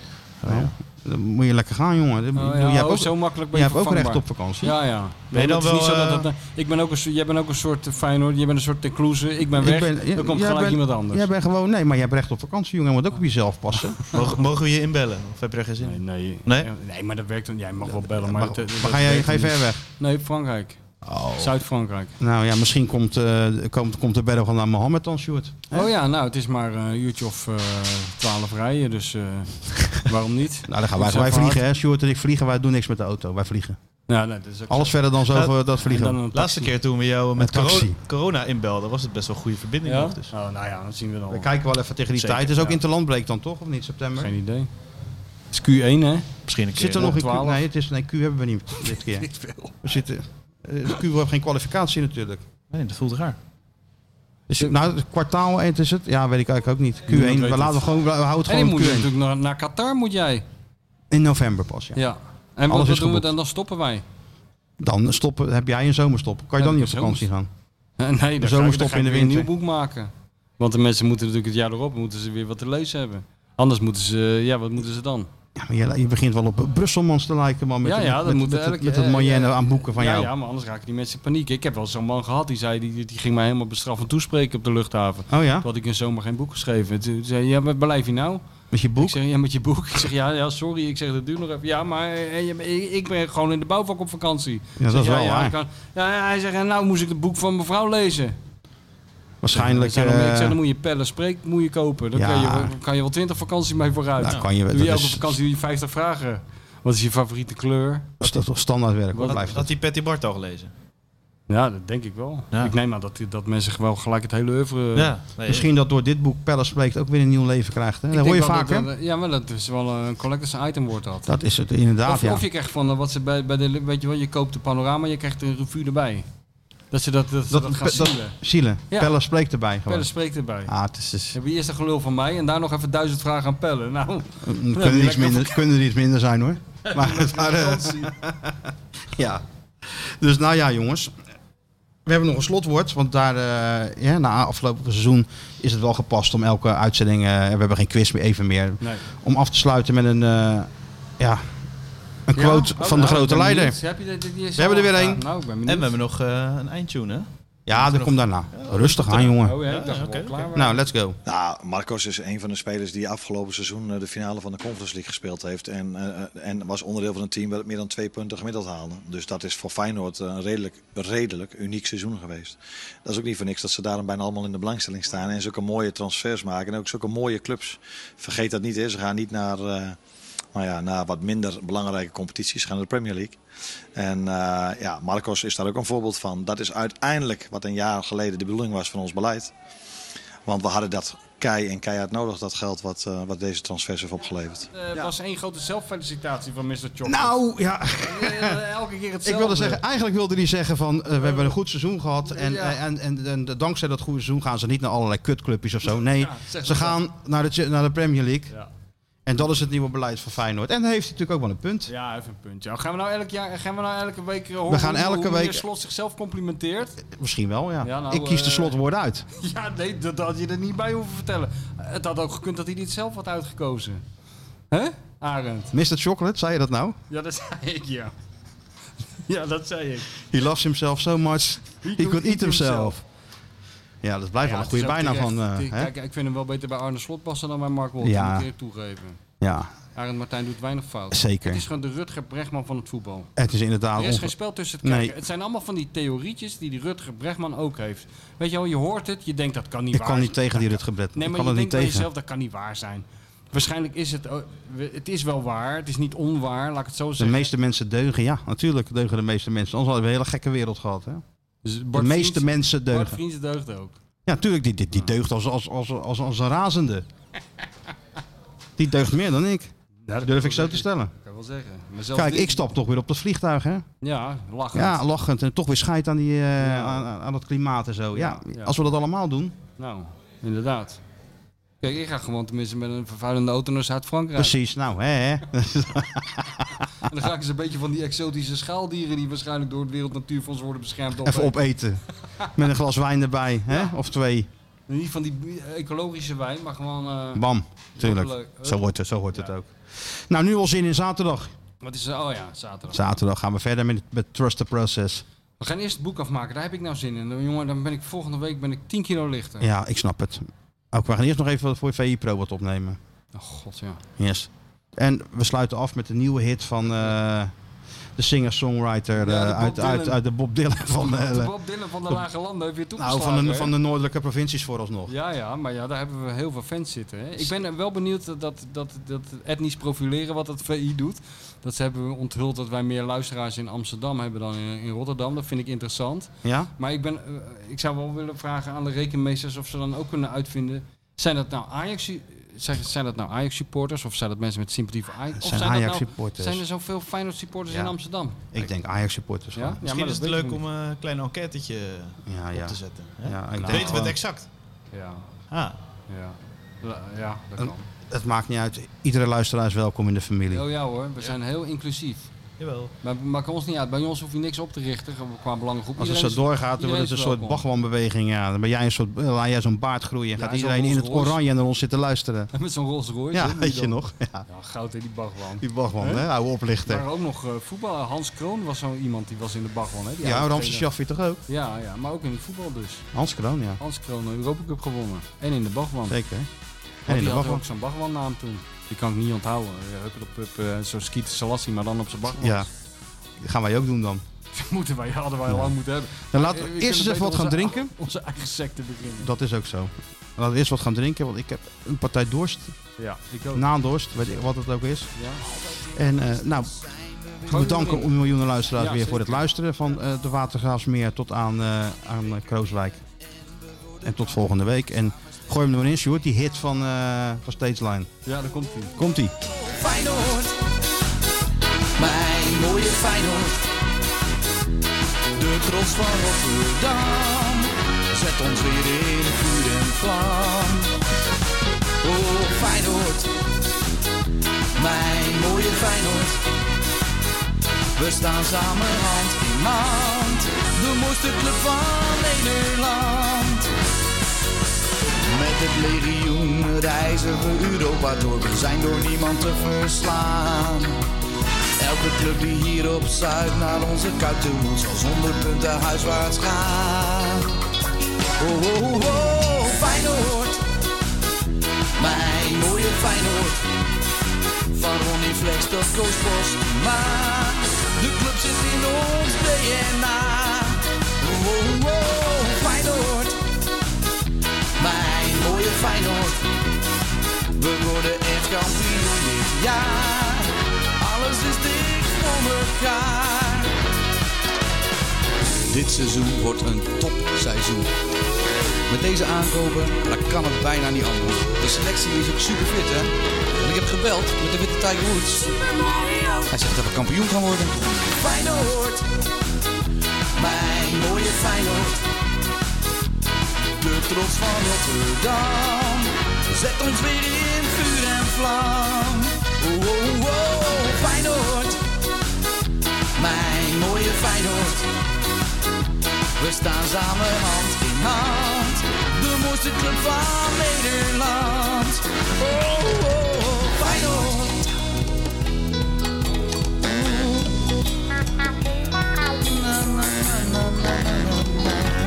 Speaker 2: Nou, Dan moet je lekker gaan, jongen. Dan-
Speaker 3: Oh,
Speaker 2: jij
Speaker 3: ja,
Speaker 2: hebt
Speaker 3: oh,
Speaker 2: ook,
Speaker 3: zo makkelijk ben
Speaker 2: jij
Speaker 3: je
Speaker 2: hebt ook recht op
Speaker 3: vervangbaar.
Speaker 2: vakantie.
Speaker 3: Ja, ja.
Speaker 4: Ben je dan
Speaker 3: Het is niet
Speaker 4: wel,
Speaker 3: zo dat
Speaker 4: eh,
Speaker 3: dat- ik ben ook een, soort- jij bent ook een soort eh, Feyenoord, jij bent een soort Tecluze, ik ben
Speaker 2: Ik
Speaker 3: weg,
Speaker 2: ben- ja,
Speaker 3: dan komt
Speaker 2: jij
Speaker 3: gelijk
Speaker 2: bent-
Speaker 3: iemand anders.
Speaker 2: Jij bent gewoon... Nee, maar jij hebt recht op vakantie, jongen. Je moet ook op jezelf passen.
Speaker 4: Mogen, mogen we je inbellen? Of heb je er geen zin
Speaker 3: Nee,
Speaker 4: in?
Speaker 3: nee.
Speaker 4: Nee?
Speaker 3: Nee, maar dat werkt dan. Jij mag wel bellen, maar...
Speaker 2: Maar,
Speaker 3: dat-
Speaker 2: maar
Speaker 3: dat
Speaker 2: ga, jij,
Speaker 3: werkt
Speaker 2: ga je Oh.
Speaker 3: niet. Oh.
Speaker 2: ver weg?
Speaker 3: Nee, Frankrijk. Zuid-Frankrijk.
Speaker 2: Nou ja, misschien komt, eh, komt, komt de berg van naar Mohammed dan, Sjoerd.
Speaker 3: Oh ja, nou, het is maar eh, een uurtje of eh, twaalf rijden, dus eh, waarom niet?
Speaker 2: Nou, dan gaan wij,
Speaker 3: Ik zou
Speaker 2: wij
Speaker 3: van
Speaker 2: vliegen, hè. Sjoerd en ik vliegen. Wij doen niks met de auto. Wij vliegen.
Speaker 3: Nou, nee, dat is ook
Speaker 2: Alles verder dan zo,
Speaker 4: Ja,
Speaker 2: eh, dat vliegen.
Speaker 3: En dan een
Speaker 4: Laatste keer toen we jou met
Speaker 2: Een
Speaker 4: corona,
Speaker 2: taxi.
Speaker 4: corona inbelden, was het best wel goede verbinding.
Speaker 3: Ja?
Speaker 4: nog, dus.
Speaker 3: Oh, nou ja, dat zien we dan.
Speaker 2: We kijken wel even tegen die
Speaker 4: Zeker,
Speaker 2: tijd. Het is ook
Speaker 4: ja.
Speaker 2: interlandbreek dan toch, of niet? September?
Speaker 3: Geen idee. Het is Q1, hè?
Speaker 4: Misschien een keer.
Speaker 2: Zit er nog een Q?
Speaker 3: 12?
Speaker 2: Nee, het is, nee, Q hebben we niet dit keer. We zitten, eh, Q heeft geen kwalificatie natuurlijk.
Speaker 4: Nee, dat voelt raar.
Speaker 2: Dus, nou, het kwartaal 1 is het? Ja, weet ik eigenlijk ook niet. Q1,
Speaker 3: Niemand weet
Speaker 2: we laten
Speaker 3: het.
Speaker 2: gewoon, we houden
Speaker 3: En
Speaker 2: het
Speaker 3: je
Speaker 2: gewoon
Speaker 3: moet
Speaker 2: op Q1.
Speaker 3: natuurlijk naar, naar Qatar, moet jij.
Speaker 2: In november pas, ja.
Speaker 3: Ja. En
Speaker 2: Alles
Speaker 3: wat,
Speaker 2: is
Speaker 3: wat doen
Speaker 2: geboekt.
Speaker 3: we dan? Dan stoppen wij.
Speaker 2: Dan stoppen, heb jij een zomerstop. Kan je
Speaker 3: Ja,
Speaker 2: dan niet
Speaker 3: dat
Speaker 2: op
Speaker 3: is
Speaker 2: vakantie gaan?
Speaker 3: nee,
Speaker 2: zomer
Speaker 3: dan ga ik- dan
Speaker 2: stoppen
Speaker 3: ga
Speaker 2: in
Speaker 3: ik
Speaker 2: de
Speaker 3: weer een nieuw
Speaker 2: winter.
Speaker 3: boek maken. Want de mensen moeten natuurlijk het jaar erop, moeten ze weer wat te lezen hebben. Anders moeten ze, eh, ja, wat moeten ze dan?
Speaker 2: Ja, maar je, je begint wel op eh, Brusselmans te lijken, man. Met,
Speaker 3: Ja, ja,
Speaker 2: met,
Speaker 3: dat
Speaker 2: met,
Speaker 3: moet
Speaker 2: met,
Speaker 3: elk-
Speaker 2: het- met het
Speaker 3: eh,
Speaker 2: moyenne
Speaker 3: eh,
Speaker 2: aan boeken van
Speaker 3: ja,
Speaker 2: jou.
Speaker 3: ja, maar anders raken die mensen in paniek. Ik heb wel zo'n man gehad, die, zei, die, die ging mij helemaal bestraffend toespreken op de luchthaven.
Speaker 2: Oh ja?
Speaker 3: Toen had ik in zomer geen boek geschreven. Toen zei hij, ja, waar blijf je nou?
Speaker 2: Met je boek?
Speaker 3: Ik zeg, ja, met je boek. Ik zeg, ja, ja, sorry. Ik zeg, dat duurt nog even. Ja, maar eh, je- ik- ik ben gewoon in de bouwvak op vakantie.
Speaker 2: Ja, dat
Speaker 3: Ik zeg,
Speaker 2: is wel waar.
Speaker 3: ik kan- ja, ja, hij zegt, en nou moest ik het boek van mevrouw lezen.
Speaker 2: Waarschijnlijk...
Speaker 3: Ik zeg, dan, ik
Speaker 2: eh,
Speaker 3: zeg, dan moet je pellen spreek, moet je kopen. Dan
Speaker 2: Ja.
Speaker 3: kan, je, wel- kan je wel twintig vakantie mee vooruit.
Speaker 2: Nou, kan je-
Speaker 3: doe
Speaker 2: dat
Speaker 3: je elke
Speaker 2: is-
Speaker 3: vakantie doe je 50 vragen. Wat is je favoriete kleur?
Speaker 2: dat is toch standaardwerk, hoor,
Speaker 3: Wat-
Speaker 2: blijft
Speaker 4: Had
Speaker 2: het.
Speaker 4: die Patty Bart al gelezen?
Speaker 3: Ja, dat denk ik wel.
Speaker 4: Ja.
Speaker 3: Ik neem aan dat, dat mensen gewoon gelijk het hele oeuvre...
Speaker 4: ja. Nee,
Speaker 2: Misschien dat door dit boek Pelle Spreekt ook weer een nieuw leven krijgt. Hè?
Speaker 3: Ik
Speaker 2: Dat hoor je
Speaker 3: denk wel
Speaker 2: vaak, hè?
Speaker 3: dat eh, dat- Ja, maar dat is wel een collectors item wordt dat.
Speaker 2: Dat is het inderdaad,
Speaker 3: Of,
Speaker 2: ja.
Speaker 3: of je krijgt van eh, wat ze bij, bij de weet je wel, je koopt de panorama, je krijgt een revue erbij. Dat ze dat, dat, ze dat, gaan
Speaker 2: pe- dat-
Speaker 3: zielen.
Speaker 2: Zielen.
Speaker 3: Ja.
Speaker 2: Pelle spreekt erbij gewoon.
Speaker 3: Pelle spreekt erbij.
Speaker 2: Ah, het is dus...
Speaker 3: Heb je eerst een gelul van mij en daar nog even duizend vragen aan pellen. Nou,
Speaker 2: kunnen, er iets
Speaker 3: lekker
Speaker 2: minder, kunnen er iets minder zijn, hoor. Maar, maar, eh, ja. Dus nou ja, jongens. We hebben nog een slotwoord, want daar, eh, ja, na afgelopen seizoen is het wel gepast om elke uitzending, eh, we hebben geen quiz meer, even meer,
Speaker 3: nee.
Speaker 2: om af te sluiten met een, eh, ja, een
Speaker 3: Oh,
Speaker 2: quote van
Speaker 3: nou,
Speaker 2: de grote leider.
Speaker 3: Heb je dit- dit- dit-
Speaker 2: We hebben er weer één.
Speaker 3: Nou, ik ben
Speaker 4: En
Speaker 3: benieuwd.
Speaker 4: we hebben nog eh, een eindtune, hè?
Speaker 2: Ja, dat komt daarna. Rustig aan, jongen.
Speaker 3: Oh ja, ik dacht wel klaar waren.
Speaker 2: Nou, let's go.
Speaker 9: Nou, Marcos is een van de spelers die afgelopen seizoen eh, de finale van de Conference League gespeeld heeft. En, eh, en was onderdeel van een team dat meer dan twee punten gemiddeld haalde. Dus dat is voor Feyenoord een redelijk, redelijk uniek seizoen geweest. Dat is ook niet voor niks dat ze daarom bijna allemaal in de belangstelling staan. En zulke mooie transfers maken. En ook zulke mooie clubs. Vergeet dat niet, hè. ze gaan niet naar, eh, nou ja, naar wat minder belangrijke competities. Ze gaan naar de Premier League. En eh, ja, Marcos is daar ook een voorbeeld van. Dat is uiteindelijk wat een jaar geleden de bedoeling was van ons beleid. Want we hadden dat kei en keihard nodig, dat geld wat, eh, wat deze transfers heeft opgeleverd.
Speaker 3: Eh, was één grote zelffelicitatie van Mr. Chocolate.
Speaker 2: Nou, ja.
Speaker 3: Eh, Elke keer hetzelfde.
Speaker 2: Ik wilde zeggen, eigenlijk wilde hij zeggen van eh, we hebben een goed seizoen gehad. En, eh,
Speaker 3: Ja.
Speaker 2: en, en, en dankzij dat goede seizoen gaan ze niet naar allerlei kutclubjes of zo. Nee,
Speaker 3: zeg
Speaker 2: ze
Speaker 3: dat.
Speaker 2: gaan naar de, Ch- naar de Premier League.
Speaker 3: Ja.
Speaker 2: En dat is het nieuwe beleid van Feyenoord. En daar heeft hij natuurlijk ook wel een punt.
Speaker 3: Ja, even een puntje. Ja, Gaan we nou elk jaar, gaan we nou elke week eh, horen
Speaker 2: We gaan
Speaker 3: hoe-
Speaker 2: elke
Speaker 3: hoe
Speaker 2: week-
Speaker 3: meneer Slot zichzelf complimenteert?
Speaker 2: Misschien wel, ja.
Speaker 3: Ja, nou,
Speaker 2: ik kies de
Speaker 3: eh,
Speaker 2: slotwoorden uit.
Speaker 3: Ja, nee, dat dat had je er niet bij hoeven vertellen. Het had ook gekund dat hij dit zelf had uitgekozen. Hè, Arend?
Speaker 2: Mr. Chocolate, zei je dat nou?
Speaker 3: Ja, dat zei ik, ja. Ja, dat zei ik.
Speaker 2: He loves himself so much, he, could eat himself. Ja, dat blijft wel een goede bijnaam van... eh, hè?
Speaker 3: Kijk, ik vind hem wel beter bij Arne Slot passen dan bij Mark Wolf.
Speaker 2: Ja.
Speaker 3: Ja. Moet ik eerlijk toegeven.
Speaker 2: Ja,
Speaker 3: Arend Martijn doet weinig fout.
Speaker 2: Zeker.
Speaker 3: Het is gewoon de Rutger Bregman van het voetbal.
Speaker 2: het is inderdaad...
Speaker 3: Er is
Speaker 2: onge-
Speaker 3: geen spel tussen het kijken.
Speaker 2: Nee.
Speaker 3: Het zijn allemaal van die theorietjes die die Rutger Bregman ook heeft. Weet je wel, je hoort het, je denkt dat kan niet
Speaker 2: Ik
Speaker 3: waar
Speaker 2: kan
Speaker 3: zijn.
Speaker 2: niet tegen die Rutgebred.
Speaker 3: Nee,
Speaker 2: ik
Speaker 3: maar
Speaker 2: kan
Speaker 3: je
Speaker 2: het niet
Speaker 3: denkt bij
Speaker 2: tegen.
Speaker 3: jezelf, dat kan niet waar zijn. Waarschijnlijk is het, o- we- het is wel waar, het is niet onwaar, laat ik het zo
Speaker 2: De
Speaker 3: zeggen.
Speaker 2: meeste mensen deugen, ja, natuurlijk deugen de meeste mensen. Anders hadden we een hele gekke wereld gehad. Hè?
Speaker 3: Dus
Speaker 2: De
Speaker 3: Bart
Speaker 2: meeste
Speaker 3: Vriends-
Speaker 2: mensen
Speaker 3: Bart
Speaker 2: deugen.
Speaker 3: Vriends deugt ook.
Speaker 2: Ja, tuurlijk, die, die, die deugt als, als, als, als, als een razende. Die deugt meer dan ik.
Speaker 3: dat
Speaker 2: durf ik zo te stellen.
Speaker 3: kan wel zeggen. Maar zelfs
Speaker 2: Kijk,
Speaker 3: dit-
Speaker 2: ik stap toch weer op dat vliegtuig, hè?
Speaker 3: Ja, lachen.
Speaker 2: Ja, lachend. En toch weer scheid aan, die, eh, aan, aan- aan dat klimaat en zo. Ja,
Speaker 3: Ja.
Speaker 2: als we dat allemaal doen.
Speaker 3: Nou, inderdaad. Kijk, ik ga gewoon tenminste met een vervuilende auto naar Zuid-Frankrijk.
Speaker 2: Precies, nou, hè, hè.
Speaker 3: En dan ga ik eens een beetje van die exotische schaaldieren die waarschijnlijk door het Wereld Natuurfonds worden beschermd. eh,
Speaker 2: Even opeten. Met een glas wijn erbij, hè? Of twee.
Speaker 3: Niet van die ecologische wijn, maar gewoon... eh,
Speaker 2: Bam, tuurlijk.
Speaker 3: Hopelijk.
Speaker 2: Zo wordt het, zo wordt het ook. Nou, nu al zin in zaterdag.
Speaker 3: Wat is er? Oh ja, zaterdag.
Speaker 2: Zaterdag gaan we verder met, met Trust the Process.
Speaker 3: We gaan eerst het boek afmaken, daar heb ik nou zin in. Dan, Jongen, dan ben ik volgende week ben ik 10 kilo lichter.
Speaker 2: Ja, ik snap het. Ook, we gaan eerst nog even voor VI Pro wat opnemen.
Speaker 3: Oh god, ja.
Speaker 2: Yes. En we sluiten af met de nieuwe hit van eh, de singer-songwriter
Speaker 3: Ja, de
Speaker 2: eh, uit,
Speaker 3: Bob
Speaker 2: uit,
Speaker 3: Dylan.
Speaker 2: uit de Bob Dylan van, eh,
Speaker 3: De Bob Dylan van de Lage Landen heeft weer
Speaker 2: nou,
Speaker 3: toegeslagen.
Speaker 2: van, de,
Speaker 3: hè?
Speaker 2: van de noordelijke provincies vooralsnog.
Speaker 3: Ja, ja, maar ja, daar hebben we heel veel fans zitten. Hè? Ik ben wel benieuwd dat, dat, dat, dat etnisch profileren wat het VI doet. Dat ze hebben onthuld dat wij meer luisteraars in Amsterdam hebben dan in, in Rotterdam. Dat vind ik interessant.
Speaker 2: Ja?
Speaker 3: Maar ik, ben, eh, ik zou wel willen vragen aan de rekenmeesters of ze dan ook kunnen uitvinden. Zijn dat nou Ajax, zijn, zijn dat nou Ajax supporters of zijn dat mensen met sympathie voor Ajax? Of
Speaker 2: zijn
Speaker 3: dat
Speaker 2: Ajax
Speaker 3: nou-
Speaker 2: supporters.
Speaker 3: Zijn er zoveel Feyenoord supporters
Speaker 2: Ja.
Speaker 3: in Amsterdam?
Speaker 2: Ik denk Ajax-supporters.
Speaker 3: Ja,
Speaker 2: gewoon.
Speaker 3: Ja,
Speaker 4: Misschien
Speaker 3: maar
Speaker 4: is
Speaker 3: dat
Speaker 4: het
Speaker 3: weten
Speaker 4: leuk
Speaker 3: we
Speaker 4: om eh, een klein enquêtetje
Speaker 2: Ja, ja.
Speaker 4: op te zetten. Hè?
Speaker 2: Ja, Nou. ik denk
Speaker 4: Weten we
Speaker 2: wel-
Speaker 4: het exact?
Speaker 3: niet. Ja,
Speaker 4: Ah,
Speaker 3: ja. La- ja, dat
Speaker 2: Een-
Speaker 3: kan.
Speaker 2: Het maakt niet uit. Iedere luisteraar is welkom in de familie.
Speaker 3: Oh ja hoor, we zijn heel inclusief.
Speaker 4: jawel.
Speaker 3: Maar we maken ons niet uit. Bij ons hoef je niks op te richten ge- qua belangengroep.
Speaker 2: Als het
Speaker 3: Iedereen
Speaker 2: zo
Speaker 3: is-
Speaker 2: doorgaat, dan wordt
Speaker 3: iedereen
Speaker 2: het een
Speaker 3: is
Speaker 2: soort
Speaker 3: welkom.
Speaker 2: bagwanbeweging. Ja, dan ben jij een soort, eh, laat jij zo'n baard groeien. En
Speaker 3: Ja,
Speaker 2: gaat
Speaker 3: zo'n
Speaker 2: iedereen in het
Speaker 3: Rolls Royce.
Speaker 2: oranje naar ons zitten luisteren.
Speaker 3: Met zo'n Rolls Royce. hè,
Speaker 2: Ja,
Speaker 3: die
Speaker 2: weet je
Speaker 3: dan-
Speaker 2: nog? Ja,
Speaker 3: Ja, goud in die bagwan.
Speaker 2: die bagwan, hè? Oude
Speaker 3: Er
Speaker 2: oplichter.
Speaker 3: waren ook nog eh voetballen. Hans Kroon was zo iemand die was in de bagwan. Hè? Die
Speaker 2: Ja,
Speaker 3: oude
Speaker 2: Ramses
Speaker 3: trainer.
Speaker 2: Shaffi toch ook?
Speaker 3: Ja, ja, maar ook in het voetbal dus.
Speaker 2: Hans Kroon, ja.
Speaker 3: Hans Kroon, de Europa Cup gewonnen. En in de bagwan. Want
Speaker 2: Zeker. En in
Speaker 3: die
Speaker 2: de
Speaker 3: had
Speaker 2: bagwan.
Speaker 3: ook zo'n bagwannaam toen. Die kan ik niet onthouden. Huppelpup, eh zo'n skiet Salassi, maar dan op zijn bagwan.
Speaker 2: Ja. Die gaan wij ook doen dan.
Speaker 3: Moeten wij, hadden wij al lang moeten hebben.
Speaker 2: Dan laten
Speaker 3: Eh,
Speaker 2: we
Speaker 3: kunnen
Speaker 2: eerst eens even
Speaker 3: beter
Speaker 2: wat gaan
Speaker 3: onze-
Speaker 2: drinken.
Speaker 3: Onze eigen secte beginnen.
Speaker 2: Dat is ook zo. Laten we eerst wat gaan drinken, want ik heb een partij dorst.
Speaker 3: Ja, ik
Speaker 2: Nou.
Speaker 3: ook.
Speaker 2: Naandorst, weet ik wat het ook is.
Speaker 3: Ja.
Speaker 2: En eh, nou, we bedanken om miljoenen luisteraars
Speaker 3: Ja,
Speaker 2: weer voor het
Speaker 3: zeker.
Speaker 2: luisteren van eh, de Watergraafsmeer tot aan, eh, aan eh, Krooswijk. En tot volgende week. En gooi hem er maar in, Sjoerd, die hit van, eh van Stageline.
Speaker 3: Ja, daar komt hij.
Speaker 2: Komt-ie.
Speaker 1: Feyenoord. Mijn mooie Feyenoord. De trots van Rotterdam. Zet ons weer in vuur en vlam. Oh Feyenoord. Mijn mooie Feyenoord. We staan samen hand in hand. De mooiste club van Nederland. Met het legioen reizen we Europa door, we zijn door niemand te verslaan. Elke club die hier op Zuid naar onze kuit toe moet, zal zonder punten huiswaarts gaan. Oh, oh, oh, oh, Feyenoord, mijn mooie Feyenoord. Van Ronnie Flex tot Koos Bos, maar de club zit in ons DNA. Oh, oh, oh, Feyenoord mijn mooie Feyenoord. We worden echt kampioen dit jaar. Alles is dicht voor elkaar. Dit seizoen wordt een topseizoen. Met deze aankopen, dan kan het bijna niet anders. De selectie is ook super fit, hè? En ik heb gebeld met de witte Tiger Woods. Hij zegt dat we kampioen gaan worden. Feyenoord, mijn mooie Feyenoord. De trots van Rotterdam Zet ons weer in vuur en vlam Oh, oh, oh, Feyenoord Mijn mooie Feyenoord We staan samen hand in hand De mooiste club van Nederland Oh, oh, oh Feyenoord Oh. Na, na, na, na, na.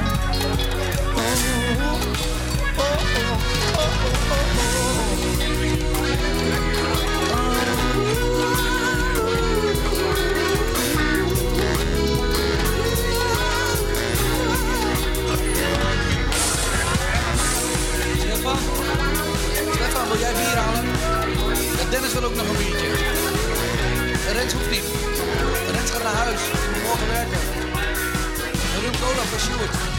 Speaker 1: Stefan? Stefan, wil jij bier halen? En Dennis wil ook nog een biertje. En Rens hoeft niet. Rens gaat naar huis. Die moet morgen werken. En Ruud Cola voor Sjoerd.